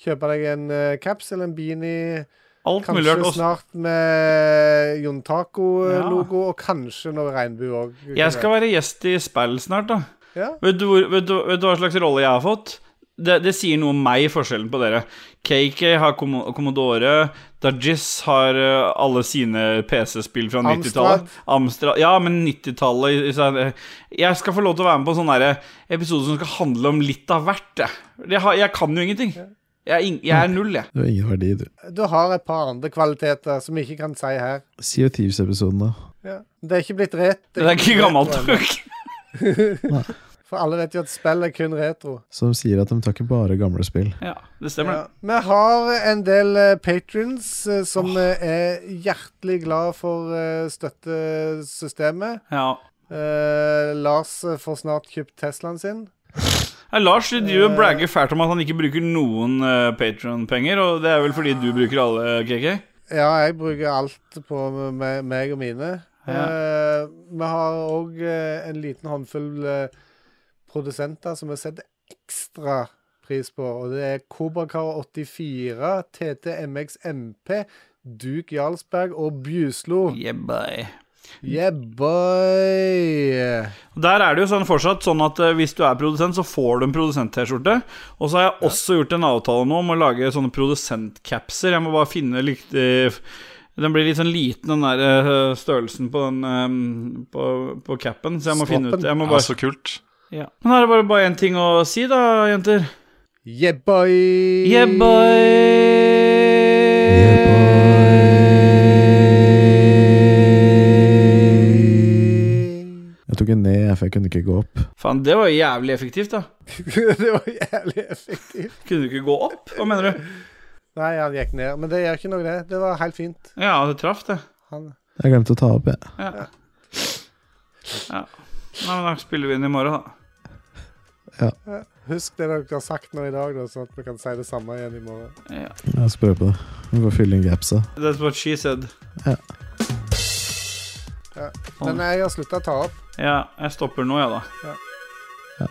kjøpe deg en eh, caps eller en beanie.
Alt mulig
Kanskje
rart. også.
snart med Jon Taco-logo, og kanskje noe regnbue òg.
Jeg skal være gjest i spill snart, da.
Ja.
Vet, du, hvor- vet, du, vet du hva slags rolle jeg har fått? Det, det sier noe om meg, forskjellen på dere. KK har Commo- Commodore. Dajis har eh, alle sine PC-spill fra
Amstrad.
90-tallet. Amstrad. Ja, men 90-tallet i- i seg- Jeg skal få lov til å være med på en sånn derre episode som skal handle om litt av hvert. Jeg, jeg, har, jeg kan jo ingenting. Jeg er, ing, jeg er null, jeg.
Du har ingen verdi, du.
Du har et par andre kvaliteter som vi ikke kan si her.
Sea of Thieves-episoden, da.
Ja. Det er ikke blitt rett.
Det er ikke gammelt
retro ennå.
nok.
For alle vet jo at spill er kun retro.
Som sier at de tar ikke bare gamle spill.
Ja, det stemmer, det.
Ja. Vi har en del uh, patrons eh, som eh, er hjertelig glad for eh, støttesystemet.
Ja.
Eh, Lars eh, får snart kjøpt Teslaen sin.
Ja, Lars du driver og bragger fælt om at han ikke bruker noen uh, Patron-penger, og det er vel fordi du bruker alle, eh, KK?
Ja, jeg bruker alt på me- me- meg og mine. Eh, vi har òg en liten håndfull eh, produsenter som vi setter ekstra pris på, og det er Kobrakar84, TTMXMP, Duke Jarlsberg og Bjuslo.
Yeah, boy.
Yeah, boy!
Der er det jo sånn fortsatt sånn at eh, hvis du er produsent, så får du en produsent-T-skjorte. Og så har jeg også gjort en avtale nå om å lage sånne produsent-capser. Jeg må bare finne riktig Den blir litt sånn liten, den der eh, størrelsen på den eh, på, på capen, så jeg må finne ut
Stroppen.
jeg må
Ja,
bare,
så kult.
ja. Men her er det bare- bare én ting å si, da, jenter.
Yeah, boy!
Yeah, boy.
Jeg tok en ned, for jeg kunne ikke gå opp.
Faen, det var jo jævlig effektivt, da.
det var jævlig effektivt.
Kunne du ikke gå opp? Hva mener du?
Nei, han gikk ned, men det gjør ikke noe, det. Det var helt fint.
Ja, det traff, det.
Han
Jeg glemte å ta opp, jeg.
Ja. ja. Nei, men da spiller vi inn i morgen, da.
Husk det dere har sagt nå i dag, da, sånn at vi kan si det samme igjen i morgen.
Ja.
Jeg skal prøve på det. Vi får fylle inn gapsa.
That's what she said.
Men jeg har slutta å ta opp.
Ja, jeg stopper nå, jeg, da.